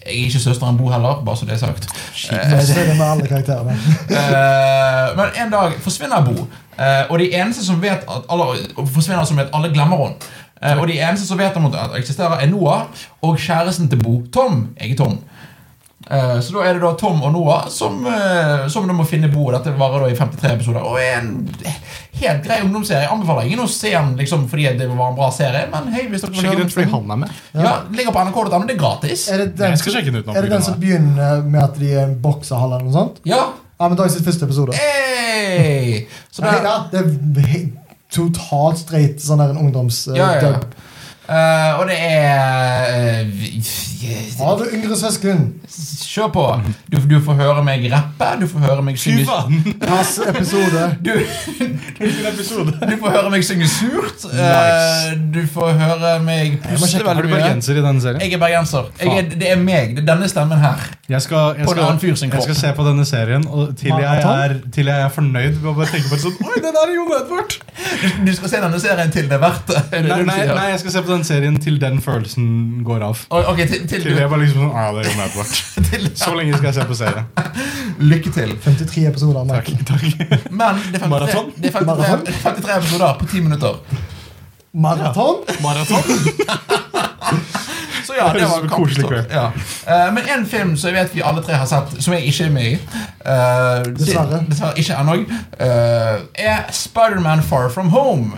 Speaker 1: Jeg er ikke søsteren Bo heller, bare så det er sagt.
Speaker 3: Men så er det med alle karakterene.
Speaker 1: Eh, men en dag forsvinner Bo, eh, og de eneste som vet at alle, forsvinner som at alle glemmer henne. Eh, og de eneste som vet om at hun eksisterer, er Noah og kjæresten til Bo, Tom. Jeg er Tom. Eh, Så da er det da Tom og Noah som, eh, som da må finne bo. Dette varer da i 53 episoder. Og er en helt grei ungdomsserie. Jeg anbefaler ingen å se den liksom, fordi det var en bra serie. Men hei, hvis dere vil
Speaker 2: Sjekk
Speaker 1: høre
Speaker 2: den
Speaker 1: den-
Speaker 2: fordi han er med.
Speaker 1: Ja, ligger på nrk.no. Det er gratis.
Speaker 3: Er det den,
Speaker 2: Jeg skal sjekke den ut nå.
Speaker 3: er det den som begynner med at de er en bokser eller noe sånt?
Speaker 1: Ja.
Speaker 3: Ja, men da har jeg sett første episode.
Speaker 1: Hey! Så
Speaker 3: Ok,
Speaker 1: der,
Speaker 3: ja, det er he- totalt streit sånn der en ungdomsdub.
Speaker 1: ja, ja. Eh, og det er eh,
Speaker 3: Har du yngre søsken?
Speaker 1: Kjør på. Du, du får høre meg rappe. Du får høre meg synge
Speaker 3: Pass episode.
Speaker 1: du, du får høre meg synge surt. eh,
Speaker 2: Nice.
Speaker 1: Du får høre meg puste
Speaker 2: Er du
Speaker 1: veldig mye.
Speaker 2: bergenser i denne serien?
Speaker 1: Jeg er bergenser. Jeg er,
Speaker 2: Faen.
Speaker 1: det er meg. Det er denne stemmen her.
Speaker 2: Jeg skal, jeg,
Speaker 1: På en annen
Speaker 2: skal,
Speaker 1: fyr sin
Speaker 2: jeg skal
Speaker 1: kropp.
Speaker 2: se på denne serien og til jeg er, til jeg er fornøyd med å bare tenke på det sånn Oi, det der er Jon Edvard!
Speaker 1: Du skal se denne serien til det er verdt det. det. er det
Speaker 2: Nei,
Speaker 1: du
Speaker 2: nei,
Speaker 1: sier.
Speaker 2: nei, jeg skal se på den serien til den følelsen går av.
Speaker 1: Og- Ok, til, til,
Speaker 2: Til jeg bare liksom sånn, ah, det er Jon Edvard.
Speaker 1: til,
Speaker 2: Så lenge skal jeg se på serien.
Speaker 1: Lykke til.
Speaker 3: 53 episoder.
Speaker 2: Takk.
Speaker 3: Mark.
Speaker 2: takk.
Speaker 1: Men det er 53,
Speaker 2: Maraton?
Speaker 1: det er 53,
Speaker 3: Maraton?
Speaker 1: 53 episoder på 10 minutter.
Speaker 3: Maraton?
Speaker 2: Maraton?
Speaker 1: Så ja,
Speaker 2: Det
Speaker 1: det var
Speaker 2: høres ut som en koselig
Speaker 1: kampstort. Ja. Eh, men en film som jeg vet vi alle tre har sett, som jeg ikke er med i eh,
Speaker 3: Dessverre.
Speaker 1: Dessverre ikke ennå. Uh, er Spiderman Far From Home.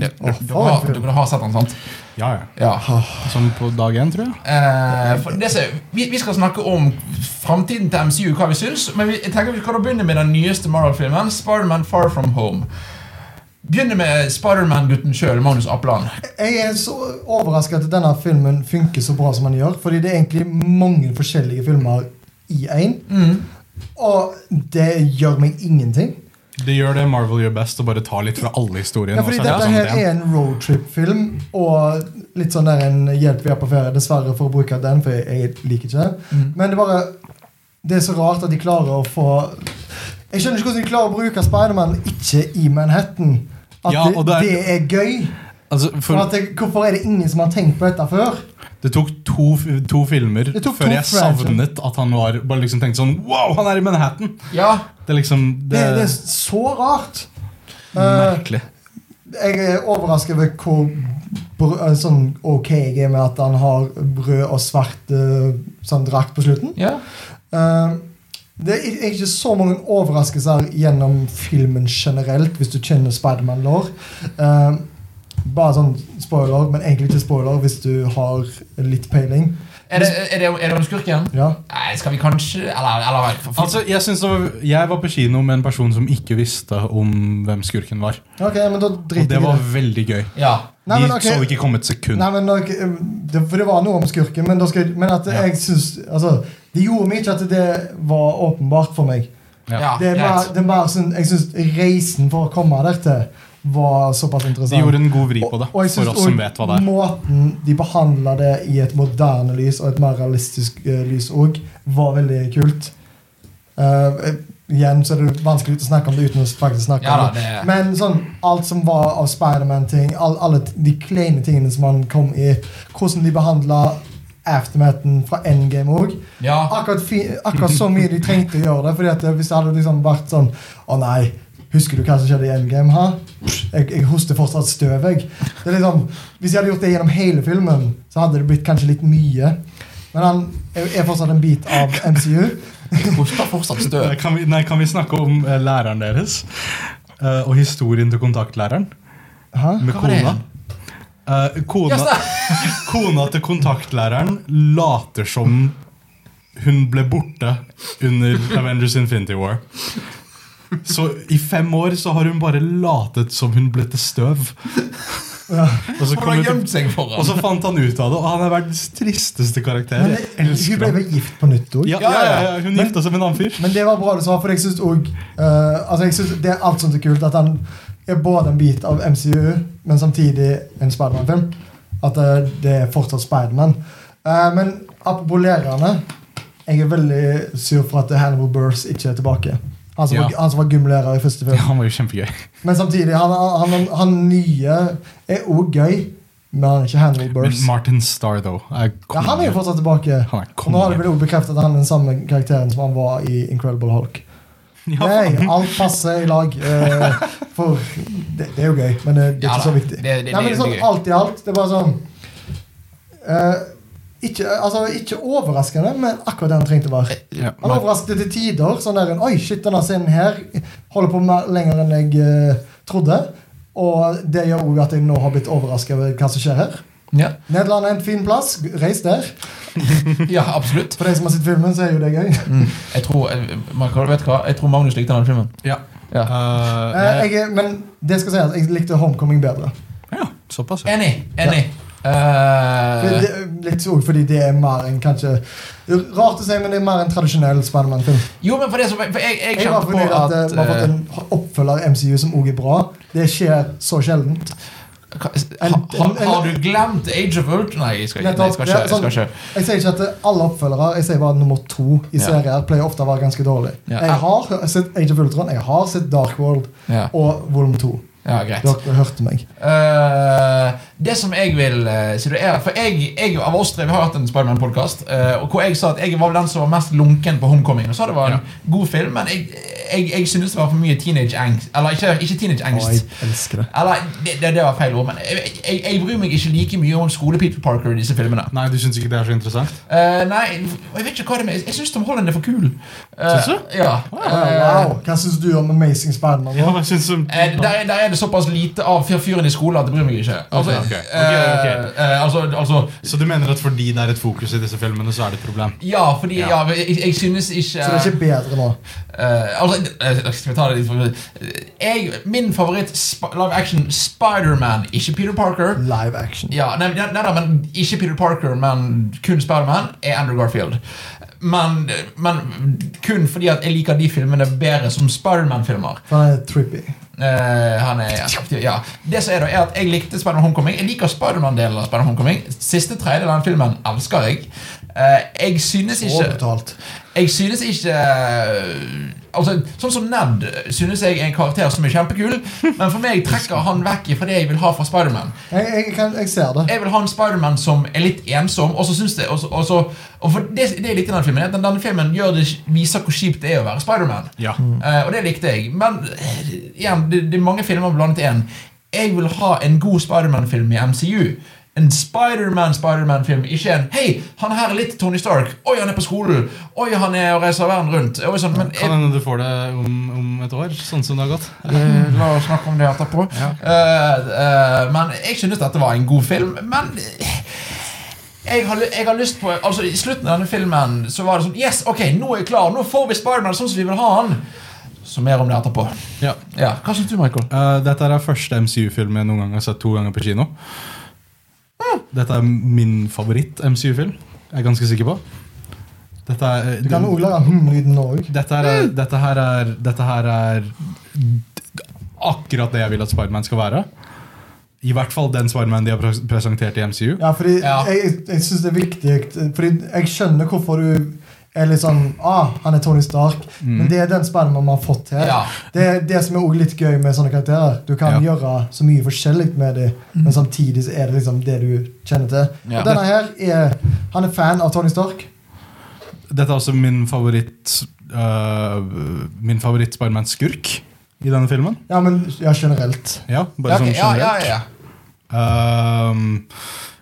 Speaker 1: Ja,
Speaker 3: Åh,
Speaker 1: du,
Speaker 3: for en
Speaker 1: har,
Speaker 3: film.
Speaker 1: du har sett den, sant?
Speaker 2: Ja, ja.
Speaker 1: Ja.
Speaker 2: Som på dag én, tror jeg.
Speaker 1: Eh, for det, som- vi, vi skal snakke om framtiden til MCU, hva vi syns. Men vi, jeg tenker vi kan da begynne med den nyeste Marvel-filmen, Spiderman Far From Home. Begynne med Spiderman-gutten sjøl, Magnus Apland.
Speaker 3: Jeg er så overrasket at denne filmen funker så bra som den gjør. Fordi det er egentlig mange forskjellige filmer i én.
Speaker 1: Mm.
Speaker 3: Og det gjør meg ingenting.
Speaker 2: Det gjør det Marvel gjør best, å bare ta litt fra alle historiene.
Speaker 3: Ja,
Speaker 2: og
Speaker 3: fordi
Speaker 2: sette det
Speaker 3: dette
Speaker 2: sammen
Speaker 3: her
Speaker 2: til en.
Speaker 3: er en roadtrip-film, og litt sånn der en hjelp vi er på ferie, dessverre, for å bruke den, for jeg liker ikke den. Men det er bare Det er så rart at de klarer å få Jeg skjønner ikke hvordan de klarer å bruke Spiderman ikke i Manhattan. At
Speaker 2: Ja, og
Speaker 3: det,
Speaker 2: det
Speaker 3: det er gøy.
Speaker 2: Altså,
Speaker 3: For
Speaker 2: for
Speaker 3: at det, hvorfor er det ingen som har tenkt på dette før?
Speaker 2: Det tok to, f- to filmer
Speaker 3: Det tok
Speaker 2: før
Speaker 3: to
Speaker 2: jeg
Speaker 3: franchises.
Speaker 2: savnet at han var Bare liksom tenkte sånn Wow, han er i Manhattan!
Speaker 1: Ja,
Speaker 2: Det er liksom
Speaker 3: Det,
Speaker 2: Det,
Speaker 3: det, er så rart.
Speaker 2: er
Speaker 3: Eh,
Speaker 2: merkelig.
Speaker 3: jeg er overrasket over hvor br eh, sånn ok jeg er med at han har rød og svart eh, sånn drakt på slutten.
Speaker 1: ja.
Speaker 3: Eh, det er ikke- ikke så mange overraskelser gjennom filmen generelt, hvis du kjenner Spiderman-lår. Eh, bare sånn spoiler, men egentlig ikke spoiler hvis du har litt peiling.
Speaker 1: Er det, er det, er det om skurken?
Speaker 3: Ja.
Speaker 1: Nei, skal vi kanskje Eller, eller for, for,
Speaker 2: Altså, jeg, synes det var, jeg var på kino med en person som ikke visste om hvem skurken var.
Speaker 3: Ok, men da
Speaker 2: Og
Speaker 3: driter
Speaker 2: det
Speaker 3: jeg i
Speaker 2: var
Speaker 3: det.
Speaker 2: veldig gøy.
Speaker 1: Ja.
Speaker 3: Nei,
Speaker 2: De
Speaker 3: men ok.
Speaker 2: så ikke komme et sekund.
Speaker 3: Nei, men da- det, For det var noe om skurken, men, da skal, jeg- men at
Speaker 2: Ja.
Speaker 3: jeg syns altså, Det gjorde meg ikke at det var åpenbart for meg.
Speaker 1: ja,
Speaker 3: Det er
Speaker 2: Ah,
Speaker 1: greit.
Speaker 3: mer, det er mer sånn, jeg synes reisen for å komme der til var såpass interessant.
Speaker 2: De gjorde en god vri på det,
Speaker 3: Og- og jeg synes
Speaker 2: for oss som
Speaker 3: også
Speaker 2: vet hva det er.
Speaker 3: Måten de behandla det i et moderne lys og et mer realistisk eh, lys òg, var veldig kult. Eh, eh, igjen så er det vanskelig å snakke om det uten å faktisk snakke
Speaker 1: Ja da,
Speaker 3: om det.
Speaker 1: det
Speaker 3: Men sånn, alt som var av Spiderman-ting, all, alle t- de kleine tingene som han kom i, hvordan de behandla aftermathen fra Endgame òg
Speaker 1: Ja.
Speaker 3: akkurat, fi- akkurat så mye de trengte å gjøre det. Fordi at Hvis det hadde liksom vært sånn Å nei, husker du hva som skjedde i Endgame? Ha? Jeg, jeg hoster fortsatt støv. jeg." Det er liksom, hvis de hadde gjort det gjennom hele filmen, så hadde det blitt kanskje litt mye. Men han er er fortsatt en bit av MCU.
Speaker 1: Hoster fortsatt støv.
Speaker 2: Eh, Kan vi, nei, kan vi snakke om eh, læreren deres? Eh, og historien til kontaktlæreren?
Speaker 3: Hæ?
Speaker 2: Med
Speaker 1: Hva var det?
Speaker 2: kona? Eh, kona,
Speaker 1: Ja,
Speaker 2: kona til kontaktlæreren later som hun ble borte under Avengers Infinity War. Så i fem år så har hun bare latet som hun ble til støv. Og, så
Speaker 1: For
Speaker 2: kom
Speaker 1: hun har
Speaker 2: hun
Speaker 1: gjemt
Speaker 2: til,
Speaker 1: seg for
Speaker 2: og
Speaker 1: ham.
Speaker 2: så fant han ut av det, og han er verdens tristeste karakter.
Speaker 3: Men
Speaker 2: Jeg
Speaker 3: hun
Speaker 2: elsker
Speaker 3: ble
Speaker 2: ham.
Speaker 3: vel gift på nytt òg?
Speaker 2: Ja, ja, ja, ja, hun gifta seg med en annen fyr.
Speaker 3: Men det var bra du sa, for jeg syns òg altså jeg synes Det er alt sånt er kult at han er både en bit av MCU, men samtidig en Spiderman-film. At eh, det er fortsatt Spiderman. Uh, men apropos lærerne Jeg er veldig sur for at Hannibal Burrs ikke er tilbake. Han som, var,
Speaker 2: Ja.
Speaker 3: han som var gymlærer i første film.
Speaker 2: Ja, han var jo kjempegøy.
Speaker 3: Men samtidig, han, han, han, han nye er òg gøy, men han er ikke Hannibal
Speaker 2: Men
Speaker 3: Burrs.
Speaker 2: Martin Starr, though, er
Speaker 3: Ja, han er jo
Speaker 2: konge.
Speaker 3: fortsatt tilbake.
Speaker 2: Han er
Speaker 3: Og nå har
Speaker 2: konge.
Speaker 3: det vel også bekreftet at han er den samme karakteren som han var i Incredible Hulk.
Speaker 2: Ja,
Speaker 3: Nei,
Speaker 2: faen.
Speaker 3: alt passer i lag. eh, for det, det er jo gøy, men det, det er
Speaker 1: Ja
Speaker 3: ikke
Speaker 1: da,
Speaker 3: så viktig.
Speaker 1: det- det- det
Speaker 3: Nei, men
Speaker 1: er
Speaker 3: sånn,
Speaker 1: gøy.
Speaker 3: alt i alt. Det er bare sånn eh, ikke, altså, ikke overraskende, men akkurat det han trengte
Speaker 1: Eh,
Speaker 3: å være.
Speaker 2: Ja,
Speaker 3: Han
Speaker 2: Mar-
Speaker 3: overrasket til tider. Sånn der, Oi, shit, denne scenen her holder på mer, lenger enn jeg eh, trodde. Og det gjør også at jeg nå har blitt overrasket over hva som skjer her.
Speaker 1: Ja.
Speaker 3: Nederland er en fin plass. Reis der.
Speaker 1: ja, absolutt.
Speaker 3: For de som har sett filmen, så er jo det gøy.
Speaker 1: Mm. Jeg tror eh, Michael, vet du hva? Jeg tror Magnus likte den filmen.
Speaker 2: ja.
Speaker 1: Ja. Mm.
Speaker 2: Eh,
Speaker 3: Eh, jeg, er- men det skal sies, jeg likte Homecoming bedre.
Speaker 2: ja, såpass, ja.
Speaker 1: Enig. Enig.
Speaker 3: For
Speaker 1: Eh,
Speaker 3: Det, litt så, fordi det er mer en kanskje Rart å si, men det er mer en tradisjonell Spiderman-film.
Speaker 1: jo, men for det som For jeg, jeg
Speaker 3: Jeg var
Speaker 1: kjente på
Speaker 3: fornøyd at eh,
Speaker 1: at
Speaker 3: vi har fått
Speaker 1: eh,
Speaker 3: en oppfølger i MCU som også er bra. Det skjer så sjeldent.
Speaker 1: ha- ha-
Speaker 3: en-
Speaker 1: Har du glemt Age of Ultron? Nei, jeg skal, nei, jeg skal ikke. Jeg skal ikke.
Speaker 3: Jeg sier ikke at eh, alle oppfølgere, jeg sier bare nummer to i
Speaker 1: Ja.
Speaker 3: serier pleier ofte å være ganske dårlig.
Speaker 1: Ja.
Speaker 3: Jeg har sett Age of Ultron, jeg har sett Dark World
Speaker 1: Ja,
Speaker 3: og Volum 2.
Speaker 1: ja greit.
Speaker 3: Dere hørte meg.
Speaker 1: Eh, det som jeg vil eh, si det er For jeg, jeg av oss tre vi har hatt en Spiderman-podkast. Uh, hvor jeg sa at jeg var vel den som var mest lunken på Homecoming. Og sa det var en god film, men jeg, jeg, jeg synes det var for mye teenage angst. Eller ikke, ikke teenage
Speaker 3: Å, jeg
Speaker 1: angst.
Speaker 3: elsker det.
Speaker 1: Eller, det, det, det var feil ord, men jeg, jeg, jeg bryr meg ikke like mye om skole-Peter Parker i disse filmene.
Speaker 2: Nei, du syns ikke det er så interessant?
Speaker 1: Eh, nei, jeg vet ikke hva det er med Jeg syns Tom Holland er for kul. Eh,
Speaker 2: Syns du?
Speaker 1: Ja.
Speaker 3: Wow, wow. Hva syns du om Amazing Spiderman?
Speaker 2: Ja,
Speaker 3: nå?
Speaker 2: jeg synes som,
Speaker 1: Eh, der, er- der er det såpass lite av fyr- fyren i skolen at det bryr meg ikke. Altså,
Speaker 2: Ok, ok.
Speaker 1: eh,
Speaker 2: Ok,
Speaker 1: eh, altså, altså
Speaker 2: Så du mener at fordi det er et fokus i disse filmene, så er det et problem?
Speaker 1: Ja, fordi
Speaker 2: Ja.
Speaker 1: ja. jeg, jeg synes ikke
Speaker 3: Så det er ikke bedre nå.
Speaker 1: eh, altså, eh, Skal vi ta det litt for jeg, Min favoritt sp live action Spider-Man, ikke Peter Parker.
Speaker 3: Live action.
Speaker 1: Ja, nei, nei, nei, men Ikke Peter Parker, men kun Spider-Man er Andrew Garfield. Men, men kun fordi at jeg liker de filmene bedre som Spider-Man-filmer.
Speaker 3: For han er trippy.
Speaker 1: Eh, han er, ja. Det som er da, er at jeg likte Spider-Man Homecoming. Jeg liker Spider-Man-delen av Spider-Man Homecoming. Siste tredjedel av den filmen elsker jeg. Eh, jeg synes ikke
Speaker 3: Overbetalt.
Speaker 1: Jeg synes ikke eh, Altså, Sånn som Ned synes jeg er en karakter som er kjempekul, men for meg trekker han vekk fra det jeg vil ha fra Spider-Man
Speaker 3: Jeg, jeg, kan, jeg ser det.
Speaker 1: jeg vil ha en Spider-Man som er litt ensom. Og så synes det, og så, og så, og for det, det er litt i den filmen. at Den, denne filmen gjør det, viser hvor kjipt det er å være Spider-Man.
Speaker 2: Ja.
Speaker 1: Eh, og det likte jeg. Men eh, igjen, det, det er mange filmer blandet i én. Jeg vil ha en god Spider-Man-film i MCU. En Spider-Man-Spider-Man-film, ikke en 'Hei, han her er litt Tony Stark'. 'Oi, han er på skolen'. 'Oi, han er og reiser verden rundt'. Og sånn, men jeg,
Speaker 2: Kan hende du får det om, om et år, sånn som det har gått.
Speaker 1: Eh, La oss snakke om det etterpå. Eh, eh, men jeg synes dette var en god film, men eh, jeg har, ly- jeg har lyst på Altså I slutten av denne filmen Så var det sånn Yes, ok, nå er jeg klar. Nå får vi Spiderman sånn som vi vil ha han. Så mer om det etterpå.
Speaker 2: Ja.
Speaker 1: Ja, Hva syns du, Michael?
Speaker 2: Eh, dette er første MCU-film jeg noen gang har sett to ganger på kino. Dette er min favoritt-MCU-film, jeg er ganske sikker på. Dette er, eh,
Speaker 3: Du kan også lage hm-lyden nå òg.
Speaker 2: dette, her er, dette her er Dette her er akkurat det jeg vil at Spiderman skal være. I hvert fall den Spiderman de har pres- presentert i MCU.
Speaker 3: Ja, fordi
Speaker 1: Ja.
Speaker 3: jeg, jeg, jeg syns det er viktig. Fordi jeg skjønner hvorfor du er litt sånn ah, han er Tony Stark. Men det er den Spiderman man har fått her.
Speaker 1: Mm. Ja.
Speaker 3: Det er det som er også litt gøy med sånne karakterer. Du kan
Speaker 2: Ja.
Speaker 3: gjøre så mye forskjellig med dem, men samtidig så er det liksom det du kjenner til.
Speaker 1: Mm. Ja.
Speaker 3: Og denne her er Han er fan av Tony Stark.
Speaker 2: Dette er også min favoritt øh, Min favoritt Spiderman-skurk i denne filmen.
Speaker 3: Ja, men ja, generelt.
Speaker 2: Ja, bare
Speaker 1: Ja, ok,
Speaker 2: sånn
Speaker 1: ja, ja,
Speaker 2: generelt.
Speaker 1: ja.
Speaker 2: Ehm,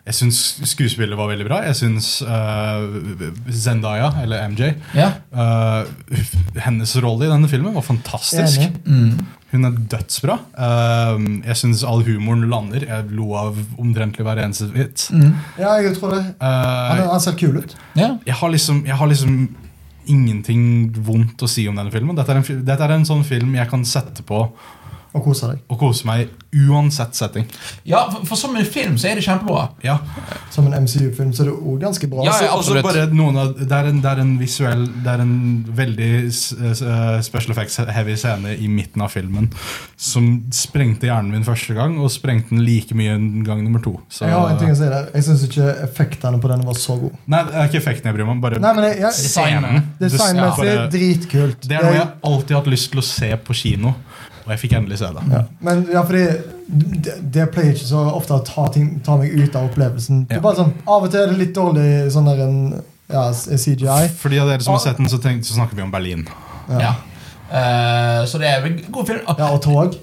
Speaker 2: jeg syns skuespillet var veldig bra. Jeg syns eh, Zendaya, eller MJ
Speaker 1: ja.
Speaker 2: eh, Hennes rolle i denne filmen var fantastisk.
Speaker 3: Enig.
Speaker 1: Mm.
Speaker 2: Hun er dødsbra. Ehm, jeg syns all humoren lander. Jeg lo av omtrentlig hver eneste vits.
Speaker 1: Mm.
Speaker 3: Ja, jeg tror det. Han,
Speaker 2: Eh,
Speaker 3: han ser kul ut.
Speaker 1: ja.
Speaker 2: jeg, har liksom, jeg har liksom ingenting vondt å si om denne filmen. Dette er en, fi- dette er en sånn film jeg kan sette på
Speaker 3: Og koser deg.
Speaker 2: og kose meg i, uansett setting.
Speaker 1: Ja, for, for som en film så er det kjempebra.
Speaker 2: Ja
Speaker 3: Som en MCU-film så er det òg ganske bra.
Speaker 1: Ja,
Speaker 2: Altså,
Speaker 1: ja, absolutt.
Speaker 2: altså bare noen av, det, er en, det er en visuell Det er en veldig s- s- eh, special effects-heavy scene i midten av filmen som sprengte hjernen min første gang, og sprengte den like mye en gang nummer to. Så,
Speaker 3: Jeg har en ting å si der. Jeg syns ikke effektene på den var så gode.
Speaker 2: Nei, det er ikke effekten jeg bryr meg om. Bare
Speaker 3: Nei, men jeg, jeg,
Speaker 2: scenen.
Speaker 3: Designmessig
Speaker 2: Ja.
Speaker 3: dritkult.
Speaker 2: Det er noe jeg alltid har hatt lyst til å se på kino, og jeg fikk endelig se det.
Speaker 3: ja. Men ja, fordi det, det pleier ikke så ofte å ta, ting, ta meg ut av opplevelsen. Det
Speaker 2: Ja.
Speaker 3: er bare sånn, Av og til er det litt dårlig sånn der en ja, s- CGI.
Speaker 2: For de av dere som har sett den, så, tenk, så snakker vi om Berlin.
Speaker 1: Ja. Eh, så det er en god film. Ah,
Speaker 3: Ja, og tog.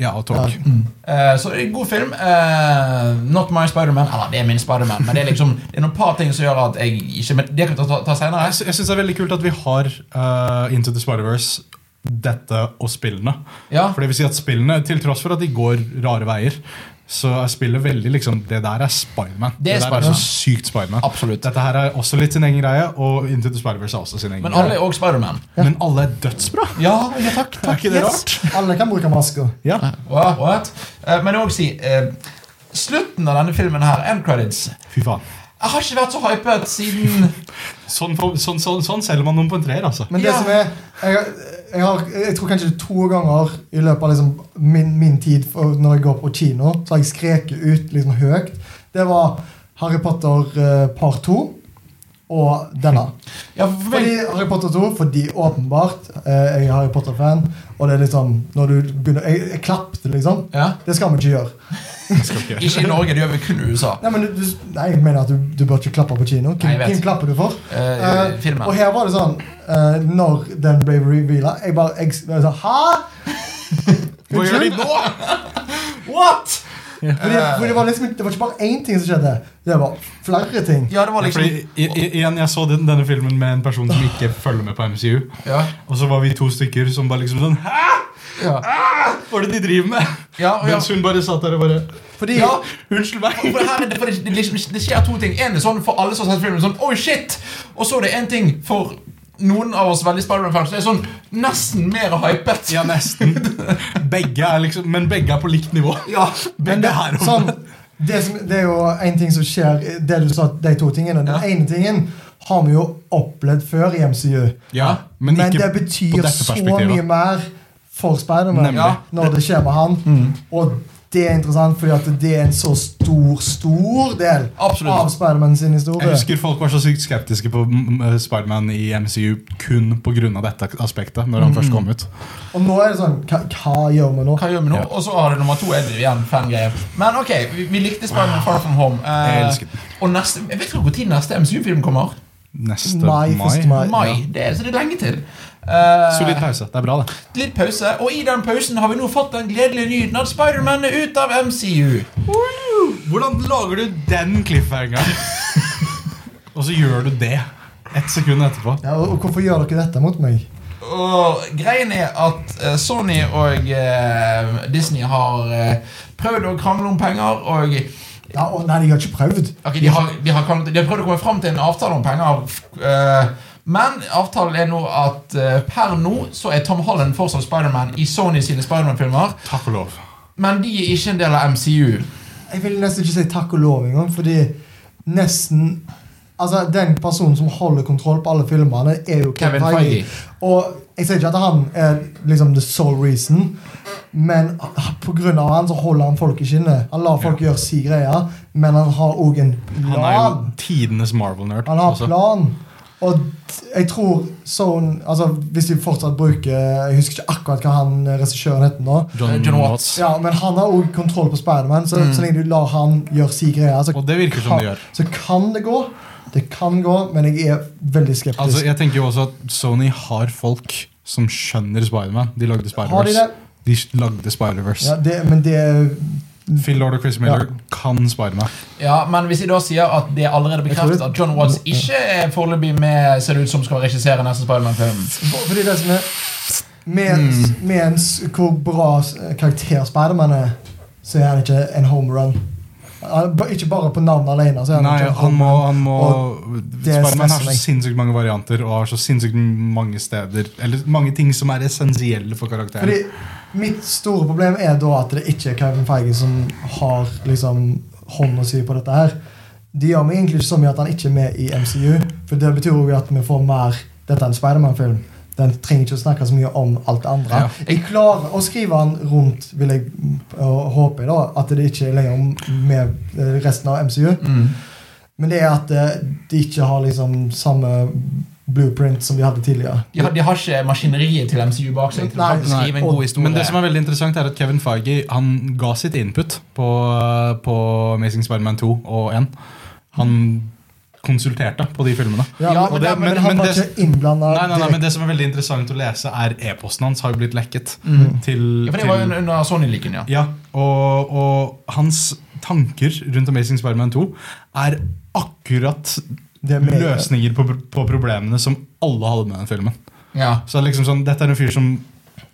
Speaker 2: Ja, og tog.
Speaker 3: Ja.
Speaker 1: eh, så det er en god film. Eh, not my Spiderman. Eller, det er min Spiderman, men det er liksom Det er noen par ting som gjør at jeg ikke Men det kan vi ta, ta senere.
Speaker 2: Jeg, sy- jeg syns det er veldig kult at vi har eh, Into the Spider-Verse, dette og spillene.
Speaker 1: Ja.
Speaker 2: For det vil si at spillene, til tross for at de går rare veier, så er spillet veldig liksom Det der er Spiderman.
Speaker 1: Det
Speaker 2: Det,
Speaker 1: er
Speaker 2: der er
Speaker 1: Spider-Man.
Speaker 2: så sykt Spiderman.
Speaker 1: Absolutt.
Speaker 2: Dette her er også litt sin egen greie, og Into the Spider-Verse er også sin egen
Speaker 1: Men alle
Speaker 2: greie.
Speaker 1: er òg Spiderman.
Speaker 2: Men alle er dødsbra!
Speaker 1: Ja, ja, takk.
Speaker 2: Er
Speaker 1: takk
Speaker 2: ikke det
Speaker 1: yes.
Speaker 2: rart?
Speaker 3: Alle kan bruke masker.
Speaker 2: Ja.
Speaker 1: Wow, what? Eh, men òg si eh, Slutten av denne filmen her, end credits
Speaker 2: Fy faen.
Speaker 1: Jeg har ikke vært så hypet siden
Speaker 2: Sånn, får- sånn, sånn, sånn selger man noen på en treer, altså.
Speaker 3: Men det
Speaker 1: Ja.
Speaker 3: som er jeg, jeg, har, jeg tror kanskje to ganger i løpet av liksom min, min tid for når jeg går på kino, så har jeg skreket ut liksom høyt. Det var Harry Potter eh, par to og denne.
Speaker 1: ja, for meg,
Speaker 3: Fordi Harry Potter 2, fordi åpenbart eh, jeg er Harry Potter-fan. Og det er liksom Når du begynner Jeg, jeg klappte, liksom.
Speaker 1: ja.
Speaker 3: Det skal vi ikke gjøre.
Speaker 2: Jeg skal ikke gjøre
Speaker 1: Ikke i Norge, det gjør vi kun i USA.
Speaker 3: Nei, men du, du, nei jeg mener at du, du bør ikke klappe på kino.
Speaker 1: Nei, jeg
Speaker 3: Hvem,
Speaker 1: vet.
Speaker 3: hvem klapper du for?
Speaker 1: Eh,
Speaker 3: Eh,
Speaker 1: filmen.
Speaker 3: og her var det sånn eh, Når den ble reveala Jeg bare jeg, jeg sa, Hæ?!
Speaker 2: Hva gjør de Eh. nå?
Speaker 1: What?!
Speaker 3: Fordi, for det, var liksom, ikke- det var ikke bare én ting som skjedde. Det var flere ting.
Speaker 1: Ja, det var liksom
Speaker 2: Fordi, i, i, igjen, jeg så den, denne filmen med en person som ikke følger med på MCU.
Speaker 1: Ja,
Speaker 2: Og så var vi to stykker som bare liksom sånn Hæ!
Speaker 1: ja.
Speaker 2: Hva er det de driver med?
Speaker 1: ja, og ja.
Speaker 2: Mens hun bare satt der og bare
Speaker 3: Fordi
Speaker 1: Ja.
Speaker 2: Unnskyld meg.
Speaker 1: For det, her, er det, for det, det, liksom, det skjer to ting. En er sånn for alle som har sett filmen, sånn Oi, shit! Og så er det en ting for noen av oss veldig Spiderman-fans. Det er sånn nesten mer hypet.
Speaker 2: Ja, nesten. Begge er liksom Men begge er på likt nivå.
Speaker 1: Ja.
Speaker 3: Men
Speaker 2: Begge
Speaker 3: det,
Speaker 2: er om
Speaker 3: sånn, det, som, det er jo en ting som skjer Det du sa, de to tingene Den
Speaker 1: Ja.
Speaker 3: ene tingen har vi jo opplevd før i MCU
Speaker 2: Ja,
Speaker 3: Men,
Speaker 2: men ikke
Speaker 3: det
Speaker 2: på
Speaker 3: betyr
Speaker 2: dette
Speaker 3: så
Speaker 2: perspektivet.
Speaker 3: mye mer For Spider-Man
Speaker 2: Nemlig. Mm.
Speaker 1: Ja.
Speaker 3: Når det skjer med han Og det er interessant fordi at det er en så stor Stor del
Speaker 1: Absolutt.
Speaker 3: av Spider-Man sin
Speaker 2: Jeg
Speaker 3: historie
Speaker 2: husker folk var så sykt skeptiske på mm, mm, Spiderman i MCU kun pga. dette aspektet. Når han først kom ut
Speaker 3: Og nå er det sånn, hva, hva gjør vi nå?
Speaker 1: Hva gjør vi nå?
Speaker 2: Ja.
Speaker 1: Og så har det nummer to er det igjen fangreier. Men ok, vi, vi likte Spiderman Far From Home. eh,
Speaker 2: Jeg elsker den.
Speaker 1: og neste, jeg vet ikke hvor tid neste MCU-film kommer.
Speaker 2: Neste
Speaker 3: Mai,
Speaker 2: mai.
Speaker 3: første mai. Ja.
Speaker 1: Mai. Det er, så det er lenge til. Eh,
Speaker 2: Solid pause. Det er bra, det.
Speaker 1: litt pause, og i den pausen har vi nå fått den gledelige nyheten at Spiderman er ute av MCU.
Speaker 2: Hvordan lager du den cliffhangeren? og så gjør du det ett sekund etterpå.
Speaker 3: Ja, og, og hvorfor gjør dere dette mot meg?
Speaker 1: Og greien er at eh, Sony og eh, Disney har eh, prøvd å krangle om penger, og
Speaker 3: Ja, å nei, jeg har ikke prøvd
Speaker 1: Ok, de, har, de, har kommet, de har prøvd å komme fram til en avtale om penger. eh, men avtalen er nå at eh, per nå så er Tom Holland fortsatt Spiderman i Sony sine Spiderman-filmer.
Speaker 2: Takk og lov.
Speaker 1: Men de er ikke en del av MCU.
Speaker 3: Jeg vil nesten ikke si takk og lov engang, fordi nesten Altså, Den personen som holder kontroll på alle filmene, er jo Kevin
Speaker 1: Kevin
Speaker 3: Feige.
Speaker 1: Feige.
Speaker 3: Og jeg sier ikke at han er liksom the sole reason, men pga. han så holder han folk i skinnet. Han lar folk gjøre si greier, men han har òg en
Speaker 2: Han er jo
Speaker 3: plan.
Speaker 2: tidenes Marvel-nerd.
Speaker 3: Han har
Speaker 2: altså.
Speaker 3: plan. Og t- jeg tror Zone altså, Hvis de fortsatt bruker Jeg husker ikke akkurat hva han eh, regissøren heter nå.
Speaker 1: Eh, John Watts.
Speaker 3: Ja, Men han har òg kontroll på Spiderman, så, så lenge du lar han gjøre si greier, så,
Speaker 2: Mm. Og det virker som
Speaker 3: kan-
Speaker 2: det gjør.
Speaker 3: så kan det gå. Det kan gå, men jeg er veldig skeptisk.
Speaker 2: Altså, jeg tenker jo også at Sony har folk som skjønner Spiderman. De lagde
Speaker 3: har de
Speaker 2: Spider-Verse.
Speaker 3: det?
Speaker 2: De lagde Spider-Verse.
Speaker 3: Ja, det men det er
Speaker 2: Phil Lord og Chris Miller kan Spiderman.
Speaker 1: Ja, men hvis jeg da sier at det er allerede
Speaker 3: Jeg tror Mm.
Speaker 1: bekreftet
Speaker 3: det-
Speaker 1: at John Watts ikke er foreløpig med Ser det ut som skal regissere neste Spiderman-film
Speaker 3: for- Fordi det som er med,
Speaker 2: Mm.
Speaker 3: med en, s- hvor bra s- karakter Spiderman er, så er han ikke en home run. Han- ba- Ikke bare på navnet alene. Så er han
Speaker 2: Nei,
Speaker 3: ikke en
Speaker 2: han
Speaker 3: home
Speaker 2: må,
Speaker 3: run.
Speaker 2: han må
Speaker 3: det er
Speaker 2: Spiderman har så
Speaker 3: stressende.
Speaker 2: sinnssykt mange varianter og har så sinnssykt mange steder Eller mange ting som er essensielle for karakteren.
Speaker 3: Fordi Mitt store problem er da at det ikke er Kevin Feige som har liksom hånd å si på dette her. Det gjør meg egentlig ikke så mye at han ikke er med i MCU, for det betyr jo at vi får mer Dette er en Spiderman-film. Den trenger ikke å snakke så mye om alt det andre.
Speaker 2: Ja.
Speaker 3: Jeg klarer å skrive den rundt, vil jeg øh, håpe, da, at det ikke er lenger med øh, resten av MCU.
Speaker 1: mm.
Speaker 3: Men det er at øh, de ikke har liksom samme blueprint som de hadde tidligere.
Speaker 1: de, har, de har ikke maskineriet til MCU bak seg Til å
Speaker 3: Nei,
Speaker 1: faktisk
Speaker 2: nei.
Speaker 1: skrive en
Speaker 3: Og-
Speaker 1: god historie
Speaker 2: Men det som er veldig interessant er at Kevin Feige han ga sitt input på, på Amazing Spiderman 2 og 1. Han konsulterte på de filmene.
Speaker 3: Ja,
Speaker 1: Ja,
Speaker 3: men,
Speaker 2: og det-
Speaker 3: men,
Speaker 2: men-
Speaker 3: han
Speaker 2: men
Speaker 3: var
Speaker 2: det-
Speaker 3: ikke innblanda
Speaker 2: Nei, nei, nei, men Det som er veldig interessant å lese, er e-posten hans har jo blitt lekket.
Speaker 3: Mhm.
Speaker 1: Mm.
Speaker 2: Til,
Speaker 1: ja, For det var jo
Speaker 2: til,
Speaker 1: under Sony-lykken, ja
Speaker 2: ja, og, og hans tanker rundt Amazing Spiderman 2 er akkurat
Speaker 3: Det er mer-
Speaker 2: løsninger på, på problemene som alle hadde med den filmen.
Speaker 1: Ja,
Speaker 2: Så det er liksom sånn, Dette er en fyr som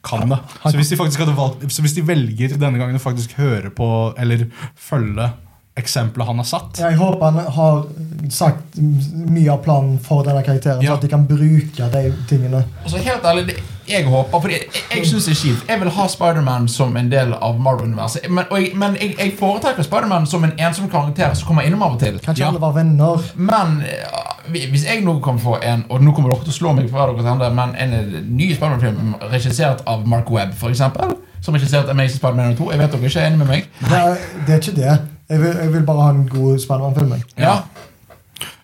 Speaker 2: kan det. Så hvis de faktisk hadde valgt, så hvis de velger denne gangen å faktisk høre på eller følge eksempelet han har satt
Speaker 3: Jeg håper han har sagt mye av planen for denne karakteren,
Speaker 2: Ja.
Speaker 3: så at de kan bruke de tingene.
Speaker 1: Altså helt ærlig, det jeg håper Fordi jeg, jeg synes det er kjipt Jeg vil ha Spider-Man som en del av Marvel-universet Men, og jeg, men jeg, jeg foretrekker Spider-Man som en ensom karakter Som kommer innom av og til
Speaker 3: Kanskje
Speaker 2: Ja.
Speaker 3: alle var venner.
Speaker 1: Men eh, hvis jeg nå kan få en Og nå kommer dere til å slå meg for hver deres hende Men en eh, ny Spider-Man-film regissert av Mark Webb for eksempel Som regissert Amazing Spider-Man 2 Jeg vet dere ikke er enig med meg
Speaker 3: Det er, det er ikke det. Jeg vil, jeg vil bare ha en god Spiderman-film. jeg.
Speaker 1: Ja,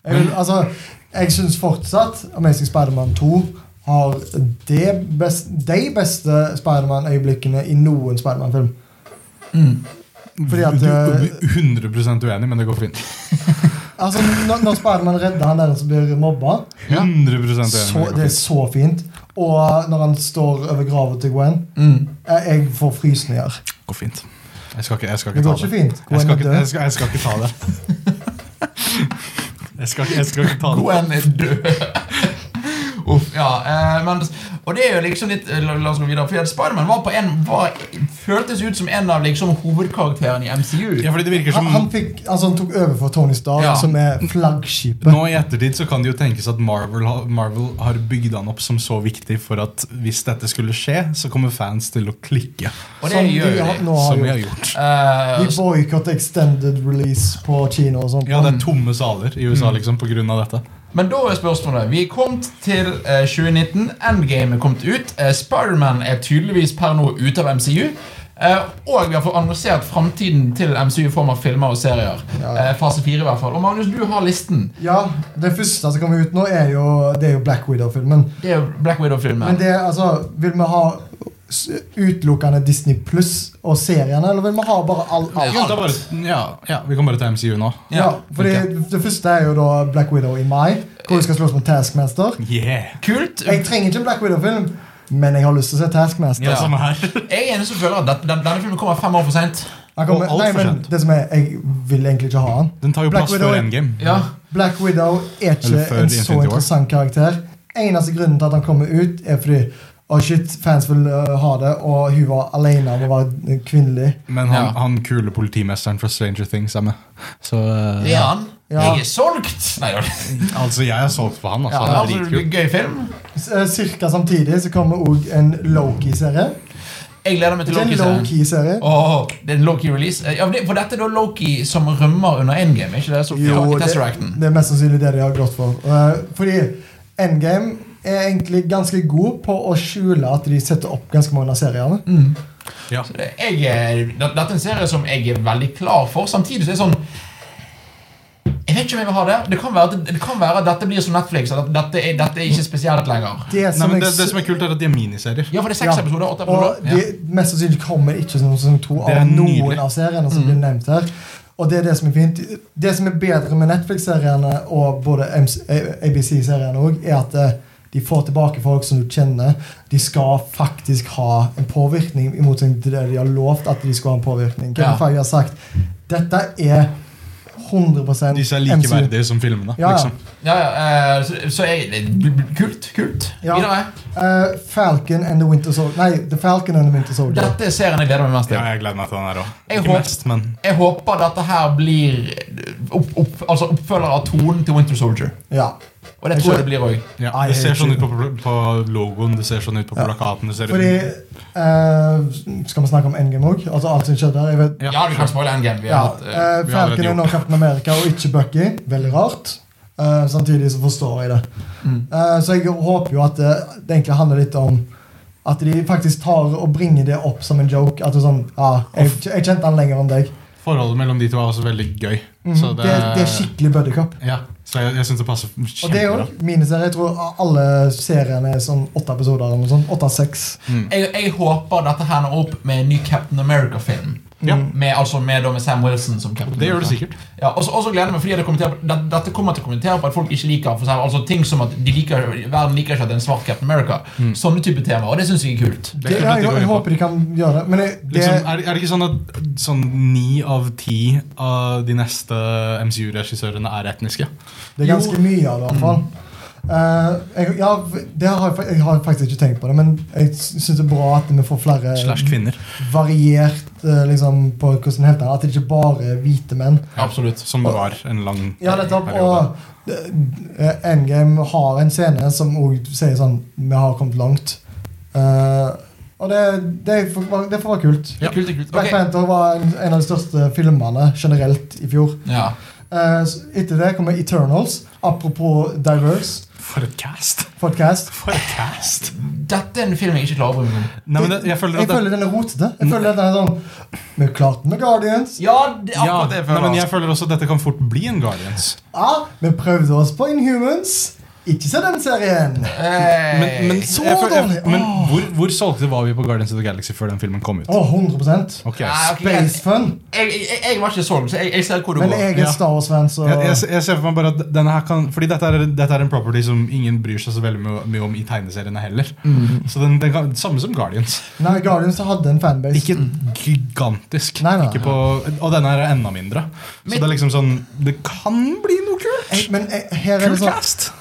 Speaker 3: Jeg, vil- altså, jeg syns fortsatt Amazing Spiderman 2 har det best, de beste Spiderman-øyeblikkene i noen Spiderman-film.
Speaker 1: Mm.
Speaker 3: Fordi at,
Speaker 2: Du
Speaker 3: eh,
Speaker 2: er 100 uenig, men det går fint.
Speaker 3: Altså, når, når Spiderman redder han der som blir mobba,
Speaker 2: 100 uenig, men
Speaker 3: så,
Speaker 2: Sånn, det går
Speaker 3: det er
Speaker 2: fint.
Speaker 3: så fint. Og når han står over grava til Gwen
Speaker 1: mm.
Speaker 3: Jeg, jeg får frysninger.
Speaker 2: går fint. Jeg skal ikke, jeg skal
Speaker 3: Det
Speaker 2: ikke
Speaker 3: går
Speaker 2: ta
Speaker 3: ikke
Speaker 2: det.
Speaker 3: fint.
Speaker 2: Jeg skal
Speaker 3: Gwen er
Speaker 2: ikke, jeg
Speaker 3: død.
Speaker 2: skal, jeg skal ikke ta det. Jeg skal, ikke- jeg skal ikke ta det.
Speaker 1: Gwen er død. eh, Uff, ja, eh, men, og det er jo liksom litt eh, La, la oss gå videre. For Spiderman var på en var, føltes ut som en av liksom hovedkarakterene i MCU.
Speaker 2: Ja, fordi det virker som
Speaker 3: Han, han, fikk, altså, han tok over for Tony Starr,
Speaker 1: Ja.
Speaker 3: som er flaggskipet.
Speaker 2: Nå i ettertid så kan det jo tenkes at Marvel, ha- Marvel har bygd han opp som så viktig for at hvis dette skulle skje, så kommer fans til å klikke.
Speaker 1: Og det
Speaker 3: som
Speaker 1: gjør
Speaker 3: de
Speaker 1: jo
Speaker 3: har-
Speaker 1: de.
Speaker 3: nå har
Speaker 2: Som vi
Speaker 3: gjort.
Speaker 2: har gjort.
Speaker 1: Eh,
Speaker 3: De boikotter extended release på kino og sånt.
Speaker 2: Ja, det er tomme saler i
Speaker 3: Mm.
Speaker 2: USA liksom på grunn av dette.
Speaker 1: men da er spørsmålet Vi er kommet til eh, 2019. Endgame er kommet ut. Eh, Spiderman er tydeligvis per nå ute av MCU. Eh, og vi har fått annonsert framtiden til MCU i form av filmer og serier.
Speaker 3: Ja.
Speaker 1: Eh, fase fire, i hvert fall. Og Magnus, du har listen.
Speaker 3: Ja, Det første som kommer ut nå, er jo, det er jo Black Widow-filmen.
Speaker 1: Det er jo Black Widow-filmen.
Speaker 3: Men det er, altså, vil vi ha s- utelukkende Disney pluss og seriene, eller vil vi ha bare all,
Speaker 2: Vi kan ta
Speaker 3: alt?
Speaker 2: bare, ja, ja, vi kan bare ta MCU nå.
Speaker 3: Ja, fordi Det første er jo da Black Widow i mai, hvor hun skal slåss mot Taskmaster.
Speaker 2: Yeah!
Speaker 1: Kult.
Speaker 3: Jeg trenger ikke en Black Widow-film, men jeg har lyst til å se Taskmaster.
Speaker 2: Det er samme her.
Speaker 1: Jeg er enig som føler at dette- den- denne filmen kommer fem år for sent.
Speaker 3: Han kommer,
Speaker 2: Og alt
Speaker 3: nei,
Speaker 2: for
Speaker 3: men
Speaker 2: sent.
Speaker 3: det som er, Jeg vil egentlig ikke ha han.
Speaker 2: Den tar jo
Speaker 3: Black
Speaker 2: plass
Speaker 3: Widow.
Speaker 2: før Endgame.
Speaker 1: Ja.
Speaker 3: Black Widow er ikke
Speaker 2: Eller før
Speaker 3: en
Speaker 2: Infinity
Speaker 3: så
Speaker 2: War.
Speaker 3: interessant karakter. Eneste grunnen til at han kommer ut, er fordi Å shit, fans vil øh, ha det, og hun var alene om å være øh, kvinnelig.
Speaker 2: Men han,
Speaker 1: Ja.
Speaker 2: han kule politimesteren fra Stranger Things er med. Så eh,
Speaker 1: Det er han.
Speaker 3: Ja.
Speaker 1: Jeg er solgt! Nei, det var-
Speaker 2: altså, jeg er solgt på han. Altså,
Speaker 1: ja,
Speaker 2: han er
Speaker 1: altså,
Speaker 2: dritkul.
Speaker 3: eh,
Speaker 1: gøy film.
Speaker 3: S- øh, Cirka samtidig så kommer òg en Loki-serie.
Speaker 1: Jeg Jeg gleder meg
Speaker 3: Det
Speaker 1: til
Speaker 3: er en
Speaker 1: Loki-serien.
Speaker 3: low-key serie.
Speaker 1: Åh, det er en Loki release. Eh, Ja, men det, for dette er da Loki som rømmer under endgame, ikke det? Så
Speaker 3: Jo, det,
Speaker 1: Tesseracten.
Speaker 3: det er mest sannsynlig det de har gått for. Eh, fordi Endgame er egentlig ganske god på å skjule at de setter opp ganske mange av seriene.
Speaker 1: Mm.
Speaker 2: Ja.
Speaker 1: Så det- Jeg er, det- dette er en serie som jeg er veldig klar for. Samtidig så er det sånn Jeg vet ikke om jeg vil ha det. Det kan være at, det kan være at dette blir som Netflix. At dette er, dette er ikke spesielt lenger.
Speaker 3: Det
Speaker 2: Nei,
Speaker 3: som
Speaker 2: men
Speaker 3: jeg
Speaker 2: det, det
Speaker 3: s-
Speaker 2: som er kult, er at de er miniserier.
Speaker 1: Ja, for det er seks
Speaker 3: Ja.
Speaker 1: episoder. Åtte
Speaker 3: Og
Speaker 1: episoder.
Speaker 3: de,
Speaker 1: Ja.
Speaker 3: mest sannsynlig kommer ikke som sesong to
Speaker 2: Det er
Speaker 3: av
Speaker 2: nydelig. Mm.
Speaker 3: noen av seriene som blir nevnt her. Og det er det som er fint. Det som er bedre med Netflix-seriene og både eh, ABC-seriene òg, er at eh, de får tilbake folk som du kjenner. De skal faktisk ha en påvirkning, i motsetning til det de har lovt at de skal ha en påvirkning. Kevin
Speaker 1: Ja.
Speaker 3: Feige har sagt dette er 100
Speaker 2: Disse er
Speaker 3: MCU.
Speaker 2: likeverdige som filmene.
Speaker 3: Ja, ja.
Speaker 2: Liksom.
Speaker 1: Ja, ja, eh, så, så jeg det blir- blir Kult. Kult.
Speaker 3: Ja.
Speaker 1: Videre.
Speaker 3: Eh, Falcon and the Winter Soldier Nei, The Falcon and the Winter Soldier.
Speaker 1: Dette er serien jeg gleder meg mest til.
Speaker 2: ja, jeg gleder meg til den her òg.
Speaker 1: Jeg
Speaker 2: Ikke
Speaker 1: håper-
Speaker 2: mest, men
Speaker 1: Jeg håper dette her blir opp, opp, altså oppfølger av tonen til Winter Soldier.
Speaker 3: Ja.
Speaker 1: Og det
Speaker 3: Jeg
Speaker 1: tror
Speaker 3: skjønner.
Speaker 1: jeg det blir òg.
Speaker 2: ja,
Speaker 3: Nei,
Speaker 2: Det
Speaker 3: jeg
Speaker 2: ser
Speaker 3: vet
Speaker 2: sånn ut
Speaker 3: ikke.
Speaker 2: på, på logoen, det ser sånn ut på
Speaker 3: Ja.
Speaker 2: plakaten det ser
Speaker 3: Fordi
Speaker 2: ut.
Speaker 3: eh, Skal vi snakke om Endgame òg? Altså alt som skjedde der? Jeg vet,
Speaker 2: Ja.
Speaker 1: Ja, vi kan spoile Endgame. Vi
Speaker 3: ja,
Speaker 1: har hatt, eh,
Speaker 3: eh,
Speaker 2: vi har allerede
Speaker 3: Falcon er nå
Speaker 2: gjort.
Speaker 3: Captain America og ikke Bucky. Veldig rart. Eh, samtidig så forstår jeg det.
Speaker 1: Mm.
Speaker 3: Eh, så jeg håper jo at eh, det egentlig handler litt om at de faktisk tar og bringer det opp som en joke. At det er sånn, ja, jeg, jeg kjente han lenger enn deg.
Speaker 2: Forholdet mellom de to er også veldig gøy.
Speaker 3: Mhm.
Speaker 2: Så
Speaker 3: det, det, er skikkelig buddycup.
Speaker 2: Ja, så jeg, jeg syns det passer
Speaker 3: Og det er jo
Speaker 2: kjempebra.
Speaker 3: miniserie. Jeg tror alle seriene er sånn åtte episoder eller noe sånt. Åtte av seks.
Speaker 2: Mm.
Speaker 1: Jeg, jeg håper dette her når opp med en ny Captain America-film.
Speaker 2: Ja.
Speaker 1: Med, altså med, da, med Sam Wilson som Captain
Speaker 2: Det gjør det
Speaker 1: America.
Speaker 2: sikkert.
Speaker 1: Ja, og så og så gleder jeg meg fordi jeg kommenterer på- det- Dette kommer jeg til å kommentere på at folk ikke liker for eksempel, altså ting som at de liker, verden liker ikke at det er en svart Captain America.
Speaker 2: Mm.
Speaker 1: Sånne type temaer. Og det syns jeg er kult.
Speaker 2: Det er
Speaker 3: Det, ja,
Speaker 2: kult at de
Speaker 3: jeg,
Speaker 2: går
Speaker 3: jeg
Speaker 2: inn på.
Speaker 3: håper de kan gjøre det. Men det, det
Speaker 2: Liksom, er, er det ikke sånn at sånn ni av ti av de neste MCU-regissørene er etniske?
Speaker 3: Det er ganske mye av det, i hvert fall.
Speaker 2: Mm.
Speaker 3: Eh, jeg, ja, det har jeg, fa- jeg har faktisk ikke tenkt på det, men jeg syns det er bra at vi får flere
Speaker 2: Slash kvinner.
Speaker 3: variert eh, liksom, på hvordan heltene At det ikke bare er hvite menn.
Speaker 1: Absolutt.
Speaker 2: Som det var en lang
Speaker 3: Ja, nettopp.
Speaker 2: periode.
Speaker 3: Og eh, Endgame har en scene som også sier sånn Vi har kommet langt. Eh, og det, det, får, være- det får være kult.
Speaker 1: Det er kult, det er kult.
Speaker 3: Black
Speaker 1: Ok.
Speaker 3: Panther var en, en av de største filmene generelt i fjor.
Speaker 1: Ja.
Speaker 3: Eh, så etter det kommer Eternals. Apropos diverse
Speaker 2: For et cast!
Speaker 3: podcast.
Speaker 2: For et cast!
Speaker 1: Dette er en film jeg ikke klarer å bry meg om.
Speaker 2: Nei, men det, jeg føler
Speaker 3: Jeg
Speaker 2: at det,
Speaker 3: føler den er rotete. Jeg føler den er sånn Vi klarte med Guardians.
Speaker 1: Ja, det,
Speaker 2: ja,
Speaker 1: akkurat det jeg
Speaker 2: nei,
Speaker 1: føler.
Speaker 2: men jeg føler også at dette kan fort bli en Guardians.
Speaker 3: Ja, vi prøvde oss på Inhumans. Ikke se den serien.
Speaker 1: Hey.
Speaker 2: Men, men,
Speaker 3: Så
Speaker 2: jeg føler- jeg,
Speaker 3: dårlig.
Speaker 2: men hvor, hvor solgte var vi på Guardians of the Galaxy før den filmen kom ut?
Speaker 3: Å, 100
Speaker 2: Ok,
Speaker 1: Nei, ok, jeg,
Speaker 3: Space fun.
Speaker 1: Eh, jeg, jeg, jeg var ikke solgt, så jeg, jeg ser hvor det
Speaker 3: Men
Speaker 1: går.
Speaker 3: jeg er
Speaker 2: Ja.
Speaker 3: Star Wars-fan, så
Speaker 2: Jeg, jeg, jeg ser for meg bare at denne her kan Fordi dette er, dette er en property som ingen bryr seg så veldig mye, mye om i tegneseriene heller.
Speaker 3: Mhm.
Speaker 2: Så den, den kan, Samme som Guardians.
Speaker 3: Nei, Guardians hadde en fanbase.
Speaker 2: Ikke gigantisk.
Speaker 3: Nei, nei.
Speaker 2: Ikke på, og denne her er enda mindre. Så
Speaker 1: Men-
Speaker 2: det er liksom sånn Det kan bli noe kult!
Speaker 3: Jeg- Men jeg, her er det
Speaker 2: Kult
Speaker 3: sånn
Speaker 2: cast!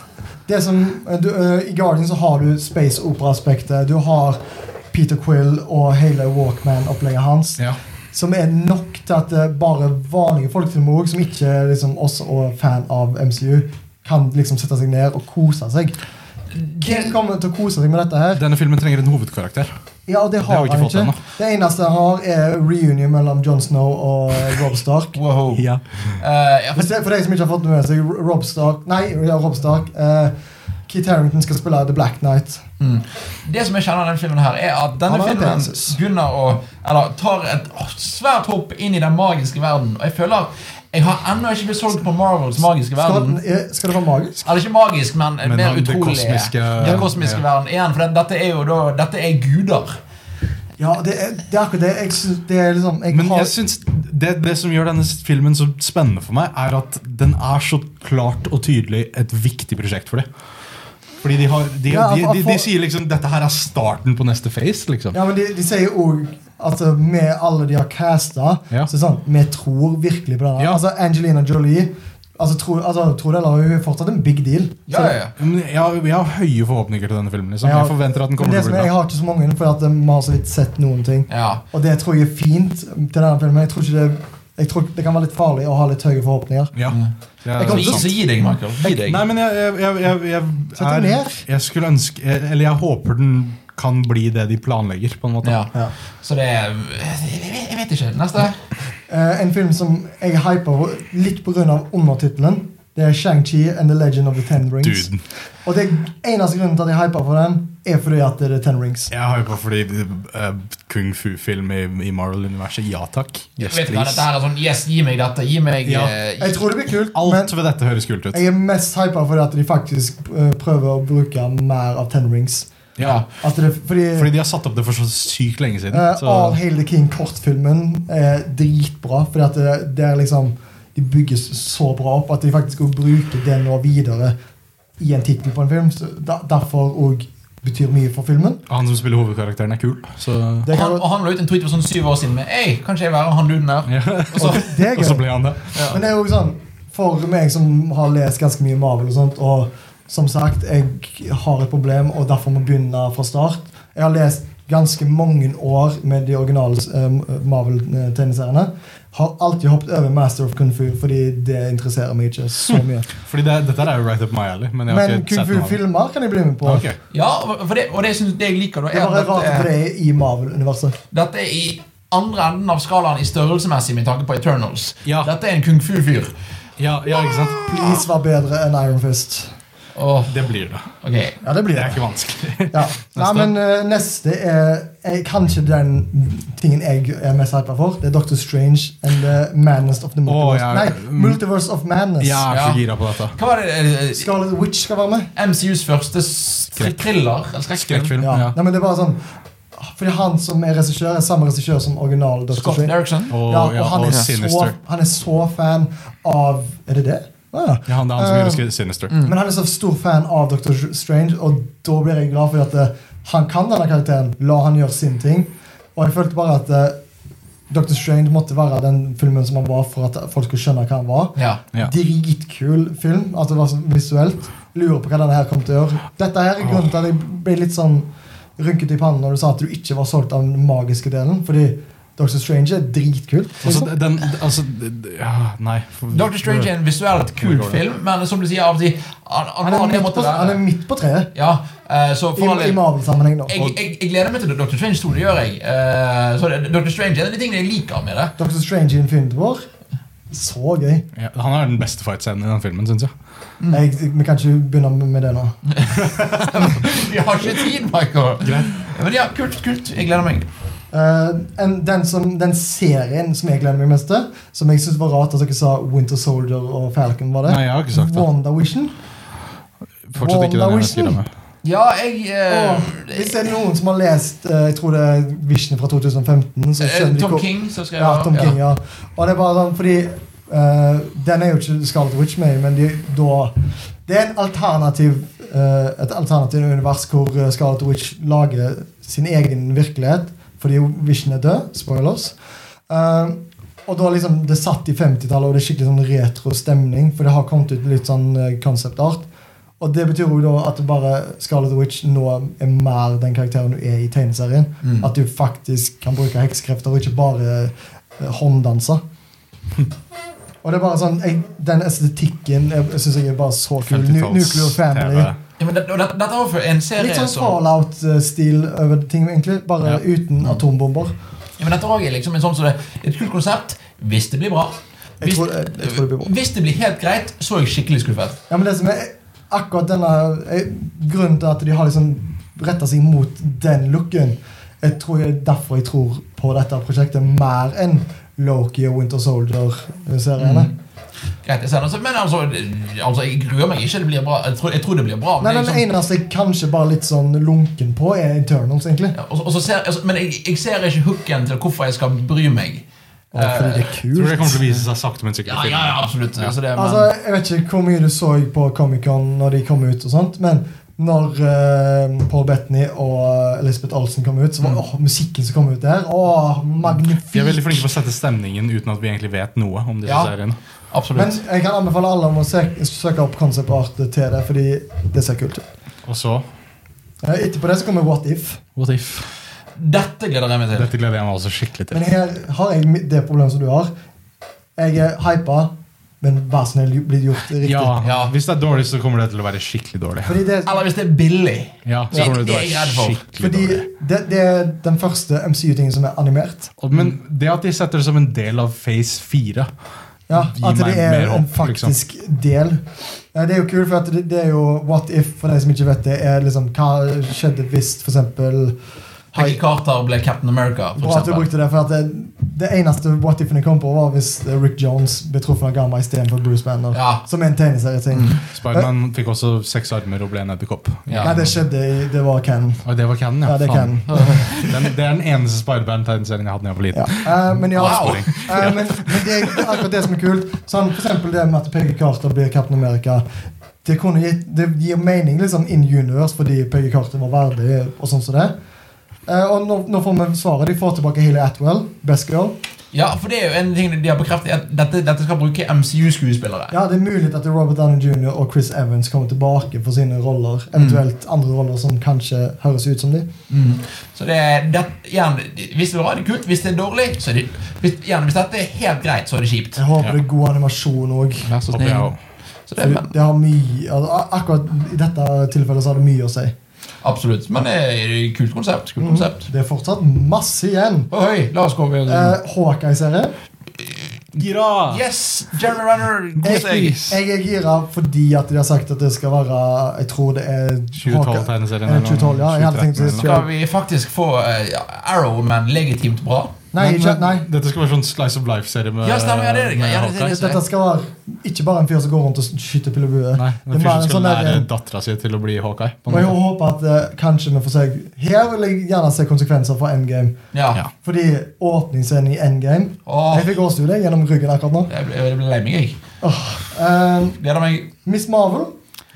Speaker 3: det som, eh, du, ø, I Guardians så har du space opera-aspektet. Du har Peter Quill og hele Walkman-opplegget hans.
Speaker 2: Ja.
Speaker 3: Som er nok til at eh, bare vanlige folk til og med også, som ikke er liksom oss og fan av MCU, kan liksom sette seg ned og kose seg. Hvem kommer til å kose seg med dette her?
Speaker 2: Denne filmen trenger en hovedkarakter.
Speaker 3: Ja, og det
Speaker 2: har
Speaker 3: har
Speaker 2: vi ikke
Speaker 3: han
Speaker 2: fått
Speaker 3: ikke.
Speaker 2: ennå.
Speaker 3: Det eneste han har, er reunion mellom Jon Snow og eh, Rob Stark.
Speaker 1: Wow.
Speaker 2: Ja.
Speaker 1: Eh, ja, for,
Speaker 3: Hvis det, for deg som ikke har fått det med seg, Rob Stark Nei, ja, Rob Stark. eh, Keith Harrington skal spille The Black Knight.
Speaker 1: mm. Det som jeg kjenner av denne filmen, her er at denne
Speaker 3: Han har en
Speaker 1: filmen
Speaker 3: penis.
Speaker 1: begynner å Eller tar et åh, svært hopp inn i den magiske verden. Og jeg føler jeg har ennå ikke blitt solgt på Marvels magiske
Speaker 3: Skal,
Speaker 1: verden.
Speaker 3: den- eh, skal det være magisk?
Speaker 1: Eller ikke magisk, men,
Speaker 2: Men
Speaker 1: mer
Speaker 2: det
Speaker 1: utrolig.
Speaker 2: kosmiske-
Speaker 1: den kosmiske
Speaker 2: Ja.
Speaker 1: verden igjen. For det, dette er jo da Dette er guder.
Speaker 3: Ja, det er, det er akkurat det. Jeg, synes, det er liksom, jeg
Speaker 2: Men
Speaker 3: har,
Speaker 2: jeg synes det, det som gjør denne filmen så spennende for meg, er at den er så klart og tydelig et viktig prosjekt for dem. Fordi de, har, de,
Speaker 3: Ja,
Speaker 2: de,
Speaker 3: for-
Speaker 2: de, de sier liksom dette her er starten på neste phase. liksom.
Speaker 3: Ja, men de, de sier jo òg at uh, med alle de har casta,
Speaker 2: Ja.
Speaker 3: så er det sånn Vi tror virkelig på denne.
Speaker 2: Ja.
Speaker 3: Altså, Angelina Jolie altså, tro, altså, tro det eller ei, hun er fortsatt en big deal. Så
Speaker 1: Ja,
Speaker 3: det-
Speaker 1: ja, ja.
Speaker 2: Men Jeg, har- jeg har høye forhåpninger til denne filmen. liksom.
Speaker 3: Jeg har-
Speaker 2: Jeg forventer at den
Speaker 3: Men
Speaker 2: kommer
Speaker 3: det
Speaker 2: til å
Speaker 3: som
Speaker 2: bli
Speaker 3: er, Jeg
Speaker 2: bra.
Speaker 3: har ikke så mange, for at uh, vi har så vidt sett noen ting.
Speaker 1: ja.
Speaker 3: Og det tror jeg er fint til denne filmen. Jeg tror ikke det, jeg tror det kan være litt farlig å ha litt høye forhåpninger.
Speaker 2: Ja, det er
Speaker 3: Jeg
Speaker 1: Så,
Speaker 3: kan-
Speaker 1: gi-
Speaker 2: sant.
Speaker 1: så gi deg, Michael. Gi deg.
Speaker 2: Nei, men jeg, jeg, jeg, jeg, jeg
Speaker 3: Sett deg
Speaker 2: er-
Speaker 3: ned.
Speaker 2: Jeg skulle ønske jeg- Eller jeg håper den kan bli det de planlegger. på en måte.
Speaker 1: Ja.
Speaker 3: Ja.
Speaker 1: Så det er Jeg vet- jeg vet ikke. Neste.
Speaker 3: Eh, en film som jeg hyper litt pga. undertittelen, det er Shang-Chi and the Legend of the Ten Rings.
Speaker 2: Dude,
Speaker 3: Og det eneste grunnen til at jeg hyper for den, er fordi at det er Ten Rings.
Speaker 2: jeg har jo på fordi eh, kung fu-film i, i Marvel-universet. Ja takk. Yes,
Speaker 1: vet du hva, dette
Speaker 2: please.
Speaker 1: her er sånn Yes, gi meg dette. Gi meg
Speaker 2: Ja.
Speaker 1: eh,
Speaker 3: Jeg tror det blir kult, men
Speaker 2: Alt ved dette høres kult ut.
Speaker 3: jeg er mest hypa fordi at de faktisk eh, prøver å bruke mer av Ten Rings.
Speaker 2: Ja,
Speaker 3: At det, fordi
Speaker 2: Fordi de har satt opp det for så sykt lenge siden.
Speaker 3: eh,
Speaker 2: Så.
Speaker 3: All Hail the King-kortfilmen er dritbra, fordi at det, det er liksom de bygges så bra opp at de faktisk også bruker det nå videre i en tittel på en film. Så da- derfor òg betyr mye for filmen.
Speaker 2: Han som spiller hovedkarakteren, er kul. Så.
Speaker 3: Det,
Speaker 1: han,
Speaker 3: kan,
Speaker 1: og han la ut en tweet for sånn syv år siden med Ei, kan ikke jeg være han duden der?
Speaker 2: Ja.
Speaker 1: Og så,
Speaker 3: det er
Speaker 2: Og så
Speaker 3: gøy.
Speaker 2: ble han det.
Speaker 3: Men det er jo sånn For meg som har lest ganske mye Marvel og sånt Og som sagt, jeg har et problem Og derfor må begynne fra start Jeg har lest ganske mange år Med de originale eh, Marvel-tegneseriene Har alltid hoppet over Master of Kung Fu Fordi det interesserer meg ikke så mye
Speaker 2: Fordi det, dette her er jo right up my alley. Men jeg har
Speaker 3: Men
Speaker 2: ikke
Speaker 3: Kung
Speaker 2: sett noe av det.
Speaker 3: Fu-filmer kan jeg bli med på
Speaker 2: Ok. eh,
Speaker 1: ja, for det, og det synes det jeg liker, da,
Speaker 3: Det
Speaker 1: er
Speaker 3: er bare
Speaker 1: at
Speaker 3: rart
Speaker 1: dette
Speaker 3: at
Speaker 1: er,
Speaker 3: det er i Marvel-universet
Speaker 1: dette er i andre enden av skalaen i størrelsesmessig med tanke på Eternals.
Speaker 2: Ja.
Speaker 1: Dette er en kung fu-fyr.
Speaker 2: Ja, ja, ikke sant?
Speaker 3: Please var bedre enn Iron Fist
Speaker 1: Åh,
Speaker 2: Det blir det.
Speaker 1: ok.
Speaker 3: Ja, det
Speaker 2: Det
Speaker 3: blir
Speaker 2: er
Speaker 3: det
Speaker 2: ikke vanskelig.
Speaker 3: Ja. Nei, men eh, neste er er kanskje den tingen jeg er mest hypa for. Det er Doctor Strange and the Madness of the Multiverse.
Speaker 2: ja.
Speaker 3: Nei, Multiverse of Madness.
Speaker 2: Jeg er
Speaker 1: Ja.
Speaker 2: så gira på dette.
Speaker 1: Hva var det eh,
Speaker 3: Scarlet Witch skal være med.
Speaker 1: MCUs første s-
Speaker 2: Skrekk.
Speaker 1: thriller? Eller skrekkfilm?
Speaker 2: Skrekkfilm.
Speaker 3: Ja.
Speaker 2: Ja.
Speaker 3: Nei, men det er bare sånn Fordi han som er regissør, er samme regissør som original Doctor
Speaker 1: Scott
Speaker 3: Strange.
Speaker 1: Derrickson?
Speaker 2: Og,
Speaker 3: Ja, og
Speaker 2: ja,
Speaker 3: han
Speaker 2: og
Speaker 3: er, så,
Speaker 2: Sinister.
Speaker 3: han er så fan av Er det det? Ah, ja.
Speaker 2: Ja, han, det er han som
Speaker 3: Eh,
Speaker 2: gjorde skri- Sinister.
Speaker 3: Men han er så stor fan av Dr. Strange, og da blir jeg glad for at eh, han kan denne karakteren. La han gjøre sin ting. Og jeg følte bare at eh, Dr. Strange måtte være den filmen som han var for at folk skulle skjønne hva han var.
Speaker 1: Ja.
Speaker 2: Ja.
Speaker 3: Dritkul film. At det var så visuelt. Lurer på hva denne her kom til å gjøre. Dette her er grunnen til at jeg ble litt sånn rynket i pannen når du sa at du ikke var solgt av den magiske delen. Fordi Dr. Strange er dritkult.
Speaker 2: Altså,
Speaker 3: Liksom.
Speaker 2: den, altså ja, Nei.
Speaker 1: Doctor Strange er en visuelt kul
Speaker 2: Hvor går det?
Speaker 1: film, men som du sier av og til Han, han,
Speaker 3: Han
Speaker 1: har
Speaker 3: er
Speaker 1: det
Speaker 3: midt
Speaker 1: måtte
Speaker 3: på, han er
Speaker 1: være.
Speaker 3: midt på treet
Speaker 1: Ja, eh, så
Speaker 3: i,
Speaker 1: for all
Speaker 3: i
Speaker 1: del
Speaker 3: Marvel-sammenheng. nå.
Speaker 1: jeg, jeg, jeg gleder meg til Doctor Strange 2, det gjør jeg. Eh, så det- Doctor Strange er en av de tingene jeg liker med det.
Speaker 3: Doctor Strange i Infinity War. Så gøy.
Speaker 2: Ja, han har den beste fight-scenen i den filmen, syns jeg. Mm.
Speaker 3: Jeg, vi kan ikke begynne med det nå.
Speaker 1: Vi har ikke tid, Michael. Men ja, kult, kult. Jeg gleder meg.
Speaker 3: Eh, en, den, som, den serien som jeg gleder meg mest til, som jeg synes var rart at dere sa Winter Soldier og Falcon, var det?
Speaker 2: Nei, jeg har ikke sagt det.
Speaker 3: WandaVision.
Speaker 2: Fortsatt ikke den jeg er
Speaker 3: WandaVision?
Speaker 2: gira med.
Speaker 1: Ja, jeg eh,
Speaker 3: Åh, hvis det er noen som har lest eh, Jeg tror det er Vision fra 2015, så
Speaker 1: eh,
Speaker 3: skjønner de
Speaker 1: Tom
Speaker 3: hvor-
Speaker 1: King, så skal jeg
Speaker 3: Ja, Tom King, ja. Og det er bare sånn, fordi eh, Den er jo ikke Scarlet Witch med, i, men de, da Det er en alternativ eh, et alternativ univers hvor eh, Scarlet Witch lager sin egen virkelighet fordi Vision er død. Spoilers. Eh, og da liksom Det er satt i 50-tallet, og det er skikkelig sånn retro stemning, for det har kommet ut litt sånn eh, concept art. Og det betyr jo da at bare Scarlet Witch nå er mer den karakteren du er i tegneserien.
Speaker 1: Mm.
Speaker 3: At du faktisk kan bruke heksekrefter og ikke bare eh, hånddanser. Og det er bare sånn, jeg, Den estetikken jeg syns jeg er bare så kul. Nu-
Speaker 2: 50-talls
Speaker 3: Nuclear Family. sånn
Speaker 2: TV.
Speaker 1: Ja, men det, og dette, dette var for en serie
Speaker 3: Litt sånn
Speaker 1: som
Speaker 3: Fallout-stil over ting, egentlig. Bare
Speaker 2: Ja.
Speaker 3: uten atombomber.
Speaker 1: ja, men Dette også er liksom en sånn som det et kult konsept hvis det blir bra.
Speaker 3: Jeg
Speaker 1: Hvis,
Speaker 3: tror- jeg- jeg tror det blir bra.
Speaker 1: hvis det blir helt greit, så er jeg skikkelig skuffet.
Speaker 3: Ja, men det som er akkurat denne eh, Grunnen til at de har liksom retta seg mot den looken, jeg tror det er derfor jeg tror på dette prosjektet mer enn Loki og Winter Soldier-seriene.
Speaker 2: Mm.
Speaker 1: Greit, jeg ser det, men altså, altså, jeg gruer meg ikke. Det blir bra. Jeg tror, jeg tror det blir bra.
Speaker 3: Nei,
Speaker 1: men jeg
Speaker 3: Den
Speaker 1: liksom-
Speaker 3: eneste jeg kanskje bare litt sånn lunken på, er Internals, egentlig.
Speaker 1: Ja, og, så- og så ser, altså, men jeg, jeg ser ikke hooken til hvorfor jeg skal bry meg.
Speaker 3: Og fordi det er
Speaker 2: Tror det kommer
Speaker 3: kult.
Speaker 2: til å vise seg sakte, men sikkert.
Speaker 1: Ja, ja, ja absolutt. Altså, det, men,
Speaker 3: Altså, Jeg vet ikke hvor mye du så på Comic-Con når de kom ut, og sånt, men når eh, Paul Bettany og Elizabeth Olsen kom ut, så var åh, musikken som kom ut der åh,
Speaker 2: Mm. De er veldig
Speaker 3: Magnifikt!
Speaker 2: flinke på å sette stemningen uten at vi egentlig vet noe om disse
Speaker 1: Ja.
Speaker 2: seriene.
Speaker 1: absolutt.
Speaker 3: Men jeg kan anbefale alle om å søke, søke opp concept art til det, fordi det ser kult ut.
Speaker 2: Og så
Speaker 3: Eh, Etterpå det så kommer What If.
Speaker 2: What if?
Speaker 1: Dette gleder jeg meg til.
Speaker 2: Dette gleder jeg meg også skikkelig til.
Speaker 3: Men her har jeg mi- det problemet som du har. Jeg er hypa, men vær snill, blir gjort riktig.
Speaker 2: Ja,
Speaker 1: Ja.
Speaker 2: Hvis det er dårlig, så kommer det til å være skikkelig dårlig.
Speaker 3: Fordi det,
Speaker 1: Eller hvis det er billig.
Speaker 2: Ja,
Speaker 1: Ja,
Speaker 2: så kommer det til
Speaker 1: det
Speaker 2: å
Speaker 1: er jeg
Speaker 2: være
Speaker 1: redd for.
Speaker 2: skikkelig
Speaker 3: fordi
Speaker 2: dårlig.
Speaker 3: det, det er den første MCU-tingen som er animert.
Speaker 2: Og- Men det at de setter det som en del av Phase 4
Speaker 3: Ja,
Speaker 2: Gi meg
Speaker 3: At det er
Speaker 2: mer
Speaker 3: en
Speaker 2: håp, liksom.
Speaker 3: faktisk del. Ja, Det er jo kult, for at det, det er jo what if, for de som ikke vet det, er liksom hva skjedde hvis for eksempel
Speaker 1: Peggy Carter ble Captain America, for
Speaker 3: Bra at du
Speaker 1: eksempel.
Speaker 3: brukte det, for at det, det eneste what if-en jeg kom på, var hvis eh, Rick Jones ble truffet av gamma istedenfor Bruce Banner.
Speaker 1: Ja. Mm.
Speaker 3: Som er en tegneserieting.
Speaker 2: Spiderman fikk også seks armer og ble en edderkopp.
Speaker 1: Ja.
Speaker 3: Nei, det skjedde i Det var Ken.
Speaker 2: Og det var canon, ja.
Speaker 3: Ja, det er
Speaker 2: Faen.
Speaker 3: Ken.
Speaker 2: Den, det er den eneste Spiderman-tegneserien jeg hadde da jeg var
Speaker 3: Ja.
Speaker 2: liten.
Speaker 3: Eh, men ja,
Speaker 1: Wow.
Speaker 3: eh, men, men det er akkurat det som er kult. Sånn, for eksempel det med at Peggy Carter blir Captain America. Det, kunne gitt, det gir mening liksom in universe fordi Peggy Carter var verdig. Og sånn som det Eh, og nå, nå får vi svaret. De får tilbake Hayley Atwell, Best Girl.
Speaker 1: Ja, for det er jo en ting de har bekreftet, at dette, dette skal bruke MCU-skuespillere.
Speaker 3: Ja, Det er mulig at Robert Downey jr. og Chris Evans kommer tilbake for sine roller. Eventuelt andre roller som kanskje høres ut som de.
Speaker 1: Mm. Så det, er- det, igjen, hvis det er bra, er det kult. Hvis det er dårlig, så er det hvis, igjen, hvis dette er helt greit, så er det kjipt.
Speaker 3: Jeg håper
Speaker 2: Ja.
Speaker 3: det er god animasjon òg.
Speaker 1: Vær så
Speaker 2: Håper jeg
Speaker 1: snill.
Speaker 2: også.
Speaker 1: Så det, men,
Speaker 3: Det har mye altså, a- Akkurat i dette tilfellet så har det mye å si.
Speaker 1: absolutt. Men det er et kult konsept.
Speaker 3: Mm.
Speaker 1: Kult konsept.
Speaker 3: Det er fortsatt masse igjen.
Speaker 1: Ohoi, la oss gå videre.
Speaker 3: Eh, Hawkeye-serie.
Speaker 2: Gira!
Speaker 1: Yes! Jeremy Renner, god
Speaker 3: Jeg,
Speaker 1: seg.
Speaker 3: jeg er gira fordi at de har sagt at det skal være Jeg tror det er
Speaker 2: 2012-tegneserien.
Speaker 3: Eh, 2012, ja, jeg hadde tenkt å si-
Speaker 1: Skal vi faktisk få eh, Arrow, men legitimt bra?
Speaker 3: Nei,
Speaker 2: Men,
Speaker 3: ikke,
Speaker 2: men,
Speaker 3: nei.
Speaker 2: Dette skal være sånn Slice of Life-serie med
Speaker 1: Ja, stemmer, ja, det er det.
Speaker 2: med
Speaker 1: Ja, det er det.
Speaker 2: Hawkeye.
Speaker 3: Dette skal være ikke bare en fyr som går rundt og skyter pil og bue.
Speaker 2: Nei,
Speaker 3: Det
Speaker 2: men
Speaker 3: er bare
Speaker 2: Fyren
Speaker 3: en
Speaker 2: skal
Speaker 3: sånn
Speaker 2: lære
Speaker 3: der-
Speaker 2: dattera si til å bli Hawkeye. på
Speaker 3: Og
Speaker 2: en
Speaker 3: jeg
Speaker 2: måte.
Speaker 3: håper at eh, kanskje vi får se Her vil jeg gjerne se konsekvenser for Endgame.
Speaker 1: Ja.
Speaker 2: Ja.
Speaker 3: Fordi åpningsscenen i Endgame
Speaker 1: Åh,
Speaker 3: Jeg fikk gåsehud jeg, gjennom ryggen akkurat nå.
Speaker 1: jeg ble, jeg ble lei meg, jeg.
Speaker 3: Eh,
Speaker 1: Gleder meg.
Speaker 3: Miss Marvel.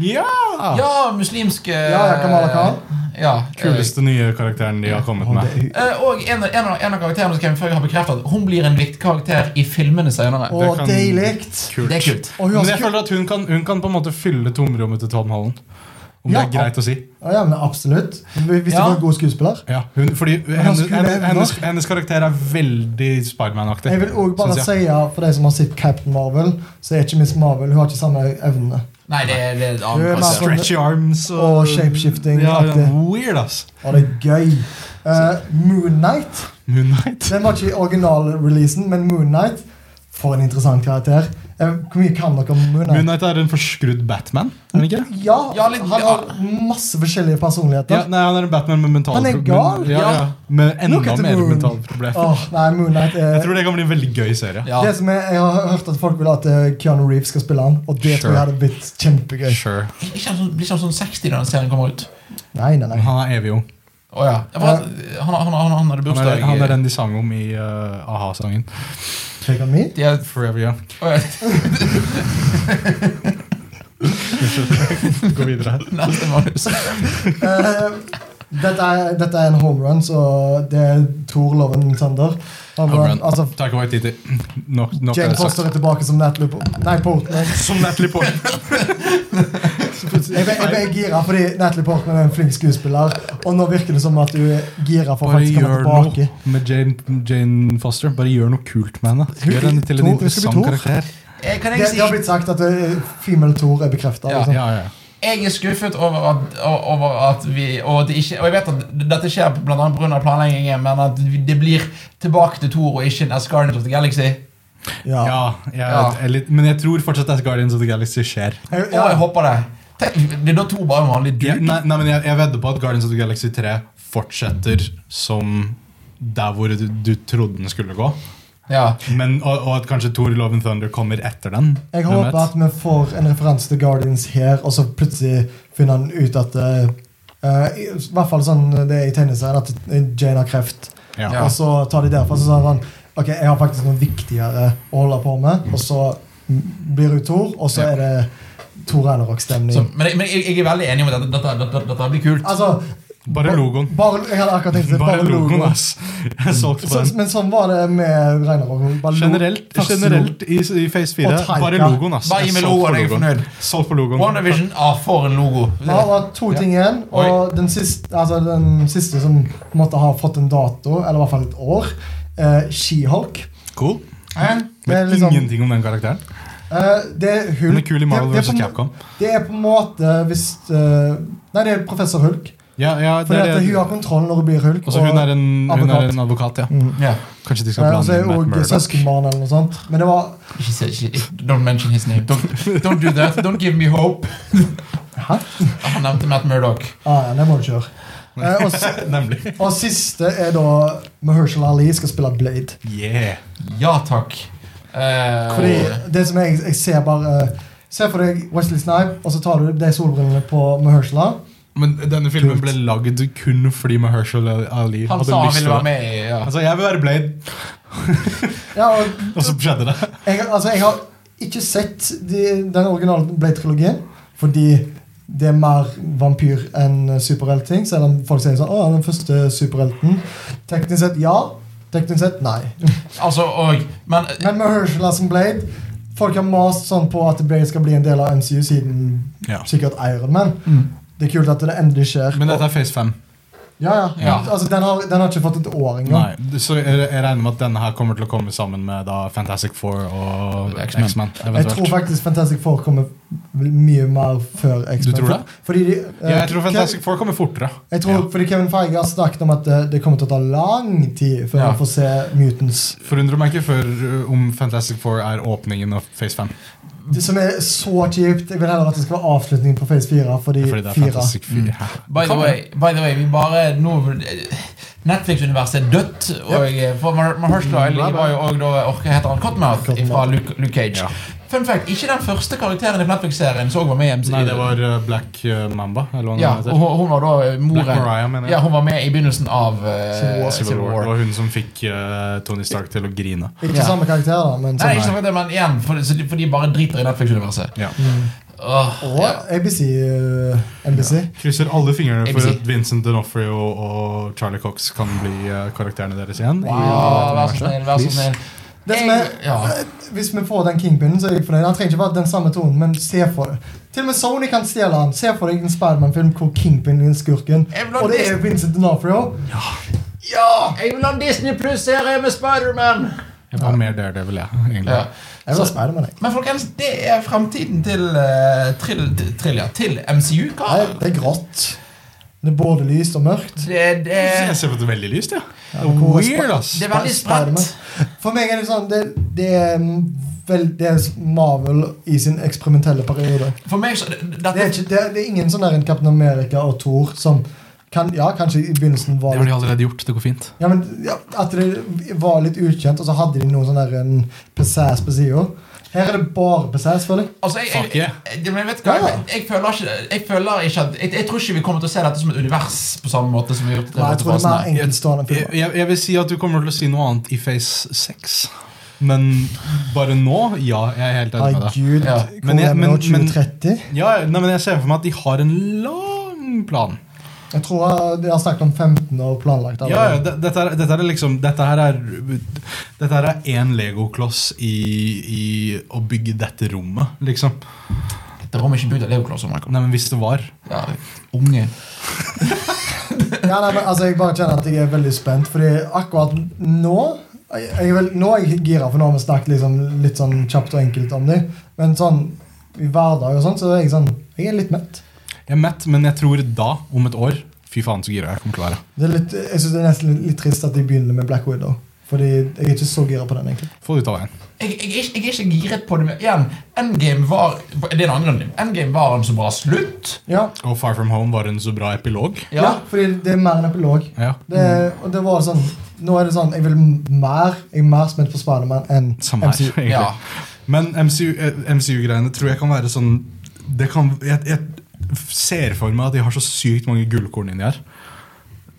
Speaker 2: Ja!
Speaker 1: Ja, muslimsk eh,
Speaker 3: Ah. Ja, ja, Kamala Khan.
Speaker 1: Ja, eh,
Speaker 2: Kuleste nye karakteren de har kommet
Speaker 3: Åh,
Speaker 2: med.
Speaker 3: det, er-
Speaker 1: eh, Og en, av- en, av, en av karakterene som Kevin Feige har bekreftet at hun blir en viktig karakter i filmene senere.
Speaker 3: åh,
Speaker 2: Det kan-
Speaker 3: deilig!
Speaker 2: Kult.
Speaker 1: Det er kult.
Speaker 3: Og hun har
Speaker 2: Men
Speaker 3: så
Speaker 2: jeg
Speaker 3: kul-
Speaker 2: føler at hun kan, hun kan på en måte fylle tomrommet til Tom Holland. Om
Speaker 3: Ja.
Speaker 2: det er greit å si.
Speaker 3: Ja, ja, men absolutt. Hvis
Speaker 1: Ja.
Speaker 3: du får en god skuespiller.
Speaker 2: Ja, hun, fordi
Speaker 3: han
Speaker 2: hennes,
Speaker 3: skulle
Speaker 2: hennes,
Speaker 3: evne.
Speaker 2: hennes, hennes karakter er veldig Spiderman-aktig.
Speaker 3: Jeg vil også bare
Speaker 2: synes jeg.
Speaker 3: si For de som har sett Captain Marvel, så er ikke Miss Marvel Hun har ikke samme evnene.
Speaker 1: Nei, det, det er et
Speaker 3: Du er
Speaker 1: annet
Speaker 3: mer
Speaker 1: konsept.
Speaker 3: sånn-
Speaker 2: Stretchy arms og,
Speaker 3: Og shapeshifting,
Speaker 2: Ja,
Speaker 3: aktig.
Speaker 2: weird, ass.
Speaker 3: Og det er gøy. Eh, Moon Knight.
Speaker 2: Moon Knight.
Speaker 3: Den var ikke i originalreleasen, men Moon Knight For en interessant karakter. Eh, Hvor mye kan dere om Moon
Speaker 2: Moon
Speaker 3: Knight?
Speaker 2: Knight er en forskrudd Batman, er han ikke? det?
Speaker 3: Ja,
Speaker 1: Ja, litt-
Speaker 3: han har masse forskjellige
Speaker 2: Ja,
Speaker 3: personligheter.
Speaker 2: nei, han er en Batman med mentale
Speaker 3: Han er
Speaker 2: pro-
Speaker 3: gal,
Speaker 2: men- Ja,
Speaker 1: ja.
Speaker 2: ja. Med enda
Speaker 3: Look at the
Speaker 2: mer
Speaker 3: moon.
Speaker 2: mentale problemer.
Speaker 3: Åh, nei, Moon Knight er
Speaker 2: Jeg tror det kan bli en veldig gøy serie.
Speaker 1: Ja.
Speaker 3: Det som er, Jeg har hørt at folk vil at eh, Keanu Reeves skal spille han, og det
Speaker 2: Sure.
Speaker 3: tror jeg hadde blitt kjempegøy.
Speaker 2: Sure.
Speaker 1: Blir ikke han sånn- blir ikke han sånn 60 da den serien kommer ut?
Speaker 3: Nei, nei, nei.
Speaker 2: Han er evig ung.
Speaker 1: Å ja. ja. for at, Han, han, han, han hadde
Speaker 2: Han er,
Speaker 1: bursdag
Speaker 2: han er den de sang om i uh, a-ha-sangen.
Speaker 3: Take on me.
Speaker 1: De er,
Speaker 2: Forever Young.
Speaker 1: å, ja.
Speaker 2: Gå videre her.
Speaker 1: Neste manus.
Speaker 3: Eh, dette, er, dette er en homerun, så det er Thor Loven Sander. Home
Speaker 2: Home
Speaker 3: run.
Speaker 2: run.
Speaker 3: Altså,
Speaker 2: Taika Waititi. Nok, nok er
Speaker 3: Jane
Speaker 2: det sagt.
Speaker 3: Foster er tilbake som Natalie Po- Nei, Portman.
Speaker 2: Som Natalie Portman.
Speaker 3: Jeg ble, jeg ble gira fordi Natalie Portman er en flink skuespiller. Og nå virker det som at du er gira for å
Speaker 2: Bare
Speaker 3: faktisk komme
Speaker 2: gjør
Speaker 3: tilbake.
Speaker 2: noe med Jane, Jane Foster. Bare gjør noe kult med henne.
Speaker 3: Hun-
Speaker 2: Gjør henne til en
Speaker 3: Thor- hun skal bli
Speaker 2: interessant
Speaker 3: Thor.
Speaker 2: karakter.
Speaker 1: Eh, Kan
Speaker 3: Det,
Speaker 1: jeg
Speaker 3: det har
Speaker 1: si
Speaker 3: blitt sagt at eh, female Thor er bekrefta.
Speaker 1: Ja.
Speaker 3: Liksom.
Speaker 2: Ja, ja.
Speaker 1: Jeg er skuffet over at, over at vi og, at det ikke, og jeg vet at dette skjer blant annet på grunn av planleggingen, men at det blir tilbake til Thor og ikke en Asgardian of the Galaxy.
Speaker 3: Ja.
Speaker 2: ja, jeg,
Speaker 1: Ja.
Speaker 2: er litt- Men jeg tror fortsatt at Guardians of the Galaxy skjer.
Speaker 3: Jeg,
Speaker 1: Og
Speaker 3: ja.
Speaker 1: jeg håper det. Tenk, blir da Thor bare en vanlig
Speaker 2: Jeg,
Speaker 1: dude?
Speaker 2: nei, nei, men jeg, jeg vedder på at Guardians of the Galaxy 3 fortsetter som der hvor du, du trodde den skulle gå.
Speaker 1: Ja.
Speaker 2: Men, og, og at kanskje Thor Love and Thunder kommer etter den.
Speaker 3: jeg
Speaker 2: Hvem vet?
Speaker 3: håper at vi får en referanse til Guardians her, og så plutselig finner han ut at eh, eh, I i hvert fall sånn det er i tegneserien, at eh, Jane har kreft.
Speaker 2: ja. Altså,
Speaker 1: Ja.
Speaker 3: Og så tar de derfra så sier han sånn, Ok, jeg har faktisk noe viktigere å holde på med. Og så blir hun Thor, og så
Speaker 2: Ja.
Speaker 3: er det Thor Ragnarok-stemning.
Speaker 1: Så, men jeg- men jeg, jeg er veldig enig om at dette, dette, dette, dette blir kult.
Speaker 3: Altså,
Speaker 2: Bare logoen.
Speaker 3: Bare, jeg hadde akkurat tenkt det.
Speaker 2: Bare logoen, ass. Jeg solgte på
Speaker 3: Så,
Speaker 2: den.
Speaker 3: men sånn var det med Ragnarok. Bare lo-
Speaker 2: Generelt,
Speaker 3: første lo-
Speaker 2: generelt i, i Phase 4.
Speaker 3: Og Taika.
Speaker 2: Bare logoen, ass.
Speaker 1: Bare gi meg
Speaker 2: Jeg solgte på
Speaker 1: logoen, jeg er fornøyd.
Speaker 2: Solgt på logoen.
Speaker 1: WandaVision ah, for en logo.
Speaker 3: Vi har bare to ting igjen, og den siste, altså den siste som måtte ha fått en dato, eller i hvert fall et år, eh, She-Hulk.
Speaker 2: Cool.
Speaker 1: Eh?
Speaker 3: Det er
Speaker 2: Vet
Speaker 3: liksom-
Speaker 2: ingenting om den karakteren.
Speaker 3: Eh, det er Hulk.
Speaker 2: Den er kul i Marvel
Speaker 3: det, det,
Speaker 2: vs.
Speaker 3: er på,
Speaker 2: Capcom.
Speaker 3: det er på en måte hvis eh, Nei, det er professor Hulk.
Speaker 2: Ja, ja, det
Speaker 3: Fordi
Speaker 2: er
Speaker 3: at
Speaker 2: det.
Speaker 3: hun har kontroll når hun blir Hulk.
Speaker 2: Altså, hun, er en, hun
Speaker 3: advokat.
Speaker 2: er en advokat, ja.
Speaker 3: Mm.
Speaker 1: Ja.
Speaker 2: Kanskje de skal
Speaker 3: Eh, Og så
Speaker 2: blande
Speaker 3: er
Speaker 2: inn
Speaker 3: hun
Speaker 2: Matt
Speaker 3: også
Speaker 2: Murdoch.
Speaker 3: søskenbarn eller noe sånt. Men det var
Speaker 1: Ikke se- ikke- Don't mention his name. Don't, don't do that. Don't give me hope.
Speaker 3: Hæ?
Speaker 1: Han nevnte Matt Murdoch.
Speaker 3: Ah, ja, det må du kjøre. Eh, og, s-
Speaker 2: Nemlig.
Speaker 3: og siste er da Mahershala Ali skal spille Blade.
Speaker 2: Yeah.
Speaker 1: Ja takk. Eh,
Speaker 3: Fordi det som jeg, jeg ser bare eh, Se for deg Wesley Snipe, og så tar du de solbrillene på Mahershala.
Speaker 2: Men denne filmen ble lagd kun fordi Mahershala Ali
Speaker 1: han
Speaker 2: hadde
Speaker 1: sa han
Speaker 2: lyst
Speaker 1: ville være
Speaker 2: til det.
Speaker 1: med i ja.
Speaker 2: Han sa 'jeg vil være Blade',
Speaker 3: Ja, og
Speaker 2: og så skjedde det.
Speaker 3: jeg, altså, jeg har ikke sett de, den originale Blade-trilogien fordi det er mer vampyr enn eh, superheltting. Selv om folk sier sånn Å, den første superhelten. Teknisk sett ja. Teknisk sett nei.
Speaker 1: Altså, og, men
Speaker 3: Men Mahershala som Blade Folk har mast sånn på at Blade skal bli en del av MCU siden
Speaker 2: Ja.
Speaker 3: sikkert Iron Man.
Speaker 2: Mm.
Speaker 3: Det er kult at det endelig skjer.
Speaker 2: Men dette er Phase 5.
Speaker 3: ja, ja.
Speaker 1: Ja.
Speaker 3: Altså, den, har, den har ikke fått et år engang.
Speaker 2: Nei, Så jeg jeg regner med at denne her kommer til å komme sammen med da Fantastic Four og
Speaker 1: X-Men.
Speaker 2: X-Man.
Speaker 3: Jeg tror
Speaker 2: eventuelt.
Speaker 3: faktisk Fantastic Four kommer mye mer før X-Men.
Speaker 2: tror det?
Speaker 3: Fordi de, eh,
Speaker 2: Ja, jeg tror
Speaker 3: Ke-
Speaker 2: Fantastic Four kommer fortere.
Speaker 3: jeg tror,
Speaker 2: Ja.
Speaker 3: Fordi Kevin Feige har snakket om at det, det kommer til å ta lang tid før
Speaker 1: Ja.
Speaker 3: man får se Mutants.
Speaker 2: Forundrer meg ikke før uh, om Fantastic Four er åpningen av Phase 5.
Speaker 3: Det som er så kjipt. Jeg vil heller at det skal være avslutningen på Phase 4. Fordi,
Speaker 2: Fordi det er
Speaker 3: 4.
Speaker 2: Fantastic 4.
Speaker 1: by the, way, by the way, vi bare nå Netflix-universet er dødt. Og for Mar-
Speaker 2: Mm,
Speaker 1: Mahershala Ali var jo også da orker heter han Cottonmouth fra Luke, Luke Cage.
Speaker 2: Ja.
Speaker 1: Fun fact, ikke den første karakteren i Netflix-serien som også var med i MC.
Speaker 2: Nei, det var uh, Black uh, Mamba, eller hva
Speaker 1: ja,
Speaker 2: den
Speaker 1: og
Speaker 2: heter.
Speaker 1: hun, hun var da eh, moren
Speaker 2: Black Mariah, mener jeg.
Speaker 1: Ja, hun var med i begynnelsen av eh,
Speaker 3: Civil War.
Speaker 2: Civil War. Det var hun som fikk uh, Tony Stark til å grine.
Speaker 3: Ikke
Speaker 1: Ja.
Speaker 3: samme karakter, da,
Speaker 1: Nei,
Speaker 2: sånn
Speaker 3: men sånn- samme.
Speaker 1: ikke snakk om det, men igjen, for, så de- for de bare driter i Netflix-universet.
Speaker 2: Ja.
Speaker 1: Åh,
Speaker 3: Og
Speaker 1: ja.
Speaker 3: ABC. eh, NBC.
Speaker 2: Krysser alle fingrene for
Speaker 1: ABC.
Speaker 2: at Vincent D'Onofrio og Charlie Cox kan bli uh, karakterene deres igjen. i
Speaker 1: Wow,
Speaker 2: dette
Speaker 1: vær så
Speaker 2: universet.
Speaker 1: snill, vær så
Speaker 2: Please.
Speaker 1: snill.
Speaker 3: Det som
Speaker 1: Jeg-
Speaker 3: er-
Speaker 1: ja.
Speaker 3: Hvis vi får den kingpinnen, så er jeg fornøyd. Han trenger ikke være den samme tonen, men se for det. Til og med Sony kan stjele han. Se for deg en Spiderman-film hvor kingpinnen er skurken.
Speaker 1: Jeg vil ha
Speaker 3: Og det er
Speaker 1: Disney-
Speaker 3: jo Vincent D'Onofrio.
Speaker 1: Ja! Jeg vil ha en Disney Pluss-serie med Spiderman!
Speaker 2: Jeg var mer der, det vil jeg. egentlig.
Speaker 1: Ja.
Speaker 3: Jeg vil ha Spiderman, jeg.
Speaker 1: Men folkens, det er fremtiden til eh, trill, til- trill, ja, til MCU. Hva?
Speaker 3: Nei, det er grått. Det er både lyst og mørkt.
Speaker 1: Det, det,
Speaker 2: Eh, Jeg ser på det veldig lyst, ja. Det er
Speaker 3: hvor-
Speaker 2: Weird, ass.
Speaker 1: det er veldig spredt.
Speaker 3: Spider-Man. For meg er det sånn Det, det, er, mm, vel, det er Marvel i sin eksperimentelle periode.
Speaker 1: For meg så dette,
Speaker 3: Det er, ikke, det, er, det er ingen sånn der en Captain America og Thor som kan, Ja, kanskje i begynnelsen var
Speaker 2: Det har de allerede gjort. Det går fint.
Speaker 3: Ja, men ja, At det var litt ukjent, og så hadde de noe sånn der en Pesæs på sida. Her er det bare Pesæs, føler jeg.
Speaker 1: Altså, jeg,
Speaker 2: Fuck
Speaker 1: jeg,
Speaker 2: yeah.
Speaker 1: jeg, men vet du hva?
Speaker 3: Ja, ja.
Speaker 1: Jeg, jeg føler ikke, jeg, føler ikke at, jeg, jeg tror ikke vi kommer til å se dette som et univers på samme måte som vi har gjort
Speaker 3: Nei, jeg tror det er mer
Speaker 1: fasene.
Speaker 3: enkeltstående
Speaker 2: Jeg,
Speaker 3: filmer.
Speaker 2: jeg, jeg vil si at du kommer til å si noe annet i Phase 6. Men bare nå? Ja, jeg er helt enig med deg.
Speaker 3: Herregud,
Speaker 1: Ja.
Speaker 2: Men
Speaker 3: hvor
Speaker 2: jeg-
Speaker 3: er vi
Speaker 2: men-
Speaker 3: nå?
Speaker 2: men-
Speaker 3: 2030?
Speaker 2: Ja, nei, men jeg ser for meg at de har en lang plan.
Speaker 3: Jeg tror eh, de har snakket om 15 år planlagt.
Speaker 2: Ja, ja,
Speaker 3: allerede.
Speaker 2: det- dette, er, dette er liksom Dette her er Dette her er én legokloss i, i å bygge dette rommet, liksom.
Speaker 1: Det rommet er ikke bygd av legoklosser, Michael.
Speaker 2: Nei, men hvis det var
Speaker 1: Ja, unge.
Speaker 3: Ja, nei, men altså, Jeg bare kjenner at jeg er veldig spent, Fordi akkurat nå jeg, jeg er vel, Nå er jeg gira, for nå har vi snakket liksom, litt sånn kjapt og enkelt om dem. Men sånn i hverdag og sånn, så er jeg sånn Jeg er litt mett.
Speaker 2: Jeg er mett, men jeg tror da, om et år Fy faen, så gira jeg kommer til å være.
Speaker 3: Det er litt, jeg synes det er nesten litt, litt trist at de begynner med Black Widow. Fordi jeg er ikke så gira på den, egentlig.
Speaker 2: Få det ut av veien.
Speaker 1: Jeg, jeg, er ikke- jeg er ikke giret på det. Men igjen, Endgame var Det er en annen grunn. Endgame var en så bra slutt.
Speaker 3: Ja,
Speaker 2: Og Far From Home var en så bra epilog.
Speaker 3: ja. fordi det er mer enn epilog.
Speaker 2: Ja,
Speaker 3: Det,
Speaker 2: Mm.
Speaker 3: og det var sånn Nå er det sånn Jeg vil mer Jeg er mer spent på Spiderman enn
Speaker 2: Samme her,
Speaker 3: MCU.
Speaker 2: egentlig.
Speaker 1: Ja.
Speaker 2: Men eh, MCU-greiene tror jeg kan være sånn det kan, jeg, jeg ser for meg at de har så sykt mange gullkorn inni her.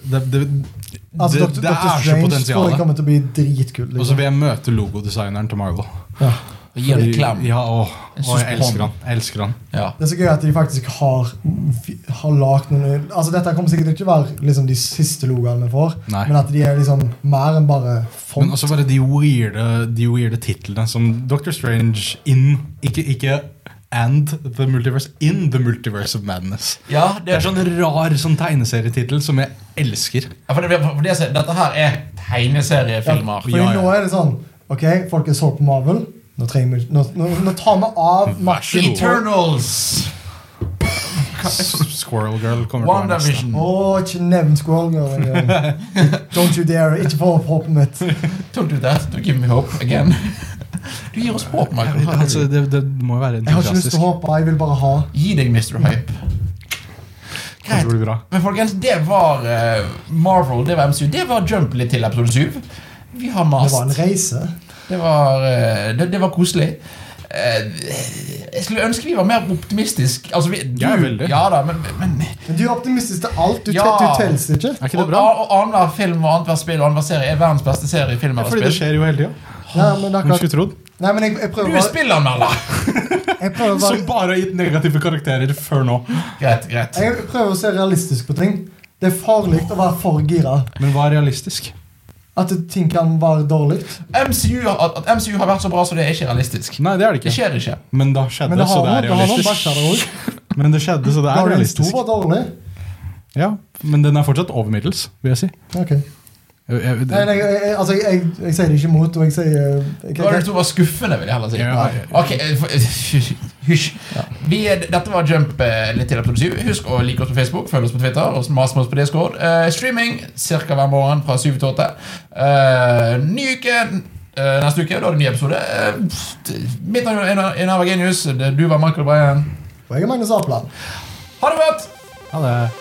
Speaker 2: Det, det,
Speaker 3: Altså,
Speaker 2: det,
Speaker 3: Dr.
Speaker 2: det
Speaker 3: Dr.
Speaker 2: er så
Speaker 3: Strange tror jeg
Speaker 2: potensial.
Speaker 3: kommer til å bli dritkul.
Speaker 2: Og så
Speaker 3: Liksom.
Speaker 2: vil jeg møte logodesigneren til Marvel.
Speaker 3: Ja.
Speaker 1: Og gi ham en klem.
Speaker 2: Ja, å,
Speaker 1: En
Speaker 2: å, jeg
Speaker 1: suspend.
Speaker 2: elsker han. Jeg elsker han.
Speaker 1: Ja.
Speaker 3: Det er så gøy at de faktisk har, har lagt noen Altså Dette kommer sikkert ikke være liksom, de siste logoene vi får,
Speaker 2: Nei.
Speaker 3: men at de er liksom mer enn bare font.
Speaker 2: Men også bare de weirde, de weirde titlene som Doctor Strange in ikke, ikke And the Multiverse. In the Multiverse of Madness.
Speaker 1: Ja,
Speaker 2: Det er sånn rar sånn tegneserietittel som jeg elsker.
Speaker 1: Ja, for det, for det, dette her er
Speaker 3: Ja,
Speaker 1: tegneseriefilmer.
Speaker 3: Fordi
Speaker 2: Ja, ja.
Speaker 3: nå er det sånn Ok, folk er solgt på Marvel. Nå, trenger vi, nå, nå, nå tar vi av
Speaker 2: Vær så god.
Speaker 1: Eternals!
Speaker 2: S- Squirrel Girl kommer til å være neste.
Speaker 1: WandaVision.
Speaker 3: Å, ikke nevn Squirrel Girl engang. Don't you dare. Ikke få opp håpet mitt.
Speaker 1: Don't do that. Don't give me hope again. Du gir oss håp,
Speaker 2: Jeg
Speaker 1: Michael.
Speaker 2: vet, altså, det, det må jo være
Speaker 3: Jeg har ikke lyst
Speaker 2: entusiastisk.
Speaker 3: til å håpe, jeg vil bare ha.
Speaker 1: Gi deg Mr. Hype.
Speaker 2: Kanskje
Speaker 1: Greit.
Speaker 2: det blir bra.
Speaker 1: Men folkens, det var eh, Marvel, det var MCU, det var Jump litt til episode 7. Vi har
Speaker 3: Det
Speaker 1: mast.
Speaker 3: var en reise.
Speaker 1: Det var, eh, det, det var koselig. Eh, Jeg skulle ønske vi var mer optimistiske. Altså, vi,
Speaker 2: Jeg er veldig.
Speaker 1: Ja da, men, men
Speaker 3: Men du er optimistisk til alt. Du,
Speaker 1: Ja.
Speaker 3: ja. du tels ikke.
Speaker 2: Er ikke det
Speaker 1: Og,
Speaker 2: bra?
Speaker 1: og annenhver film og annenhver spill og annenhver serie er verdens beste serie. film eller
Speaker 2: Fordi det
Speaker 1: spill.
Speaker 2: skjer jo hele tida.
Speaker 3: Nei, men,
Speaker 2: Hvem
Speaker 3: akkurat,
Speaker 2: skulle trodd?
Speaker 3: nei, men jeg, jeg
Speaker 1: Du
Speaker 3: prøver
Speaker 1: er
Speaker 3: bare-
Speaker 1: spillanmelder!
Speaker 3: jeg prøver bare
Speaker 2: Som bare har gitt negative karakterer før nå.
Speaker 1: greit, greit.
Speaker 3: Jeg prøver å se realistisk på ting. Det er farlig å være for gira.
Speaker 2: Men hva er realistisk?
Speaker 3: At ting kan være dårlig.
Speaker 1: MCU, har- at, at MCU har vært så bra, så det er ikke realistisk.
Speaker 2: Nei, det er det
Speaker 1: Det
Speaker 2: ikke.
Speaker 1: skjer ikke.
Speaker 2: Men da skjedde,
Speaker 3: Men det
Speaker 2: så
Speaker 3: har
Speaker 2: det
Speaker 3: noen
Speaker 2: er
Speaker 3: det har noen
Speaker 2: realistisk.
Speaker 3: bæsjer der òg.
Speaker 2: Men det skjedde, så det er
Speaker 3: Guardians 2
Speaker 2: realistisk.
Speaker 3: var dårlig.
Speaker 2: Ja, Men den er fortsatt over middels, vil jeg si.
Speaker 3: Ok.
Speaker 2: Jeg- jeg-
Speaker 3: Nei, nei, jeg, jeg, altså, jeg, jeg, jeg sier det ikke imot, og jeg sier jeg, jeg,
Speaker 1: Guardians 2 var skuffende, vil jeg heller si.
Speaker 2: Ja, ja, ja.
Speaker 1: Ok, eh, for- Hysj. Vi er- Dette var Jump eh, litt til episode 7. Husk å like oss på Facebook, følg oss på Twitter og mas med oss på Discord. Eh, streaming ca. hver morgen fra 7 til 8. Eh, ny uke eh, neste uke. Da er det en ny episode. Eh, pff, mitt navn er Einar- Einar Genius. Du var Michael Bryan.
Speaker 3: Og jeg er Magnus Apland.
Speaker 1: Ha det godt!
Speaker 2: Ha det.